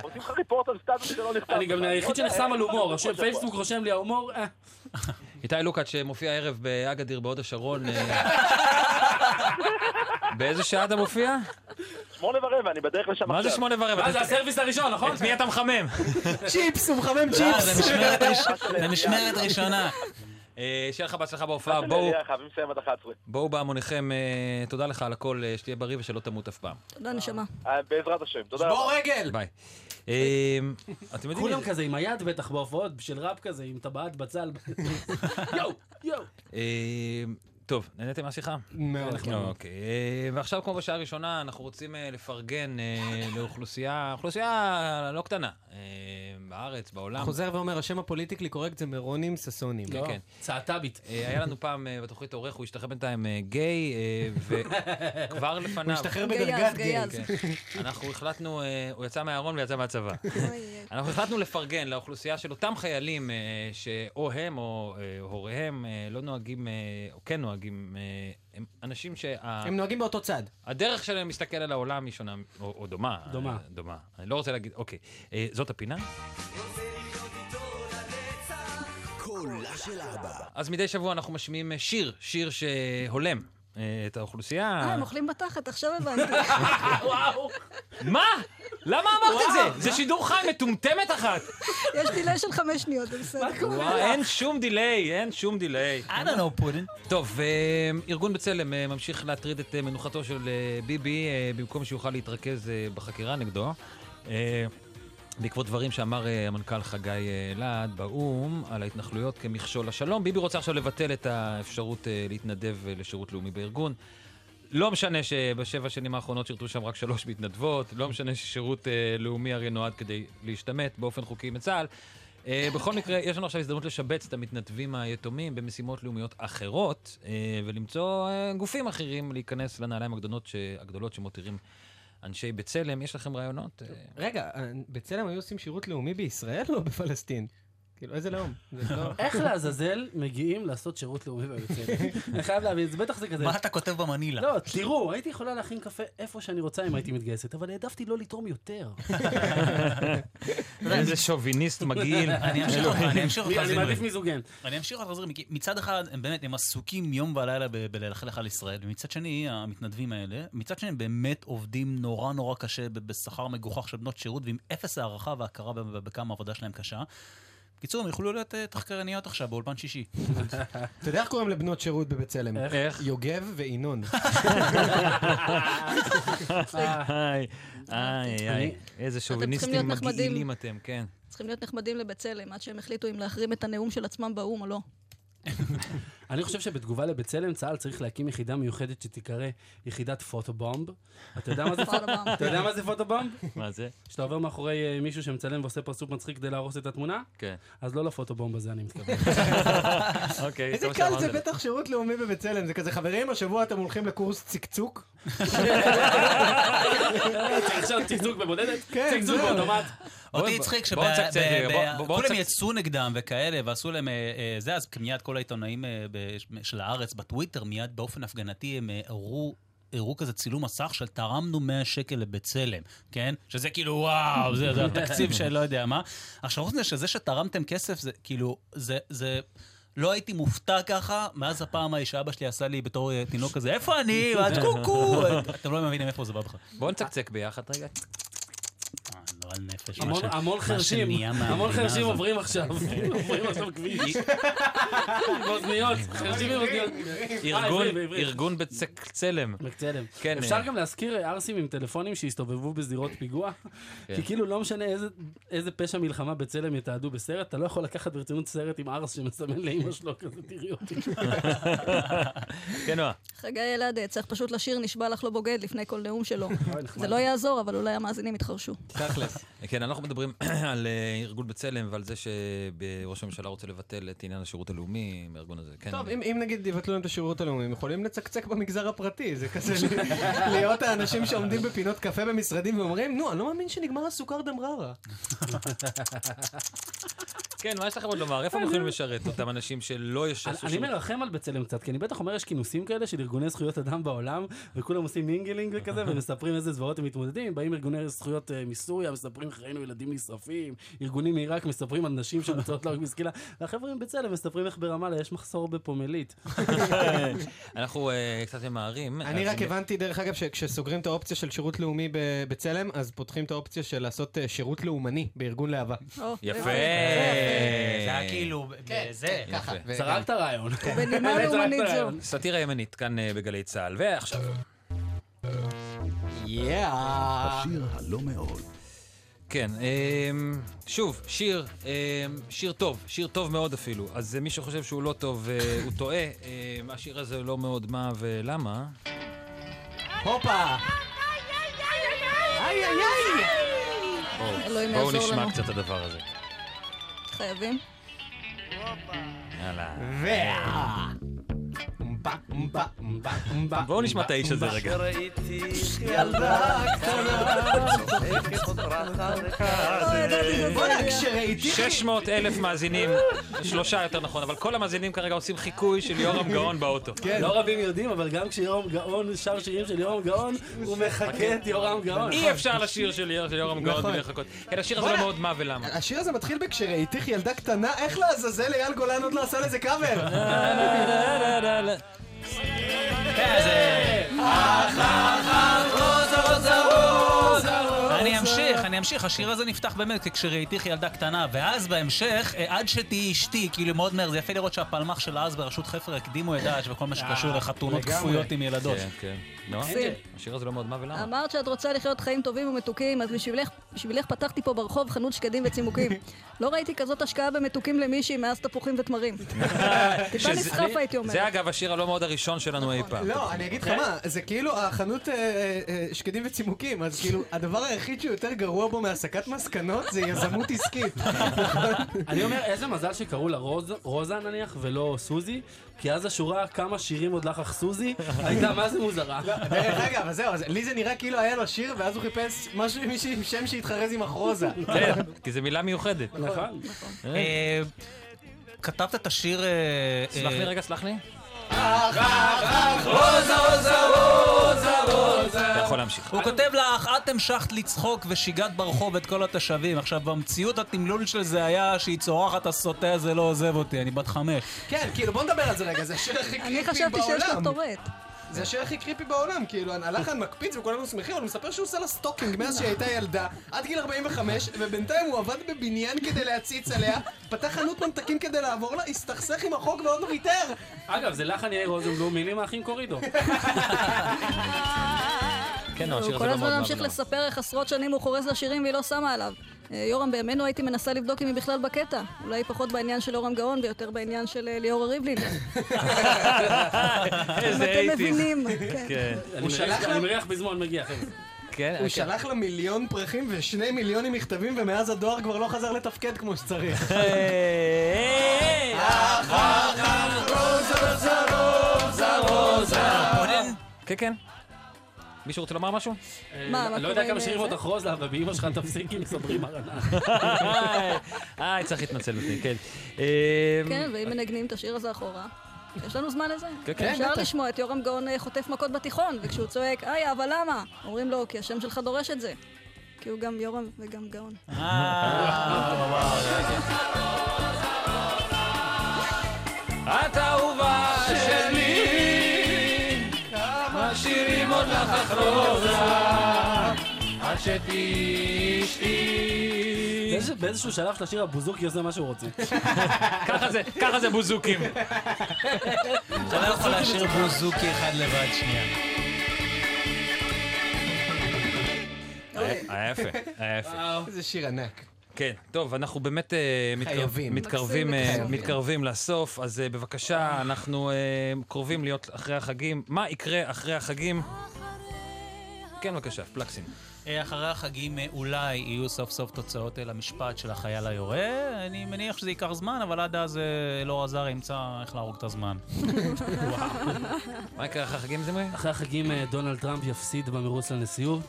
M: עושים לך ריפורט על סטטוס שלא נכתב.
F: אני גם
M: לך.
F: היחיד
M: לא יודע,
F: שנחסם
M: איך
F: על
M: אתה
F: הומור,
M: חסום כל שבוע?
F: פייסבוק רושם לי ההומור, אה.
B: איתי לוקאץ' שמופיע הערב באגדיר בהוד השרון.
F: (laughs)
B: אה, באיזה שעה אתה מופיע?
M: שמונה ורבע, אני בדרך לשם עכשיו.
B: מה זה שמונה ורבע?
F: מה זה הסרוויס הראשון, נכון?
B: את מי אתה
F: (laughs)
B: מחמם?
H: צ'יפס, הוא
E: לא,
H: מחמם
B: אה, זה משמרת ראש-
E: זה משמרת ראשונה.
B: אה, שיהיה לך בהצלחה בהופעה,
M: בואו.
B: בואו
M: חייבים לסיים עד 11.
B: בואו בהמוניכם, אה, תודה לך על הכל, אה, שתהיה בריא ושלא תמות אף פעם.
D: תודה, נשמה.
M: אה, בעזרת השם, תודה רבה.
H: רגל!
B: ביי. אה, אתם יודעים...
F: כולם כזה עם היד בטח בהופעות של ראפ כזה, עם טבעת בצל. (laughs) יואו, יואו.
B: אה, טוב, נהניתם מהשיחה?
H: מאוד.
B: אנחנו- אוקיי. אה, ועכשיו, כמו בשעה הראשונה, אנחנו רוצים אה, לפרגן אה, לאוכלוסייה, אוכלוסייה לא קטנה, אה, בארץ, בעולם.
H: חוזר ואומר, השם הפוליטיקלי קורקט זה מרונים ששונים.
B: כן, כן.
F: צעתבית.
B: אה, היה לנו פעם אה, בתוכנית עורך, הוא השתחרר בינתיים אה,
H: (laughs)
B: גיי, אה, וכבר לפניו...
H: הוא השתחרר בדרגת גיי. גייז,
B: כן.
H: גייז.
B: (laughs) אנחנו החלטנו, אה, הוא יצא מהארון ויצא מהצבא. אנחנו החלטנו לפרגן לאוכלוסייה של אותם חיילים אה, שאו הם או אה, הוריהם אה, לא נוהגים, אה, או כן נוהגים, אה, הם אנשים שה...
H: הם נוהגים באותו צד.
B: הדרך שלהם להסתכל על העולם היא שונה, או, או דומה.
H: דומה.
B: אה, דומה. אני לא רוצה להגיד, אוקיי. אה, זאת הפינה.
J: אה,
K: קולה של אבא.
B: אז מדי שבוע אנחנו משמיעים אה, שיר, שיר שהולם אה, את האוכלוסייה.
D: אה, הם אוכלים בתחת, עכשיו הבנתי.
B: מה? למה אמרת את
D: וואו.
B: זה? זה שידור חי מטומטמת אחת.
D: יש דילי של חמש שניות, זה בסדר.
B: וואו, אין שום דיליי, אין שום דיליי. I don't know, פודין. טוב, אה, ארגון בצלם אה, ממשיך להטריד את אה, מנוחתו של אה, ביבי אה, במקום שיוכל להתרכז אה, בחקירה נגדו. אה, בעקבות דברים שאמר אה, המנכ"ל חגי אה, אלעד באו"ם על ההתנחלויות כמכשול לשלום, ביבי רוצה עכשיו לבטל את האפשרות אה, להתנדב אה, לשירות לאומי בארגון. לא משנה שבשבע שנים האחרונות שירתו שם רק שלוש מתנדבות, לא משנה ששירות אה, לאומי הרי נועד כדי להשתמט באופן חוקי מצה"ל. אה, בכל מקרה, יש לנו עכשיו הזדמנות לשבץ את המתנדבים היתומים במשימות לאומיות אחרות, אה, ולמצוא אה, גופים אחרים להיכנס לנעליים הגדולות, ש... הגדולות שמותירים אנשי בצלם. יש לכם רעיונות? אה,
H: רגע, בצלם היו עושים שירות לאומי בישראל או בפלסטין? כאילו, איזה לאום? זה לא-
F: (laughs) איך לעזאזל מגיעים לעשות שירות לאומי בבצלם? אני חייב להבין, זה בטח זה כזה.
H: מה אתה כותב
F: במנילה? לא,
E: (laughs)
F: תראו, הייתי יכולה להכין קפה איפה שאני רוצה אם הייתי מתגייסת, אבל העדפתי לא לתרום יותר. (laughs)
B: איזה שוביניסט מגעיל.
E: (laughs) אני אמשיך אותך, אני אמשיך אותך.
F: אני
E: זמרי.
F: מעדיף מיזוגן.
E: אני אמשיך אותך, זמרי, כי מצד אחד, הם באמת, הם עסוקים יום ולילה ב- בללכלך על ישראל, ומצד שני, המתנדבים האלה, מצד שני, הם באמת עובדים נורא נורא קשה, ב- בשכר מגוחך של בנות שירות, ועם אפס הערכה והכרה ב- ב- בכמה העבודה שלהם קשה. בקיצור, הם יוכלו להיות אה, תחקרניות עכשיו, באולפן שישי.
H: אתה יודע איך קוראים לבנות שירות בבצלם?
B: איך?
H: יוגב
F: (laughs)
H: וינון.
B: איי,
H: אה,
B: איי, איי, איזה שוביניסטים
D: להיות נחמדים.
B: מגעילים אתם, כן.
D: צריכים להיות נחמדים לבצלם, עד שהם החליטו אם להחרים את הנאום של עצמם באו"ם או לא.
F: אני חושב שבתגובה לבצלם, צה"ל צריך להקים יחידה מיוחדת שתיקרא יחידת פוטובומב. אתה יודע מה זה
D: פוטובומב.
F: פוטובומב? אתה יודע מה זה פוטובומב?
B: מה זה?
F: שאתה עובר מאחורי אה, מישהו שמצלם ועושה פרצוף מצחיק כדי להרוס את התמונה?
B: כן.
F: אז לא לפוטובומב הזה אני מתכוון.
B: (laughs) אוקיי,
H: איזה קל זה
B: (laughs)
H: בטח שירות לאומי בבצלם, זה כזה, חברים, השבוע אתם הולכים לקורס צקצוק?
F: עכשיו צקצוק בבודדת,
H: כן,
F: צקצוק
H: זהו.
F: באוטומט.
E: אותי הצחיק
B: בוא נצקצק רגע, בוא- בוא- בוא
E: שכולם
B: נצק-
E: יצאו נגדם וכאלה, ועשו להם אה, אה, זה, אז מיד כל העיתונאים אה, ב- של הארץ בטוויטר, מיד באופן הפגנתי הם אה, הראו... הראו כזה צילום מסך של תרמנו 100 שקל לבצלם, כן? שזה כאילו וואו, זה, זה התקציב של לא יודע מה. עכשיו חוץ מזה שזה שתרמתם כסף זה כאילו, זה, זה, לא הייתי מופתע ככה מאז הפעם ההיא שאבא שלי עשה לי בתור אה, תינוק כזה, איפה אני? ואת
B: (laughs)
E: קוקו! אתם לא מבינים איפה זה בא בכלל.
B: בואו נצקצק ביחד רגע.
E: לא על נפש. מה
F: המון-
E: ש-
F: המון
E: מה
F: חרשים,
E: שנהיה
F: המון
E: מהמדינה
F: חרשים
E: הזאת.
F: עוברים
B: (laughs)
F: עכשיו, עוברים עכשיו כביש. באוזניות, חרשים עם אוזניות.
B: ארגון-
F: אה, עברית, בעברית.
B: ארגון בצלם.
F: בצלם.
B: כן.
F: אפשר
B: אה,
F: גם להזכיר אה, ערסים עם טלפונים שהסתובבו בזירות פיגוע?
B: (laughs) כן.
F: כי כאילו לא משנה איזה- איזה פשע מלחמה בצלם יתעדו בסרט, אתה לא יכול לקחת ברצינות סרט עם ערס שמסמן לאימא שלו כזה, תראי אותי.
B: (laughs) כן, נועה.
D: חגי אלעד אה, צריך פשוט לשיר נשבע לך לא בוגד לפני כל נאום שלו.
F: נחמד.
D: זה לא יעזור, אבל אולי המאזינים יתחרשו.
B: תכלס. כן, אנחנו מדברים (clears throat) על אה, ארגון בצלם ועל זה שראש הממשלה רוצה לבטל את עניין השירות הלאומי מהארגון הזה. כן.
H: טוב, אם אם נגיד יבטלו להם את השירות הלאומי, הם יכולים לצקצק במגזר הפרטי, זה כזה (laughs) להיות האנשים שעומדים בפינות קפה במשרדים ואומרים, נו, אני לא מאמין שנגמר הסוכר
B: (laughs)
H: דמררה.
B: כן, מה יש לכם עוד לומר? איפה הם יכולים לשרת אותם אנשים שלא יש...
F: אני- אני מרחם על בצלם קצת, כי אני בטח אומר יש כינוסים כאלה של ארגוני זכויות אדם בעולם, וכולם עושים מינגלינג וכזה, ומספרים איזה זוועות הם מתמודדים, באים ארגוני זכויות אה, מסוריה, מספרים חיינו ילדים נשרפים, ארגונים מעיראק מספרים על נשים שמוצאות להרוג מסקילה, והחבר'ה עם בצלם מספרים איך ברמאללה יש מחסור בפומלית.
B: (laughs) אנחנו אה, קצת ממהרים.
H: אני
B: אז
H: רק הבנתי, דרך אגב, שכשסוגרים את האופציה של שירות לאומי ב- בצלם, אז פותחים את האופציה של לעשות אה, שירות לאומני בארגון להבה.
B: יפה.
E: זה היה כאילו, זה, ככה. כן.
B: יפה.
F: זרקת
B: (laughs)
F: רעיון.
D: (laughs)
E: (laughs)
D: בנימה
F: זרקת
D: לאומנית זו.
F: רעיון.
B: סאטירה ימנית כאן אה, בגלי צה"ל, ועכשיו...
H: יאה.
G: השיר הלא מאוד.
B: כן, אמ, שוב, שיר, אמ, שיר טוב, שיר טוב מאוד אפילו. אז אה, מי שחושב שהוא לא טוב, אה, הוא טועה. אמ, השיר הזה לא מאוד מה ולמה.
H: הופה!
J: איי איי איי!
B: בואו-
J: אלוהים
B: בואו
J: יעזור
B: נשמע
J: אה, לנו.
B: קצת את הדבר הזה.
D: חייבים.
B: יאללה.
H: בואו
B: נשמע את האיש הזה רגע.
L: כשראיתי ילדה קטנה צוחקת עוד רחב
B: בוא'נה, כשראיתי... 600 אלף מאזינים, שלושה יותר נכון, אבל כל המאזינים כרגע עושים חיקוי של יורם גאון באוטו.
F: לא רבים יודעים, אבל גם כשיורם גאון שר שירים של יורם גאון, הוא מחקה את יורם גאון.
B: אי אפשר לשיר של יור- של יורם גאון
H: נכון.
B: בלי לחכות. כן, השיר הזה לא
H: בוא'נה.
B: מאוד מה ולמה.
H: השיר הזה מתחיל בכשראיתיך ילדה קטנה, איך לעזאזל אייל גולן עוד לא עשה לזה קאבר?
B: (laughs)
E: אה, אני אמשיך, אני אמשיך, השיר הזה נפתח באמת כשראיתיך ילדה קטנה, ואז בהמשך, אה, עד שתהיי אשתי, כאילו מאוד מהר, זה יפה לראות שהפלמ"ח של אז בראשות חפר הקדימו את דאעש וכל מה שקשור
B: אה,
E: לחתונות
B: לגמרי.
E: כפויות עם ילדות.
B: כן, כן. נו,
D: מקסים.
B: השיר הזה לא מאוד מה ולמה.
D: אמרת שאת רוצה לחיות חיים טובים ומתוקים, אז בשבילך, בשבילך פתחתי פה ברחוב חנות שקדים וצימוקים. לא ראיתי כזאת השקעה במתוקים למישהי מאז תפוחים ותמרים. טיפה
B: אה, שזה-
D: נסחף הייתי אומרת.
B: זה אגב השיר הלא מאוד הראשון שלנו אי פעם. אוקיי?
H: לא, אני אגיד לך מה, זה כאילו החנות אה, אה, אה, שקדים וצימוקים, אז כאילו הדבר היחיד שהוא יותר גרוע בו מהסקת מסקנות זה יזמות עסקית.
F: אני אומר, איזה מזל שקראו לה רוז- רוזה נניח, ולא סוזי, כי אז השורה כמה שירים עוד לחך סוזי, הייתה מה זה מוזרה.
H: דרך אגב, אז אה, זהו, אז לי זה נראה כאילו היה לו שיר, ואז הוא חיפש משהו עם מישהי עם שם שהתחרז עם אחרוזה.
B: כן, כי זו מילה מיוחדת.
H: נכון.
E: אה, כתבת את השיר... אה,
B: סלח
E: אה,
B: לי רגע, סלח לי. אה, אתה יכול להמשיך.
E: הוא כותב לך, את המשכת לצחוק ושיגעת ברחוב את כל התושבים. עכשיו, במציאות התמלול של זה היה שהיא צורחת, הסוטה הזה לא עוזב אותי, אני בת חמש.
H: כן, כאילו בוא נדבר על זה רגע, זה השיר הכי
E: (laughs)
H: קריפי
D: אני
H: בעולם.
D: חשבתי שיש לך טורט.
H: זה השיר הכי קריפי בעולם, כאילו, הלחן מקפיץ וכולנו שמחים, אבל הוא מספר שהוא עושה לה סטוקינג מאז שהיא הייתה ילדה, עד גיל 45, ובינתיים הוא עבד בבניין כדי להציץ עליה, פתח חנות ממתקים כדי לעבור לה, הסתכסך עם החוק ועוד לא ויתר!
F: אגב, זה לחן יאיר רוזנבלום, מילים האחים
H: (laughs)
F: קורידו.
B: כן,
D: הוא כל הזמן ממשיך לספר איך עשרות שנים הוא חורז לה שירים והיא לא שמה עליו. אה, יורם, בימינו הייתי מנסה לבדוק אם היא בכלל בקטע. אולי פחות בעניין של יורם גאון ויותר בעניין של אה, ליאורה ריבלין.
B: איזה
D: אתם
B: 80s.
D: מבינים, כן.
B: כן.
F: אני מריח- אני מריח בזמן מגיע, חבר'ה.
B: כן,
H: הוא
B: כן.
H: שלח לה מיליון פרחים ושני מיליונים מכתבים, ומאז הדואר כבר לא חזר לתפקד כמו
B: (laughs)
H: שצריך.
B: אה, רונן? כן, כן. מישהו רוצה לומר משהו?
D: מה, מה
F: לא
D: קורה
F: יודע
D: עם
F: כמה שירים
D: זה?
F: עוד אחרוז לה, אבל באמא שלך תפסיק עם סברים ארנה.
B: אה, צריך להתנצל בפני, כן. אה,
D: כן, ואם מנגנים את השיר הזה אחורה, יש לנו זמן לזה.
B: כן, כן,
D: אפשר
B: בטח.
D: לשמוע את יורם גאון אה, חוטף מכות בתיכון, וכשהוא צועק, איה, אבל למה? אומרים לו, כי השם שלך דורש את זה. כי הוא גם יורם וגם גאון.
E: אה,
B: אה, את אהובה שלי, כמה שירים עוד לך אחרוזה,
L: עד שתהיי אשתי.
F: באיזשהו- באיזשהו שלב של השיר הבוזוקי עושה מה שהוא רוצה.
B: ככה זה, ככה זה בוזוקים.
E: אתה לא יכול להשאיר בוזוקי אחד לבד שנייה.
B: היה יפה, היה יפה.
H: איזה שיר ענק.
B: כן, טוב, אנחנו באמת אה, מתקרב-
H: חייבים.
B: מתקרבים,
H: מקסים,
B: אה,
H: מקסים.
B: מתקרבים לסוף, אז אה, בבקשה, אנחנו אה, קרובים להיות אחרי החגים. מה יקרה אחרי החגים? כן, בבקשה, פלקסין.
E: אה, אחרי החגים אה, אולי יהיו סוף סוף תוצאות אל המשפט של החייל היורה. אני מניח שזה ייקח זמן, אבל עד אז אה, אלאור עזר ימצא איך להרוג את
H: (laughs)
E: הזמן.
B: מה יקרה אחרי החגים זה מה?
F: אחרי החגים אה, דונלד טראמפ יפסיד במרוץ לנשיאות,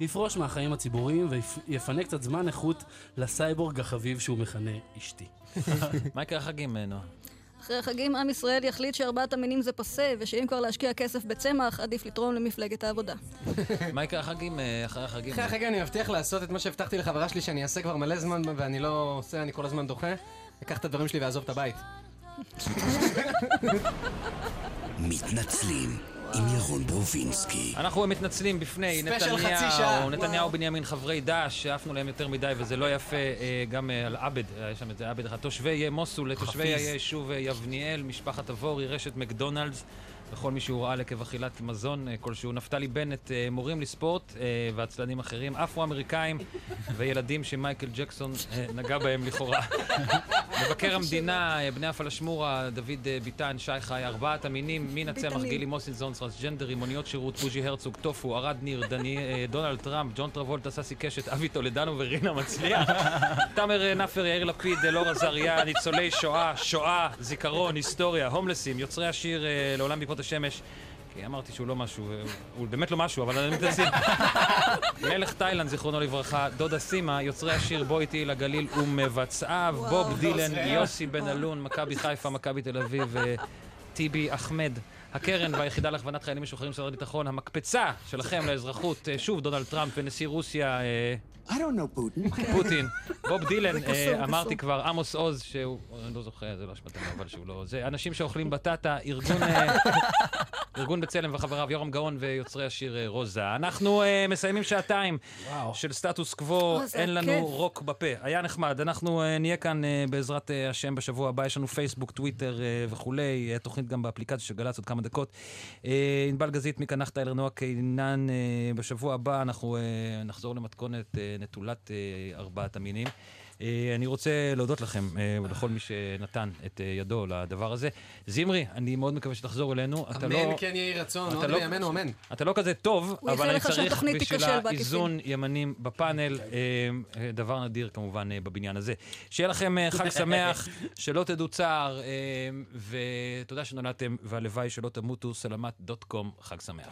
F: יפרוש מהחיים הציבוריים ויפנה קצת זמן איכות לסייבורג החביב שהוא מכנה אשתי.
B: מה יקרה החגים, אה, נועה?
D: אחרי החגים עם ישראל יחליט שארבעת המינים זה פסה, ושאם כבר להשקיע כסף בצמח, עדיף לתרום למפלגת העבודה.
B: מה יקרה החגים אה, אחרי החגים?
H: אחרי החגים אני מבטיח לעשות את מה שהבטחתי לחברה שלי שאני אעשה כבר מלא זמן ואני לא עושה, אני כל הזמן דוחה. אקח את הדברים שלי ואעזוב את הבית.
K: מתנצלים עם ירון ברובינסקי.
B: אנחנו מתנצלים בפני
K: ספיישל חצי שעה.
B: נתניהו, נתניהו בנימין חברי דאעש, שעפנו להם יותר מדי וזה לא יפה, אה, גם אה, על עבד, אה, יש שם איזה עבד אחד, תושבי אה, מוסול, לתושבי
E: חפיז.
B: היישוב אה, יבניאל, משפחת עבורי, רשת מקדונלדס, לכל מי שהורעל עקב אכילת מזון אה, כלשהו. נפתלי בנט, אה, מורים לספורט אה, ועצלנים
K: (laughs)
B: אחרים, אפרו-אמריקאים וילדים שמייקל ג'קסון אה, נגע
K: (laughs)
B: בהם לכאורה. מבקר המדינה, אה, בני הפלשמורה, דוד אה, ביטן, שי חי, ארבעת המינים, מינה צמח,
O: ביטנים.
B: גילי מוסינזון, טרנסג'נדרים, מוניות שירות, בוז'י הרצוג, טופו, ערד ניר, דני- אה, דונלד טראמפ, ג'ון טרבולטה, ססי קשת, אבי טולדנו ורינה מצליח. תאמר אה, נפר, יאיר לפיד, אלאור עזריה, ניצולי שואה, שואה, זיכרון, היסטוריה, הומלסים, יוצרי השיר אה, לעולם בעקבות השמש. כי אמרתי שהוא לא משהו, אה, הוא באמת לא משהו, אבל אני מתנצל. מלך תאילנד, זיכרונו לברכה, דודה סימה, יוצרי השיר בוא איתי לגליל ומבצעיו,
O: וואו.
B: בוב דילן,
O: עוזר.
B: יוסי בן אלון, מכבי חיפה, מכבי תל אביב, אה, טיבי אחמד. הקרן והיחידה להכוונת חיילים משוחררים במשרד הביטחון, המקפצה שלכם לאזרחות, אה, שוב דונלד טראמפ ונשיא רוסיה, אה,
N: I don't know
H: Oh
N: Putin.
B: פוטין, בוב דילן,
N: זה קסום,
B: אה,
N: קסום.
B: אמרתי כבר, עמוס עוז, שהוא, אני לא זוכר, זה לא אשמתנו, אבל שהוא לא... זה אנשים שאוכלים בטטה, ארגון... אה, ארגון בצלם וחבריו יורם גאון ויוצרי השיר אה, רוזה. אנחנו אה, מסיימים שעתיים של סטטוס קוו,
O: רוזה,
B: אין לנו
O: כיף.
B: רוק בפה. היה נחמד, אנחנו אה, נהיה כאן אה, בעזרת אה, השם בשבוע הבא, יש לנו פייסבוק, טוויטר אה, וכולי, אה, תוכנית גם באפליקציה של גל"צ עוד כמה דקות. אה, ענבל גזית, מיקה נחתה, אלר נועה קינן, אה, בשבוע הבא אנחנו אה, נחזור למתכונת אה, נטולת אה, ארבעת המינים. אה, אני רוצה להודות לכם, אה, ולכל מי שנתן את אה, ידו לדבר הזה. זמרי, אני מאוד מקווה שתחזור אלינו. אתה
H: אמן,
B: לא-
H: כן יהי רצון,
B: אתה
H: עוד
B: לא-
H: בימינו, אמן.
B: אתה לא כזה טוב,
H: הוא
B: אבל
H: איחל
B: אני
H: לך
B: צריך
H: שהתוכנית
B: בשביל
H: תיכשל בעקיפין.
B: האיזון ימנים בפאנל,
H: כן.
B: אה, אה, דבר נדיר כמובן אה, בבניין הזה. שיהיה לכם אה, חג
H: (laughs)
B: שמח, שלא תדעו אמ, צער, אה, ותודה שנולדתם, והלוואי שלא תמותו, סלמת דוט קום, חג שמח.